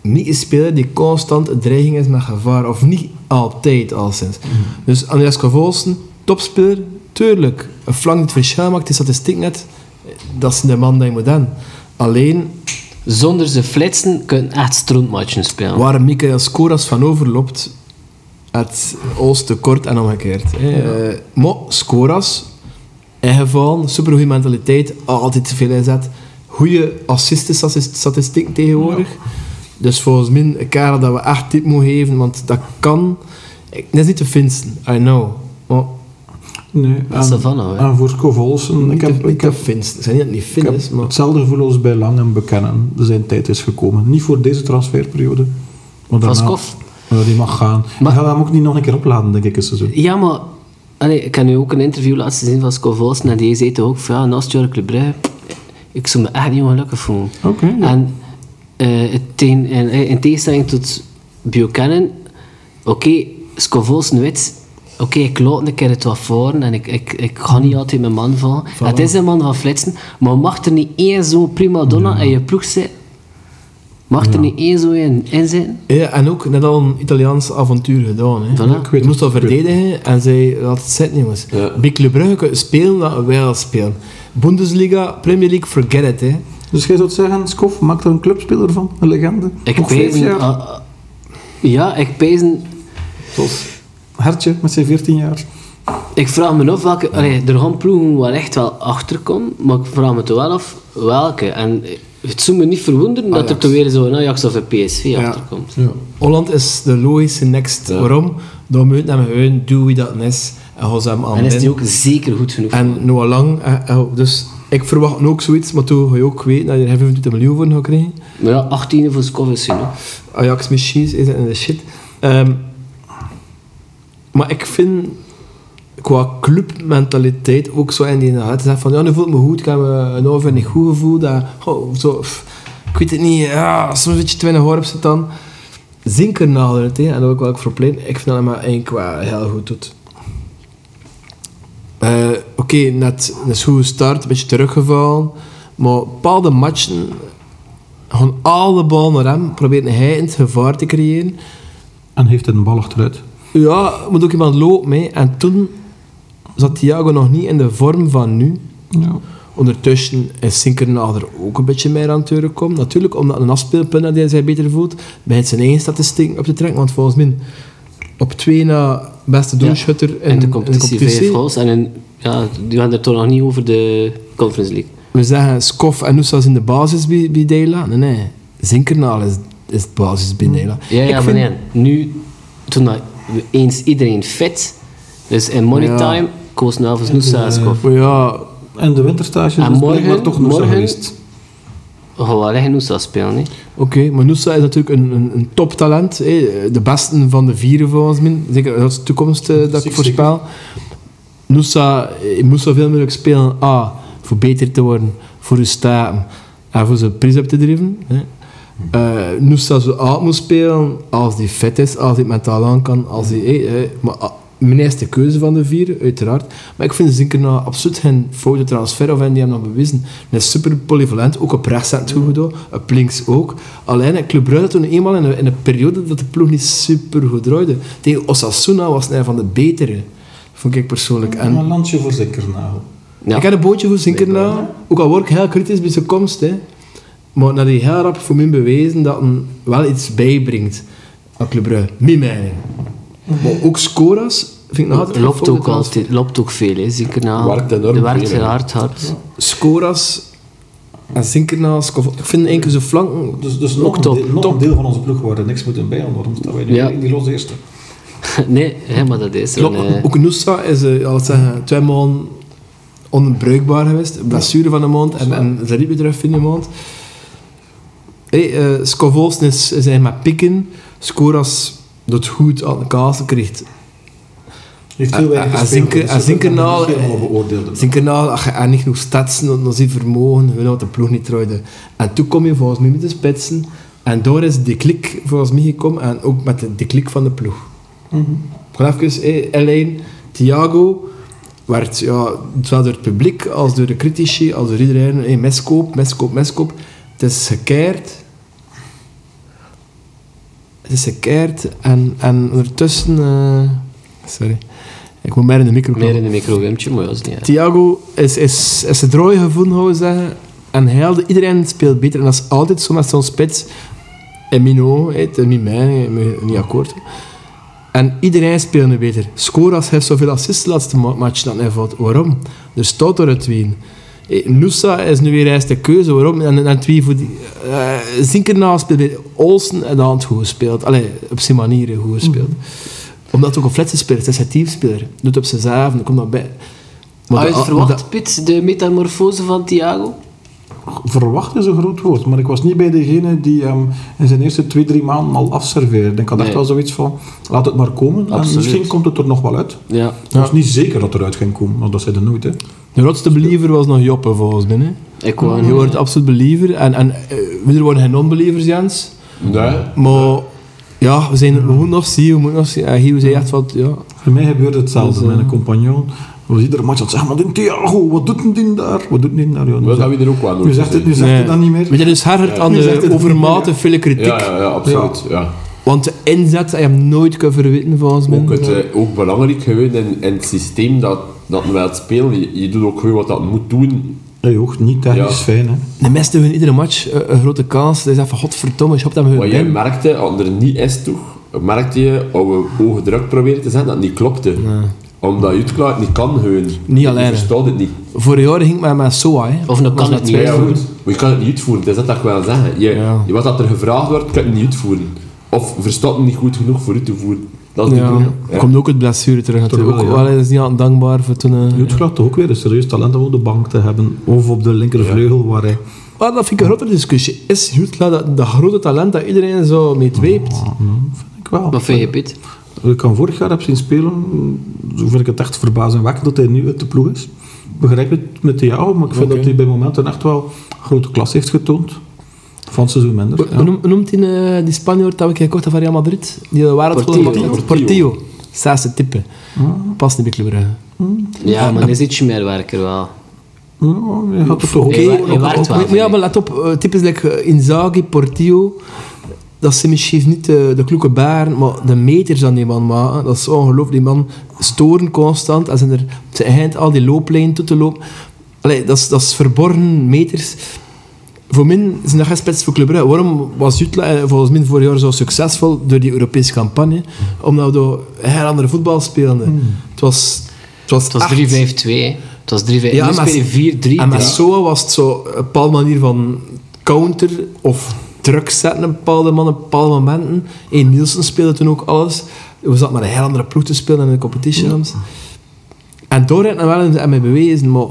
Niet een speler die constant een dreiging is met gevaar, of niet altijd alleszins. Dus Andreas Kavolsen, topspeler, tuurlijk. Een flank die het verschil maakt, die statistiek net, dat is de man die je moet hebben. Alleen,
Zonder ze flitsen kun je echt strontmatchen spelen.
Waar Michael Scoras van overloopt, het Oost tekort en omgekeerd. hè. Eh, maar Scoras, ingevallen, supergoeie mentaliteit, altijd veel inzet. Goede assiststatistiek tegenwoordig. Dus volgens mij een kerel dat we echt tip moeten geven, want dat kan. Ik, dat is niet de Finsten, I know. Maar
Nee,
Dat is
en-
er van nou, hè.
en voor Scovolsen, ik heb, ik heb,
Finsten. Ik zeg niet dat het niet
ik
Fin
heb
is, maar...
hetzelfde gevoel als bij Langen bekennen. Zijn tijd is gekomen. Niet voor deze transferperiode. Maar daarna,
Vaskov?
Ja, die mag gaan.
Maar-
Maar, gaan we hem ook niet nog een keer opladen, denk ik, dit seizoen.
Ja, maar... Allee, ik heb nu ook een interview laatst gezien van Scovolsen en die zei toch ook van ja, naast Jurk Le Bruyne, ik zou me echt niet ongelukkig voelen.
Oké, ja.
En eh, het tegen- en, eh, in tegenstelling tot Buchanan, oké, Scovolsen weet, oké, ik loop een keer het wat voor en ik, ik, ik ga
Hmm.
niet altijd mijn man vallen. Het is een man van flitsen, maar mag er niet één zo'n prima donna in je ploeg zitten? Mag er niet één zo in, in zitten?
Ja, en ook net al een Italiaans avontuur gedaan. Hè.
Voilà. Ik
Je moest al verdedigen en zij had het zitten, jongens.
Ja.
Bij Club Brugge kunnen spelen dat wij al spelen. Bundesliga, Premier League, forget it. Hè.
Dus jij zou zeggen, Skof, maak er een clubspeler van, een legende.
Ik
Nog vijf
pijzen...
jaar.
ah, ah, ja, ik pijzen...
Zoals Hartje met zijn 14 jaar.
Ik vraag me af welke... Allee, er gaan ploegen waar echt wel achter komt, maar ik vraag me toch wel af welke. En het zou me niet verwonderen dat er
Ajax.
toch weer zo'n Ajax of een PSV
Ah, Ja.
achterkomt.
Holland is de logische next.
Ja.
Waarom? Dan moet je naar hun, doe wie dat is. En ga ze hem aan
En is die
binnen.
ook zeker goed genoeg.
En Noah Lang. eh, eh, dus ik verwacht nu ook zoiets, maar toen ga je ook weten dat je er 25 miljoen voor gaat krijgen.
Maar ja, 18 voor Skov is genoeg.
Ajax machines is in de shit. Ehm, maar ik vind qua clubmentaliteit ook zo in die inderdaad te zeggen van ja, nu voelt me goed, ik heb eh, een over niet goed gevoel. Dat, oh, zo, pff, ik weet het niet, ja, soms een beetje te weinig hoor op zit dan. Zinker nadert, hè, en dat wil ik wel ook voor plein. Ik vind dat hij maar één qua heel goed doet. Eh, Oké, net een goede start, een beetje teruggevallen. Maar bepaalde matchen gewoon alle bal naar hem, probeert hij in het gevaar te creëren.
En heeft een bal achteruit.
Ja, moet ook iemand lopen mee. En toen zat Thiago nog niet in de vorm van nu.
Ja.
Ondertussen is Sinkernader ook een beetje meer aan het deuren komen. Natuurlijk, omdat een afspeelpunt dat hij zich beter voelt, begint zijn eigen statistieken op te trekken. Want volgens mij, op twee na beste doelschutter in,
En de
in
competitie vijf goals. En in- ja, die gaan er toch nog niet over de Conference League.
We zeggen Skof en Nusa zijn de basis bij, bij Dela. Nee, nee. Zinkernaal is, is de basis bij Dela.
Hm. Ja, ja
Ik
maar
vind-
nee, nu, toen dat we eens iedereen fit, dus in money
Ja.
time, koos Navas Nusa Skov.
Maar ja,
En de winterstage is
En morgen-
blijkbaar toch nog zo
morgen-
geweest.
We gaan wel echt Nusa spelen, hè.
Oké, maar Nusa is natuurlijk een, een, een toptalent. hè. De beste van de vieren volgens mij. Zeker dat is de toekomst eh, dat ik
Zeker,
voorspel. Nusa eh, moest zoveel mogelijk spelen. A, voor beter te worden, voor uw staten en voor zijn prijs op te drijven. Hè. Eh, Nusa zo oud moet spelen als die fit is, als hij het mentaal aan kan. Als hij, eh, eh, maar ah, mijn eerste keuze van de vier, uiteraard. Maar ik vind Zinkerna absoluut geen foute transfer, of en die hem nog bewezen. Hij is super polyvalent, ook op rechts en goed gedaan, op links ook. Alleen, eh, Club Brugge toen eenmaal in een, in een periode dat de ploeg niet super goed draaide. Tegen Osasuna was hij van de betere. Vond ik persoonlijk. En
Een landje voor nou. Zinkernagel.
Ja.
Ik heb een bootje voor Zinkernaal. Ook al word ik heel kritisch bij zijn komst. Hè. Maar dat hij heel rap voor mij bewezen dat hem wel iets bijbrengt aan Club Brugge. Mijn mening. Maar ook scoras vind ik nog altijd...
Het loopt ook
altijd.
altijd, loopt ook veel, hè. Zinkernaal.
Werkt enorm
De werkt
veel, hè.
hard, hard. (laughs)
Scoras en Zinkernaal. Scovo- Ik vind enkele zijn flanken...
Dus, dus nog,
top.
Een deel, nog een deel van onze ploeg waar we niks moeten bij waarom staan wij nu
Ja.
in die los eerste?
nee, hè, maar dat is
Klopt.
een... eh,
Ook Nusa is, eh, laat het zeggen, twee maanden onbruikbaar geweest. Blessure van een maand en, en ze liep weer terug in een maand. Hey, eh, Scovolsen is, is eigenlijk met pikken. Scoras doet goed aan de kaas krijgt.
Heeft heel
Ah,
weinig
ah,
gespeeld,
Zinker-
dus
ah,
dat kunnen we
Zinkernaal,
niet helemaal
eh,
beoordelen.
Zinkernaal, als je er niet genoeg statsen dan- dan zie je vermogen, hun had de ploeg niet trouwde. En toen kom je volgens mij met de spitsen. En daar is de klik volgens mij gekomen en ook met de, de klik van de ploeg.
Mhm.
Gewoon even, eh, Elaine, Thiago werd ja, zowel door het publiek als door de critici, als door iedereen, eh, miskoop, miskoop, miskoop. Het is gekeerd. Het is gekeerd en, en ondertussen... eh, sorry. Ik moet meer in de micro
meer
klappen.
in de micro Wimtje, maar ja, dat is niet erg.
Thiago is, is, is het rode gevoel, zou ik zeggen. En hij had- iedereen speelt beter. En dat is altijd zo met zo'n spits. En Mino, het is niet mij, ik ben niet akkoord. En iedereen speelde beter. Scoras heeft zoveel assists de laatste ma- match dat hij valt. Waarom? Er staat er het wien. Nusa is nu weer eens de keuze. Waarom? En, en twee voor die... eh, Zinkernaal speelt beter. Olsen en de hand goed gespeeld. Allee, op zijn manier goed gespeeld.
Mhm.
Omdat het ook een fletse speler is. Het is een teamspeler. Doet op zijn zaven, komt dat bij.
Had je
de-
het verwacht,
de-
Piet, de metamorfose van Thiago?
Verwacht is een groot woord, maar ik was niet bij degene die hem in zijn eerste twee, drie maanden al afserveerde. Ik had echt
Nee.
wel zoiets van, laat het maar komen en
Absoluut.
misschien komt het er nog wel uit.
Ja.
Ik was niet zeker dat het eruit ging komen, want dat zei hij nooit. Hè.
De rotste believer was nog Joppe, volgens mij. hè.
Ik wou
Je
een-
wordt absoluut believer. En, en eh, er worden geen non-believers, Jens.
Nee.
Maar ja, we, zijn, we moeten nog zien, we moeten nog zien. En Guido zei echt wat, ja...
Voor mij gebeurde hetzelfde. Mijn compagnon was iedere match aan het zeggen, maar die Thiago, wat doet die daar? Wat doet die daar? Ja,
Maar
nu
dat
zegt-
hebben we er ook wel
nu
nooit
zegt het, nu
gezien.
zegt
Nee.
het dan niet
Maar
meer.
dat is harder aan
Nu zegt het
de
niet
overmate
meer,
vele kritiek.
Ja, ja, ja, absoluut. Ja.
Want de inzet, je hem nooit kunnen verwitten, volgens mij.
Ook, het, eh, ook belangrijk gewoon in, in het systeem dat, dat men wilt spelen. Je, je doet ook gewoon wat dat moet doen.
Hey, joh, niet technisch
Ja.
fijn. Hè.
De meesten winnen iedere match eh, een grote kans. Dat is even, godverdomme, je hebt hem
Wat jij
gewonnen.
merkte, als er niet is toch, merkte je, als we hoge druk proberen te zetten, dat het niet klopte. Omdat je het klaar niet kan gewoon. Je
alleen, hè.
verstaat het niet.
Vorig jaar ging ik met, met Soa, hè.
Of nou
Was
kan het
met
niet.
Ja,
twee
ja,
voor.
goed. Maar je kan het niet uitvoeren, dat is dat dat ik wil zeggen. Je,
Ja.
je- wat dat er gevraagd wordt, kan je het niet uitvoeren. Of verstaat het niet goed genoeg voor uit te voeren. Dat is de
Ja.
bedoeling.
Er komt ook het blessure terug natuurlijk.
wel,
Ook
ja.
wel is niet aan dankbaar voor toen... eh,
Joet toch ook weer een serieus talent om op de bank te hebben. Of op de linkervleugel waar hij...
Maar dat vind ik een grotere discussie. Is Jutla dat, dat grote talent dat iedereen zo mee
Mm.
dweept?
Ah, nou, vind ik wel.
Wat vind je, Piet?
Ik kan vorig jaar heb zien spelen, zo vind ik het echt verbazingwekkend dat hij nu uit de ploeg is. Ik Begrijp het met de jou, maar ik vind dat hij bij momenten echt wel grote klas heeft getoond. Van het seizoen minder.
Hoe noem- hoe noemt die, eh, die Spanjaard dat we gekocht hebben van Real Madrid? Die de waarheid
Portillo.
gemaakt heeft?
Portillo.
Portillo. Zesde type. Past niet bij Club Brugge.
Ja, maar dat is ietsje meer werker wel.
Ja, ja, je had het toch ook.
Oké,
Hij wa- hij
ook-
waard
ook-
wel,
maar
vind
ja,
ik.
maar let op. eh, types like eh, Inzaghi, Portillo. Dat zijn misschien niet eh, de, de kloeke baren, maar de meters aan die man maken. Dat is ongelooflijk. Die man storen constant. En zijn er, ze eind al die looplijn toe te lopen. Allee, dat, is, dat is verborgen meters. Voor min zijn dat geen spits voor Club Brugge. Waarom was Jutla eh, volgens mij vorig jaar zo succesvol door die Europese campagne? Omdat we door heel andere voetbal speelden. Het was... Het was,
Hmm. Het was
echt-
3-5-2, hè. Het was 3-5...
Ja,
nu
maar-
speel
en met
je 4-3-3.
Soa was het zo een bepaalde manier van counter of druk zetten op bepaalde mannen, op bepaalde momenten. En Nielsen speelde toen ook alles. We zaten met een heel andere ploeg te spelen dan in de competition. En door het wel en mij bewezen, maar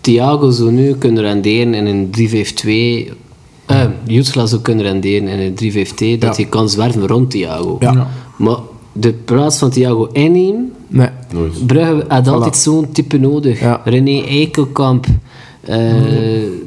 Thiago zou nu kunnen renderen in een 3-5-2... Eh, Jutla zou kunnen renderen in een 3-5-2, dat
Ja.
hij kan zwerven rond Thiago.
Ja. Ja.
Maar de plaats van Thiago innemen...
nee.
Nooit.
Brugge had altijd zo'n type nodig.
Ja.
René Eikelkamp, eh,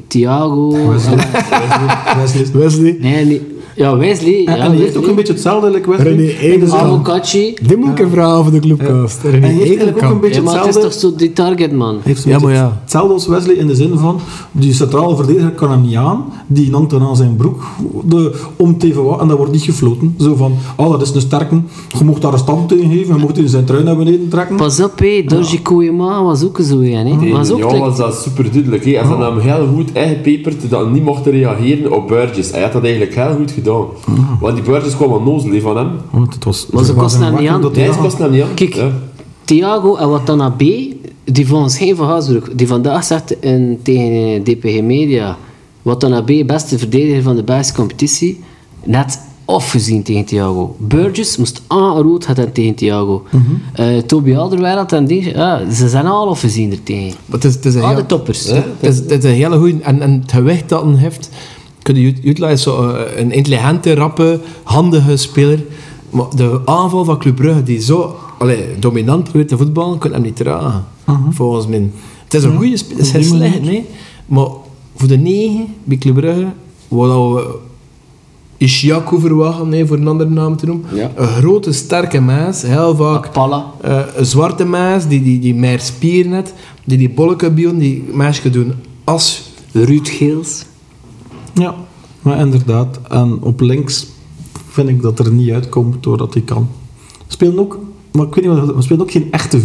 Thiago...
Wesley.
(laughs) Wesley,
Nee, nee. Ja, Wesley.
En,
ja,
en die heeft
Wesley.
ook een beetje hetzelfde like Wesley.
René
in de zin-
Edelman.
Avocachi.
Dit moet ik een vraag over de clubcast. René
En hij heeft eigenlijk ook
Edelkamp.
een beetje
Ja, maar het is
hetzelfde.
toch zo die target, man.
heeft
Ja,
zo'n
maar
beetje
ja.
Hetzelfde als Wesley in de zin van die centrale verdediger kan hem niet aan, die hangt dan aan zijn broek de, om te even wat, en dat wordt niet gefloten. Zo van, oh dat is een sterke, je mocht daar een stand tegen geven, je mocht in zijn trui naar beneden trekken.
Pas op, hé. Dorje Koyema was ook zo een, hè.
Tegen
Was ook
Lyon
like-
was dat super duidelijk. Hij had hem heel goed ingepeperd dat hij niet mocht reageren op Burgess. Hij had dat eigenlijk heel goed gedaan. Want die Burgess kwam aan nozel van hem.
Want het was,
Maar ze
het was
kosten
een
hem niet
wakker
aan.
dat hij
Nee, ze
dat-
kost hem nou niet aan.
Kijk,
Ja.
Thiago en Watana B, die volgens geen van Haasbroek, die vandaag zegt in, tegen eh, DPG Media, Watana B, beste verdediger van de Belgische competitie, net afgezien tegen Thiago. Burgess moest aan rood hebben tegen Thiago. Eh, Toby Alderweireld en die, ja, ze zijn al afgezien er tegen.
Maar het is, het is een
Al Ah, de
heel-
toppers.
Ja, Het is, het is een hele goeie. En, en het gewicht dat hij heeft, kun je ut- utilizen. Zo, eh, een intelligente, rappe, handige speler. Maar de aanval van Club Brugge, die zo allee, dominant probeert te voetballen, kun je hem niet dragen. Volgens mij. Het is een goede speler. Het is geen slecht, nee. Maar voor de negen bij Club Brugge, wat we Ishiaku verwachten, nee, voor een andere naam te noemen.
Ja. Ah.
Een grote, sterke mens. Heel vaak
Palla.
eh, een zwarte meis die, die, die meer spieren heeft, die die bolken bieden, die meisjes doen as.
Ruud Geels.
Ja, maar inderdaad. En op links vind ik dat er niet uitkomt doordat hij kan. Spelen ook, maar ik weet niet wat, we spelen ook geen echte 4-3-3.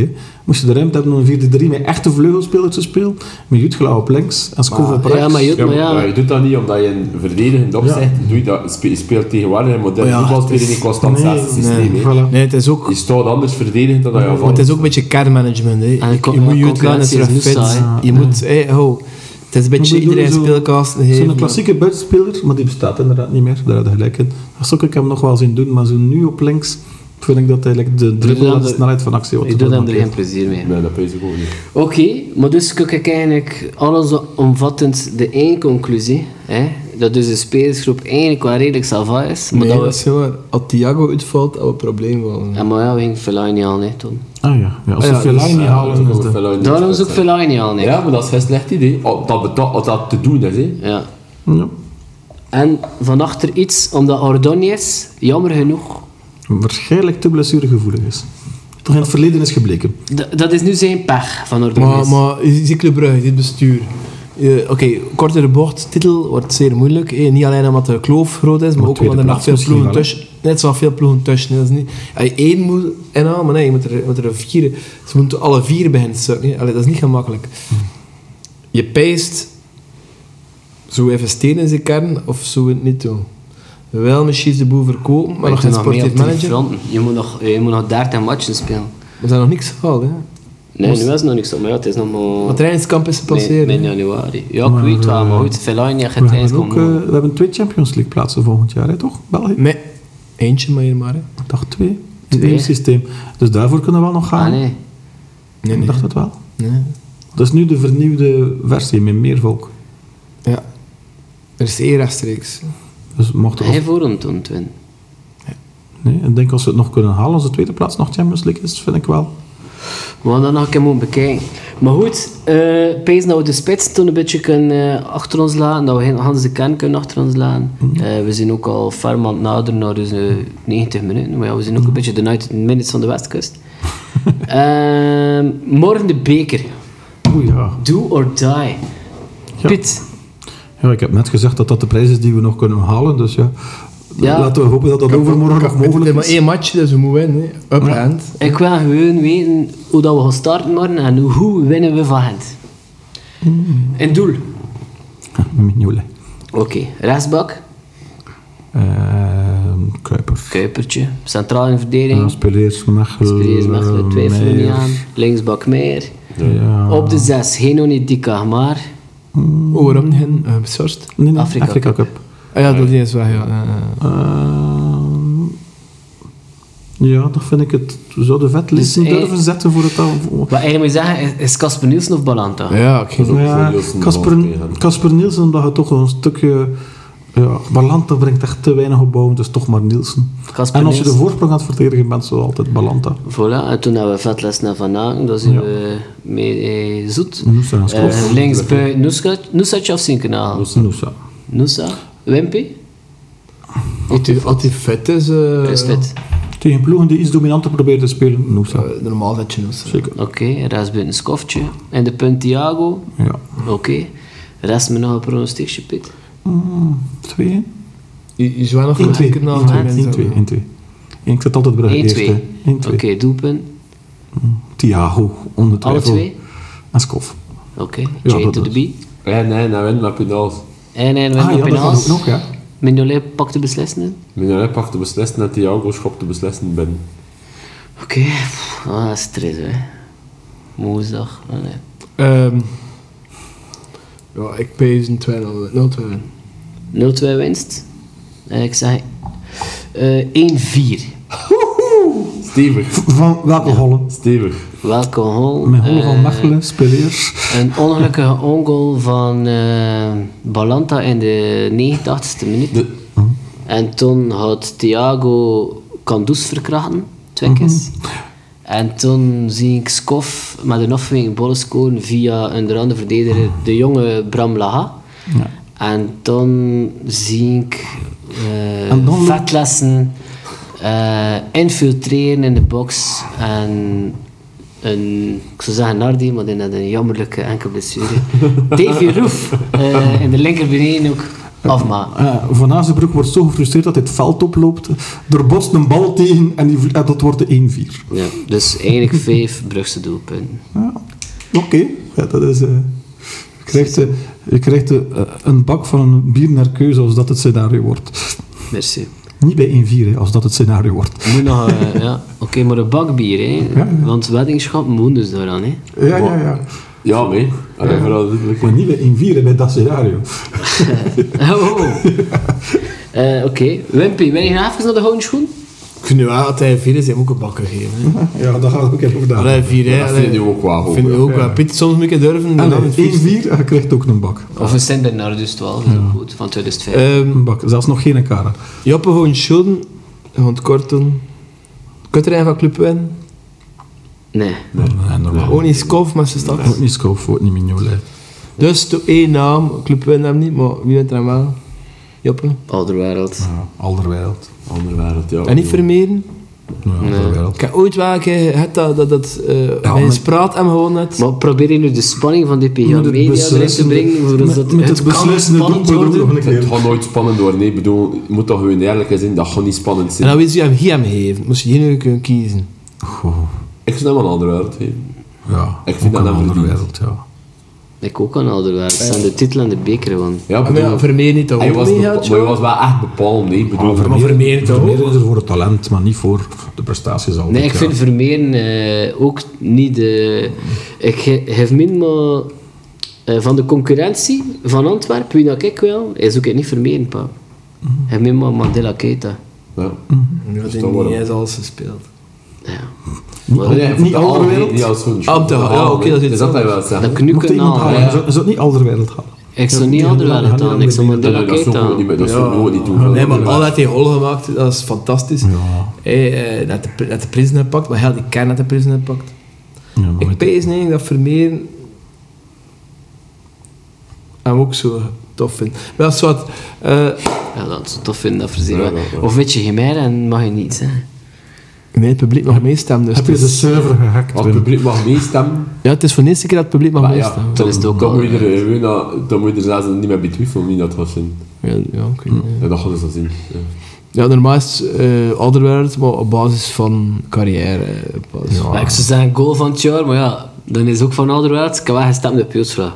hè. Moest je de ruimte hebben om een 4-3 met echte vleugelspelers te spelen, met Jutgela op links en Skov op rechts.
Ja, maar Jut,
Ja,
maar
maar
ja.
je doet dat niet omdat je een verdedigend opzet doet. Dat, spe- je speelt tegenwoordig een modern
Oh ja,
voetbal
het is-
spelen in constant
nee,
zesde systeem. hè.
Voilà.
Nee, het is ook,
Je staat anders verdedigend dan dat je
maar
aanvalt.
het is ook een beetje kernmanagement. Hè.
En Ah, de co-
je moet je uitgaan,
concurrentie
het is
is nu
fit.
saai.
Je moet, hey, ho, het is een beetje
Maar bedoel
iedereen
je zo-
speelkasten geven.
Zo'n klassieke buitenspeler, maar die bestaat inderdaad niet meer, daar had je gelijk in. Dat zou ik hem nog wel zien doen, maar zo nu op links vind ik dat eigenlijk de
doet
dribbel
hem
en de
de-
snelheid van actie wat
Ik
te
doe
veel
daar geen
mankeert.
plezier mee.
Nee, dat is ook niet.
Oké, maar dus kijk ik eigenlijk allesomvattend de één conclusie. Hè? Dat dus de spelersgroep eigenlijk wel redelijk salva is. Maar
Nee,
dat
dat
we,
is heel waar. Als Thiago uitvalt, dat we een probleem wel.
ja, maar ja, we gingen Fellaini niet aan, hè, Tom.
Ah ja, ja als
Ah
ze
ja,
veel
dus,
lang niet
Ja, eh,
halen,
dat
is
is ook
dat...
veel uit de
Daarom is
spits,
ook
hè.
Fellaini niet aan, hè.
Ja, maar dat is geen slecht idee. Als dat, beta- als dat te doen is. Hè.
Ja.
Ja,
En van achter iets, omdat Ordóñez, jammer genoeg,
waarschijnlijk te blessuregevoelig is. Toch in het verleden is gebleken.
d- dat is nu zijn pech van
Maar,
Ordóñez.
maar je ziet Club Brugge, dit bestuur. Eh, Oké, kortere bocht, titel wordt zeer moeilijk. Eh, niet alleen omdat de kloof groot is, maar
Maar
ook
tweede
omdat er nog
plaats
veel
misschien
ploegen
wel, hè?
tussen... Net zo veel ploegen tussen. hè. Dat is niet, als je één moet inhalen, maar nee, je moet er, je moet er vier... Ze moeten alle vier beginnen sukken. hè. Allee, dat is niet gemakkelijk. Je pijst zo even steen in zijn kern, of zo het niet doen. Wel misschien de boel verkopen, maar
je
nog
doet
geen
mee
sportief
op drie
manager.
fronten. Je moet nog, je moet nog 13 matchen spelen.
We zijn nog niks gehaald, hè.
Nee, nu is het nog niks op, maar ja, het is nog
Maar
maar...
trainingskamp is
Nee,
gepasseerd.
min januari. Ja, ik weet wel, maar goed, Fellaini gaat
We
het eens
hebben, ook,
komen.
eh, we hebben twee Champions League plaatsen volgend jaar, hè, toch? België?
Nee, eentje maar hier maar, hè.
Ik dacht twee. In
Twee.
één systeem. Dus daarvoor kunnen we wel nog gaan.
Ah, nee.
Nee,
Ik
nee.
dacht het wel.
nee.
Dat is nu de vernieuwde versie met meer volk.
Ja. Er is één rechtstreeks.
Dus mocht
Hij
of,
voor hem toen, Twin.
nee, ik denk als we het nog kunnen halen, als de tweede plaats nog Champions League is, vind ik wel.
We gaan dat nog een keer moeten bekijken. Maar goed, eh pees dat we de spits toen een beetje kunnen eh, achter ons laten. Dat we geen- Hans de Ken kunnen achter ons laten.
Mhm.
Eh, we zijn ook al ferm aan het naderen naar dus, eh, 90 minuten. Maar ja, we zijn
Mhm.
ook een beetje de 90 minutes van de Westkust. (laughs) Ehm, morgen de beker.
Oeh ja.
Do or die.
Ja.
Piet.
ja. Ik heb net gezegd dat dat de prijs is die we nog kunnen halen. Dus ja,
Ja.
laten we hopen dat dat overmorgen nog
Het is
mogelijk
maar
is.
één matchje, dus we moeten winnen. hè. Up
Ja.
and.
Ik wil gewoon weten hoe dat we gaan starten morgen en hoe winnen we van Gent.
Mhm.
Een doel.
Mignolet.
Oké, rechtsbak.
Ehm, Kuiper.
Kuipertje. Centraal in verdediging.
Ja, eh, Speleers, Mechelen.
Speleers mag er twijfelen niet
Meijer.
aan. Linksbak Meijer.
Ja.
Op de 6, Genoni Dika, maar
Oh, waarom niet? Hen? Eh, Sorst.
Nee, nee,
Afrika
Afrika, Cup.
Ah ja, dat is weg, ja. Eh, eh.
Ehm, ja, dan vind ik het. We zouden vet
Dus
listen
hij-
durven zetten voor het al. voor-
wat eigenlijk moet je zeggen, is- is Casper Nielsen of Balanta?
Ja, ik ging-
Ja,
Nielsen
Casper-
wel tegen.
Casper Nielsen, omdat hij toch een stukje. Ja, Balanta brengt echt te weinig op bouw, dus toch maar Nielsen.
Casper
en als je de
Nielsen.
voorsprong aan het verdedigen bent, zo altijd Balanta.
Voilà, en toen hebben we Vetles naar Van Aken, dat is
Ja.
we mee eh, zoet.
Noosa en Skov.
Eh, links buiten Noesatje of Sinkenaal?
Noosa.
Noosa? Wimpy?
Als die vet is... eh,
is fit.
Tegen ploegen die iets dominanter proberen te spelen, no
eh,
sir.
normaal dat je dat...
Zeker.
Oké, rest buiten een skoftje. En de punt Thiago.
Ja.
Oké. Rest me nog een pronostiekje, Piet.
Twee?
Je, je zou nog
Eén,
een
twee.
keer na het moment
Eén, twee.
hebben.
Eén, twee. En ik zet altijd Brugge
1-2.
eerst. hè. Eén,
Oké,
twee.
doelpunt.
Thiago,
Alle
onder twijfel.
twee?
En Skof.
Oké, Jay
dat
to the
is.
beat.
En nee, nou winnen met penaals.
En en we
Ah
hebben
ja, dat kan ook
penals.
nog, ja.
Mignolet pakt de beslissende.
Mignolet pakte de beslissing en Thiago schopt de beslissing binnen.
Oké, pff, ah, dat is stress hè. Woensdag. Ah, nee.
Ehm, ja, ik pees een 2-0. 0-2.
0-2 winst. Eh, ik zeg eh, 1-4.
Stevig,
Van welke hollen?
stevig.
Welke hol?
Met hollen van
Eh,
Mechelen, speleers.
Een ongelukkige (laughs) ongoal van eh, Balanta in de 89e minuut.
De-
En toen had Thiago Candous verkrachten, twee
Mhm.
keer. En toen zie ik Skof met een afweging bollen scoren via onder andere verdediger de jonge Bram Laha.
Ja.
En dan zie ik eh,
En dan-
vetlessen eh, infiltreren in de box en een, ik zou zeggen Nardi, maar die had een jammerlijke enkel
(laughs)
blessure. Davy Roef eh, in de linker beneden ook afmaken.
Eh, van Azenbroek wordt zo gefrustreerd dat hij het veld oploopt. Er botst een bal tegen en, die, vlie- en dat wordt de 1-4.
Ja, dus (laughs) eigenlijk vijf Brugse doelpunten.
Ja. Oké, ja, dat is... eh, je krijgt, eh, je krijgt eh, een bak van een bier naar keuze als dat het scenario wordt.
Merci.
Niet bij 1-4, hè, als dat het scenario wordt.
Moet nog, eh, ja. Oké, maar een bakbier, hè.
Ja, ja.
Want weddingschap moet dus daaraan,
(laughs)
hè.
Ja, ja, ja.
Ja, nee. En dan vooral duidelijk.
Maar niet bij 1-4, hè, bij dat scenario.
Oh. Eh, Oké, Wimpy, wil je nog even naar de houden schoen?
Ik vind nu wel dat hij 4 is, hij moet ook een bakken geven. hè.
(laughs) Ja, dat gaat ook even over
Allee, 4 hè.
Dat vind je ook wel
Vind
hoog.
ik ook wel. Piet, soms moet je durven. dan
Allee,
het vies.
1-4, en je krijgt ook een bak.
Of een Sint Bernardus 12, dat is ook goed, van 2005.
Ehm,
Een bak, zelfs nog geen kara.
Joppe gewoon schulden. Gewoon kort doen. Kutterijn van Club Win.
nee.
Nee, normaal.
Gewoon niet skof met zijn
Wordt
stad.
niet Schoof, wordt niet Mignolet.
Dus to één naam. Club Win hem niet, maar wie wint er hem wel? Joppe.
Alderwereld.
Ja, Alderwijld.
Andere wereld, ja.
En niet vermeren.
Ja, Alderwijld.
Ik heb ooit wel een keer gehad dat, dat, dat eh mijn
maar-
spraat hem gewoon net.
Maar probeer je nu de spanning van DPJ
Met het
Media erin te
beslissende-
brengen, voor ons
met-
dat
met
het
het
kan
beslissende
spannend
doelpunt ook
worden.
nog een keer.
Het gaat nooit spannend worden. Nee, Ik bedoel, je moet toch gewoon eerlijk zijn, dat gaat niet spannend
en dan
zijn.
wist je hem hier hem geven. Moest je hier nu kunnen kiezen.
Goh,
Ik zou hem een andere wereld geven.
ja.
Ik vind
ook
dat
een
dan
Alderwijld, ja.
Ik ook aan Alderwereld. Het zijn de titel en de beker, want...
Ja,
Ah, Maar ja,
bedoel,
vermeren niet dat
hij
ook
was, bepa-
meegaat.
maar hij was wel echt bepaald, nee. Ik bedoel,
maar Vermeer toch ook?
Vermeer is er voor het talent, maar niet voor de prestaties altijd.
Nee, ik
ja.
vind Vermeeren eh, ook niet de... Ik ge- geef min maar... eh, van de concurrentie van Antwerpen, wie dat ik wel, is ook niet Vermeeren, pa.
Mhm.
Geef min maar Mandela Keita.
Ja.
Ja, dat
toch wel.
niet eens alles gespeeld.
Ja.
Maar nee, voor de
andere
algemeen,
wereld?
Niet als zo'n
Äh, Ah, toch, ja, oké, dat is
is
iets
dat hij wel zegt.
Dat
Mocht
knukken
iemand
al.
halen,
hè.
zou, zou het niet Alderwijld halen?
Ik zou
Ja,
niet
die
Alderwereld
gaan
aan,
niet
ik zou
aan de
Mandela
Dat is
Keita.
ook niet meer, dat is ook gewoon niet doen.
Nee, maar al dat hij hol gemaakt, heeft, dat is fantastisch.
Ja.
Hey, eh, dat, de, pri- dat de prisoner pakt, maar heel die kern dat de prisoner pakt.
Ja, maar
Ik
met-
pees eigenlijk dat Vermeeren hem ook zo tof vindt. Maar dat is wat... eh,
Ja, dat zou tof vinden, dat verzin.
Ja, dat wel.
of weet je geen mij en mag je niet zijn.
Ah.
nee, het publiek mag meestemmen. Dus
Heb je
het
de
is-
server gehackt?
Als het publiek mag meestemmen,
ja, het is voor de eerste keer dat het publiek mag
maar Ah, ja,
meestemmen.
Dat is het ook al,
dan moet je er gewoon aan- dan moet je er zelfs niet meer betwijfelen wie dat gaat zijn.
Ja, ja, oké.
Ja, dat gaan ze zien. Ja.
ja, normaal is het eh, Alderweireld, maar op basis van carrière. eh, op basis.
Maar ik zou zeggen goal van het jaar, maar ja, dan is ook van Alderweireld. Ik heb wel gestemd op Piotsvraag.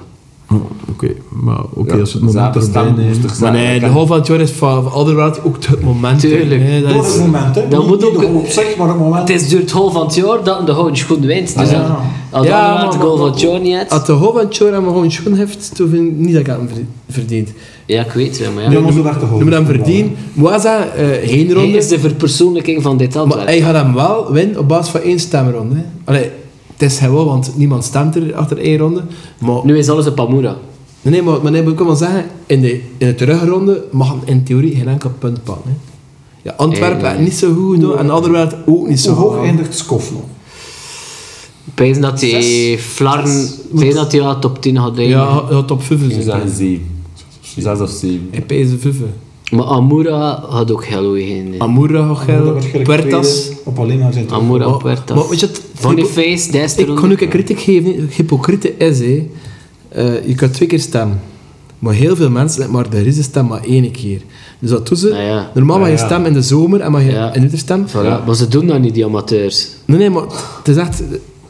Oh, Oké, maar oké,
Ja,
als we het moment
zaten
erbij
stemmen moest
nemen...
er zijn.
Maar nee,
Dat
de
kan-
hoofd van het jaar is van, van Alderweireld ook het moment. hè.
Tuurlijk.
Nee, dat
Door het
is,
moment, hè.
Dat
Niet-
moet
niet
ook-
de goal op zich, maar het moment...
Het is duurt het goal van het jaar dat de houtje goed wint. Dus
Ah, ja.
dan- als
Ja,
Alderweireld de
maar-
goal van het
maar-
jaar niet had...
Als de hoofd van het jaar hem gewoon schoen heeft, dan vind ik niet dat ik hem verd- verdient.
Ja, ik weet het, maar
Ja,
ja.
maar zo werd de goal.
Je moet hem verdienen. Moaza, geen
Hij
ronde.
is de verpersoonlijking van dit
Maar
Antwerpen.
hij gaat hem wel winnen op basis van één stemronde. hè. Allee, het is hij wel, want niemand stemt er achter één ronde. Maar,
Nu is alles een Pamura.
nee, maar, maar nee, maar ik kan wel zeggen, in de, in de terugronde mag hem in theorie geen enkel punt pakken. hè. Ja, Antwerpen
Eigenlijk.
had niet zo goed gedaan en Anderwereld ook niet zo
Zo
goed.
hoog
gedaan.
eindigt Skof nog.
Pijs dat hij Flarn... Pijs dat hij wel top 10 had.
Ja,
eigenlijk.
hij had top 5
Ik zou
zijn.
zeggen zeven. Zes of zeven.
Hij pees de 5.
Maar Amura had ook Hello in. eh.
Amura,
Dat
Gel,
werd gelijk
Puertas.
tweede Op alleen maar zijn terug.
Amura
Maar-
Puertas.
maar weet je het-
Boniface,
Ik
Desteron.
kan ook een kritiek geven. hè. Hypocriete is, hè. Eh, je kan twee keer stemmen. Maar heel veel mensen, maar er is een stem maar één keer. Dus dat doen ze.
Nou ja.
Normaal mag je
Ja, ja.
stemmen in de zomer en mag je
Ja.
in de winter stemmen.
Voilà, maar ze doen dat niet, die amateurs.
Nee, nee, maar het is echt...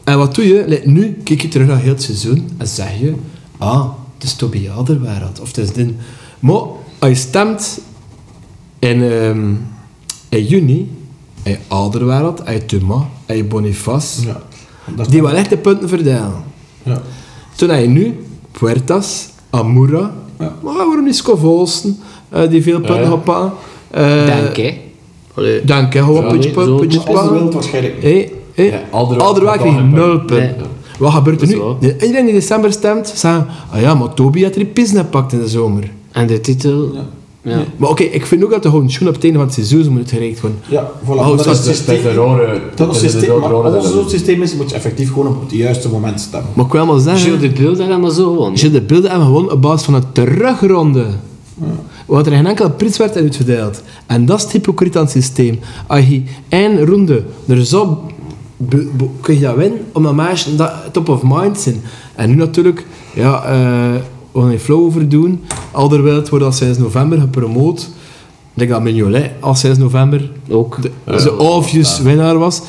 En wat doe je? Like, nu kijk je terug naar heel het seizoen en zeg je... Ah, het is Toby Alderweireld. Of het is dit. Maar als je stemt in, ehm, in juni... Heb je Alderweireld, heb je Thomas, heb je Boniface.
Ja. Dat
Die wel echt de punten verdelen.
ja.
Toen heb je nu Puertas, Amura...
Ja.
Maar waarom niet Scov Olsen, eh, die veel punten
Ja.
gaat pakken? Eh,
Denk, hè. Allee.
Dank, hè. Gewoon
Ja,
puntje
nee,
pakken,
zo-
puntje
Maar als de
pakken.
wereld waarschijnlijk niet.
Hé,
Ja,
hé.
Alderweireld
Alderweireld
had al
kreeg
een
nul
punt.
punten.
Nee.
Wat gebeurt er
Dat is
nu?
waar.
De- Iedereen die in december stemt, zegt... Ah ja, maar Toby had er die pizza gepakt in de zomer.
En de titel...
Ja.
Ja.
Maar oké, ik vind ook dat de gewoon schoen op het einde van het seizoen ze moeten gereikt worden.
Ja, voilà.
Oh,
dat
dat
is het
Dat is de
systeem.
rare...
Dat is het systeem. Maar
rare-
als het systeem is, moet je effectief gewoon op het juiste moment stemmen.
Maar ik wil wel zeggen...
Gilles de Beul had maar zo gewonnen.
Gilles de Beelden hebben gewoon op basis van een terugronde. Want er geen enkele prijs werd en uitverdeeld. En dat is het hypocriet aan het systeem. Als je één ronde er zo... be- be- kun je dat winnen, omdat mensen dat top of mind zijn. En nu natuurlijk, ja, eh we gaan er flow over doen. Alderwijld wordt al sinds november gepromoot. Ik denk dat Mignolet al sinds november
Ook.
de,
Eh,
de obvious winnaar was.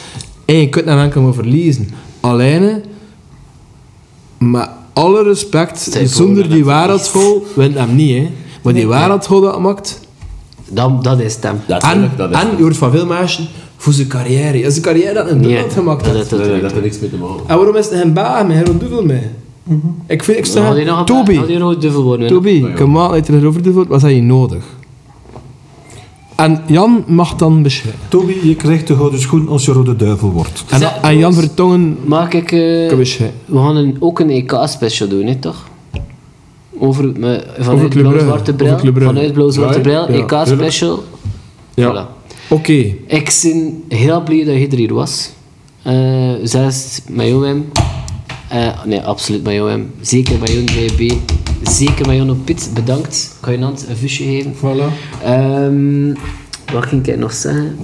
En je kunt naar enkel maar verliezen. Alleen, met alle respect,
Stijf
zonder
worden
die
en
waardheidsvol wint hem niet. Hè. Maar die waardheidsvol dat maakt.
Dat, dat is stem.
Dat is
En,
leuk, dat is
en je hoort van veel mensen voor zijn carrière. Ja, zijn carrière dat een
Nee,
doelpunt gemaakt
dat
had.
is
Nee, nee,
het.
dat heeft niks mee te maken.
En waarom is het geen baan mee? Hij doet veel mee. Ik vind, ik
Had hij
zeg,
nog
Toby,
een rood duvel worden? hè?
Toby, ik een maand later erover doen, wat heb je nodig? En Jan mag dan beschikken.
Toby, je krijgt de gouden schoen als je rode duivel wordt.
En,
Zeg,
en Jan Vertongen
Maak ik... eh,
kan beschikken.
we gaan een, ook een EK-special doen, hè, toch? Over, me,
Over
vanuit
Club Brugge.
Blauw-Zwarte Bril.
Over Club Brugge.
Vanuit Blauw-Zwarte
Ja,
Bril,
ja,
EK-special.
Ja.
Voilà.
Oké.
Ik ben heel blij dat je er hier was. Eh zelfs met jou, Wim. Eh, nee, absoluut met jou, Wim. Zeker met jou, DB. Zeker met jou op Pit. Bedankt. Kan je Nant een visje geven?
Voilà.
Ehm, wat ging ik nog zeggen?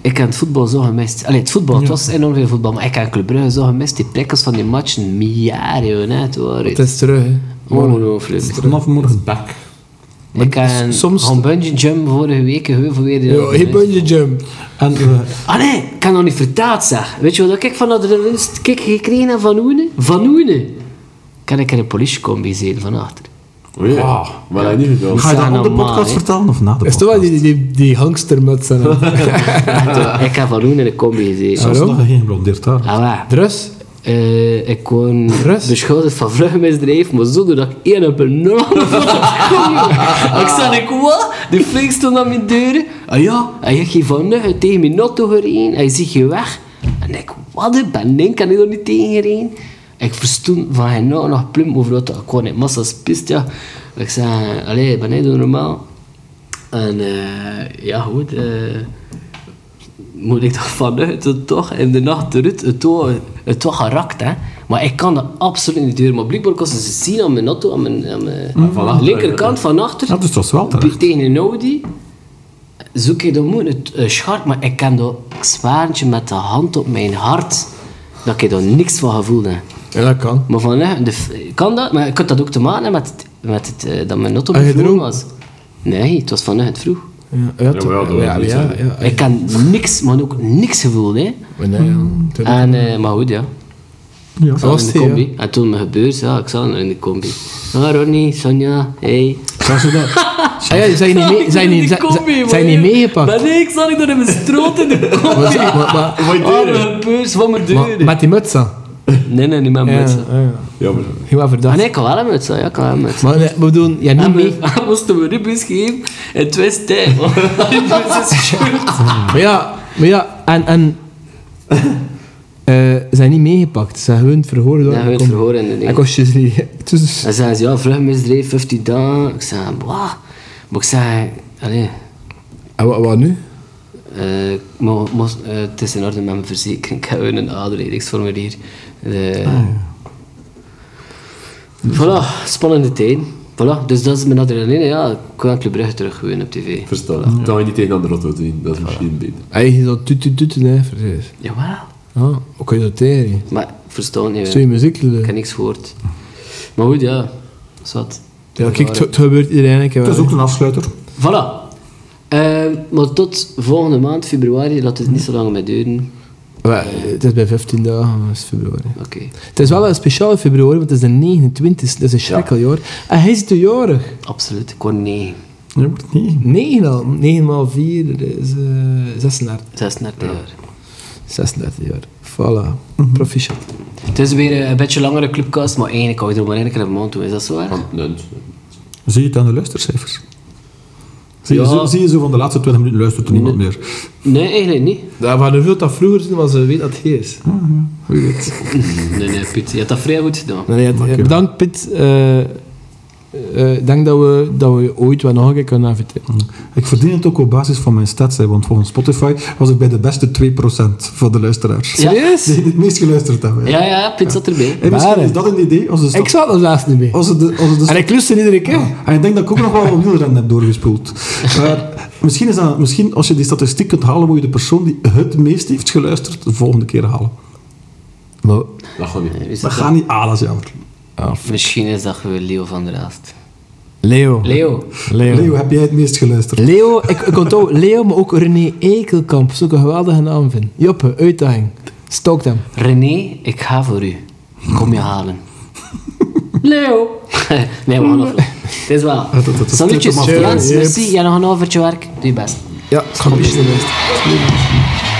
Ik heb het voetbal zo gemist. Allee, het voetbal, het was enorm veel voetbal, maar ik heb Club Brugge zo gemist. Die prikkels van die matchen, miljarden, net hoor.
Het is terug, hè.
Oh. Ongelooflijk.
Vanaf morgen back.
Ik heb
soms-
soms... een bungee jump vorige week geheuvel weer. die
Yo,
had
hey,
gemist.
bungee jump.
En we
Ah nee, ik kan nog niet vertaald zeg. Weet je wat ik van dat er winst kick gekregen heb van Oene? Van Oene! Kan ik in een politiecombi zitten van achter?
Oh ja.
Ah.
Maar dat is niet gedaan.
Ga je dat
Sana
op de
Ma,
podcast
hè.
vertellen of na de
Is
podcast?
toch wel die, die, die hangstermuts (laughs) en een
ik heb van Oene in een combi gezeten.
Zelfs
Waarom?
nog geen blondeerd haar.
Ah, waar.
dress?
Eh, ik word
Rust.
beschuldigd van vluchtmisdrijf, maar zonder dat ik één op een (laughs) nul had gekomen. Ik zei, ik, wat? De flink stond aan mijn deuren. Ah ja, hij heeft geen van nuggen tegen mijn auto gereden. Hij ziet je weg. En ik, wat ik ben ik? Kan ik er niet tegen gereden? Ik verstond van hij nou nog plum over dat ik gewoon in massa's pist, ja. Ik zei, allee, ben ik doe normaal? En eh, ja, goed. eh, moet (laughs) ik toch vanuit dat toch in de nacht eruit het toch, het toch gerakt, hè. Maar ik kan dat absoluut niet doen. Maar blijkbaar konden ze zien aan mijn auto, aan mijn, aan mijn
van achter,
linkerkant van achter.
Ja, dus dat is wel terecht.
tegen een Audi. Zoek je dan moet het eh, scherp, maar ik kan dat zwaartje met de hand op mijn hart, dat ik daar niks van gevoeld heb.
Ja, dat kan.
Maar van, hè, de, f- kan dat? Maar ik had dat ook te maken hebben met, het- met het, eh, dat mijn auto
Had je
bevroren
dronken?
was. Nee, het was vanuit vroeg.
Ja, ja, toch.
wel, dat wil
ja,
ik niet
ja,
zeggen.
ja, ja.
Ik kan niks, maar ook niks gevoeld, hè.
Maar nee, ja. Toen-
En, eh, maar goed, ja.
Ja.
Ik zat
was
in de
Mm. die, ja.
combi. En toen me gebeurde, ja, ik zat in de combi. Ah, Ronnie, Sonja, hey.
Zoals ze dat. Ah ja, zijn niet, mee, zijn niet,
Ik ben in de combi,
zijn,
man,
zijn niet
joh.
meegepakt.
Maar nee, ik zat niet door in mijn stroot
(laughs)
in de combi.
Maar, maar, maar,
Wat
Ah,
doe je?
mijn beurs, wat mijn
maar,
deuren.
met die muts aan.
Nee, nee, niet met
Ja,
mensen.
ja, ja.
Jammer.
Heel wat
Ah
verdacht.
nee, ik kan wel een muts, ja, ik kan wel een muts.
Maar nee, we doen, Ah, ja, niet
En
mee.
we moesten we ribbies geven en twee stijl. (laughs)
Maar ja, maar ja, Ah. en, en eh, zijn niet meegepakt. Ze zijn gewoon verhoord.
Ja, gewoon verhoord in de ding.
En kost je ze niet. (laughs) Dus,
Dan zeiden ze, ja, vruchtmisdrijf, 15 dagen. Ik zei, wauw. Maar ik zei, allee,
en wat, wat nu?
eh, mo- mo- eh, het is in orde met mijn verzekering. Ik heb een
Ah,
aanreidingsformulier. Eh, Voilà, spannende tijd. Voilà, dus dat is mijn adrenaline. Ja, ik wil naar Club Brugge terug gewoon op tv.
Verstaan. Dan ga je niet tegen een auto te zien. Dat is misschien beter.
Eigenlijk dat tut tut tut, nee, vergeet.
Jawel.
Ah, ook kan je dat tegen?
Maar verstaan niet.
Zo je
hè.
muziek
Ik
lullen.
heb niks gehoord. Maar goed, ja. Dat is wat.
Ja, kijk, het het gebeurt iedereen een keer
Dat is
wel.
ook een afsluiter.
Voilà. Ehm, maar tot volgende maand, februari, laat het niet zo lang mee duren.
Maar, eh, Het is bij 15 dagen, dat is februari.
Oké.
Het is wel een speciale februari, want het is de 29 dat is een schrikkeljaar. En hij is de jarig.
Absoluut. Ik word 9.
Je wordt niet.
9 al. 9 maal 4, dat is eh, 36.
36 jaar.
36 jaar. Voilà. Proficiat.
Het is weer eh, een beetje langere clubcast, maar eigenlijk hou je er maar één keer een maand toe. Is dat zo erg?
Want, nee, nee.
Zie je het aan de luistercijfers? Zie, je
Ja.
zo, zie je zo van de laatste 20 minuten luistert er niemand meer.
Nee, eigenlijk
(laughs)
niet.
Ja, we hadden veel dat vroeger zien, maar ze weet dat het hij is.
Nee, nee, Piet. Je hebt dat vrij goed gedaan.
Nee, nee,
Dank je.
bedankt, Piet. Eh, eh, Ik denk dat we, dat we ooit wel nog een keer kunnen inviteren.
Ik verdien het ook op basis van mijn stats, hè, want volgens Spotify was ik bij de beste 2% van de luisteraars.
Ja.
Serieus?
(laughs) Die het meest geluisterd hebben.
Ja, ja, Piet zat erbij.
En misschien
Maar,
is dat een idee als de
Ik
stad...
zat er laatst niet mee.
Als het de, als het de
En ik luister iedere keer.
En ik denk dat ik ook nog wel een wielrennen heb
(laughs)
doorgespoeld. Maar misschien, is dat, misschien als je die statistiek kunt halen, moet je de persoon die het meest heeft geluisterd de volgende keer halen.
Maar,
Dat gaat niet.
Wie is
We
dat?
gaan niet alles jammer.
ah,
Misschien is dat gewoon Leo van der Aast.
Leo.
Leo.
Leo.
Leo, heb jij het meest geluisterd?
Leo, ik, ik onthoud Leo, maar ook René Ekelkamp. Zo'n geweldige naam vind. Joppe, uitdaging. Stalk hem.
René, ik ga voor u. Ik kom je halen. Leo. (laughs) nee, we gaan
(laughs)
afleggen. Het is wel.
dat- dat- dat-
Salutjes,
dat- dat- dat-
Jens,
dat-
merci. Jij nog een halvertje werk. Doe je best.
Ja, het gaat een beetje de best.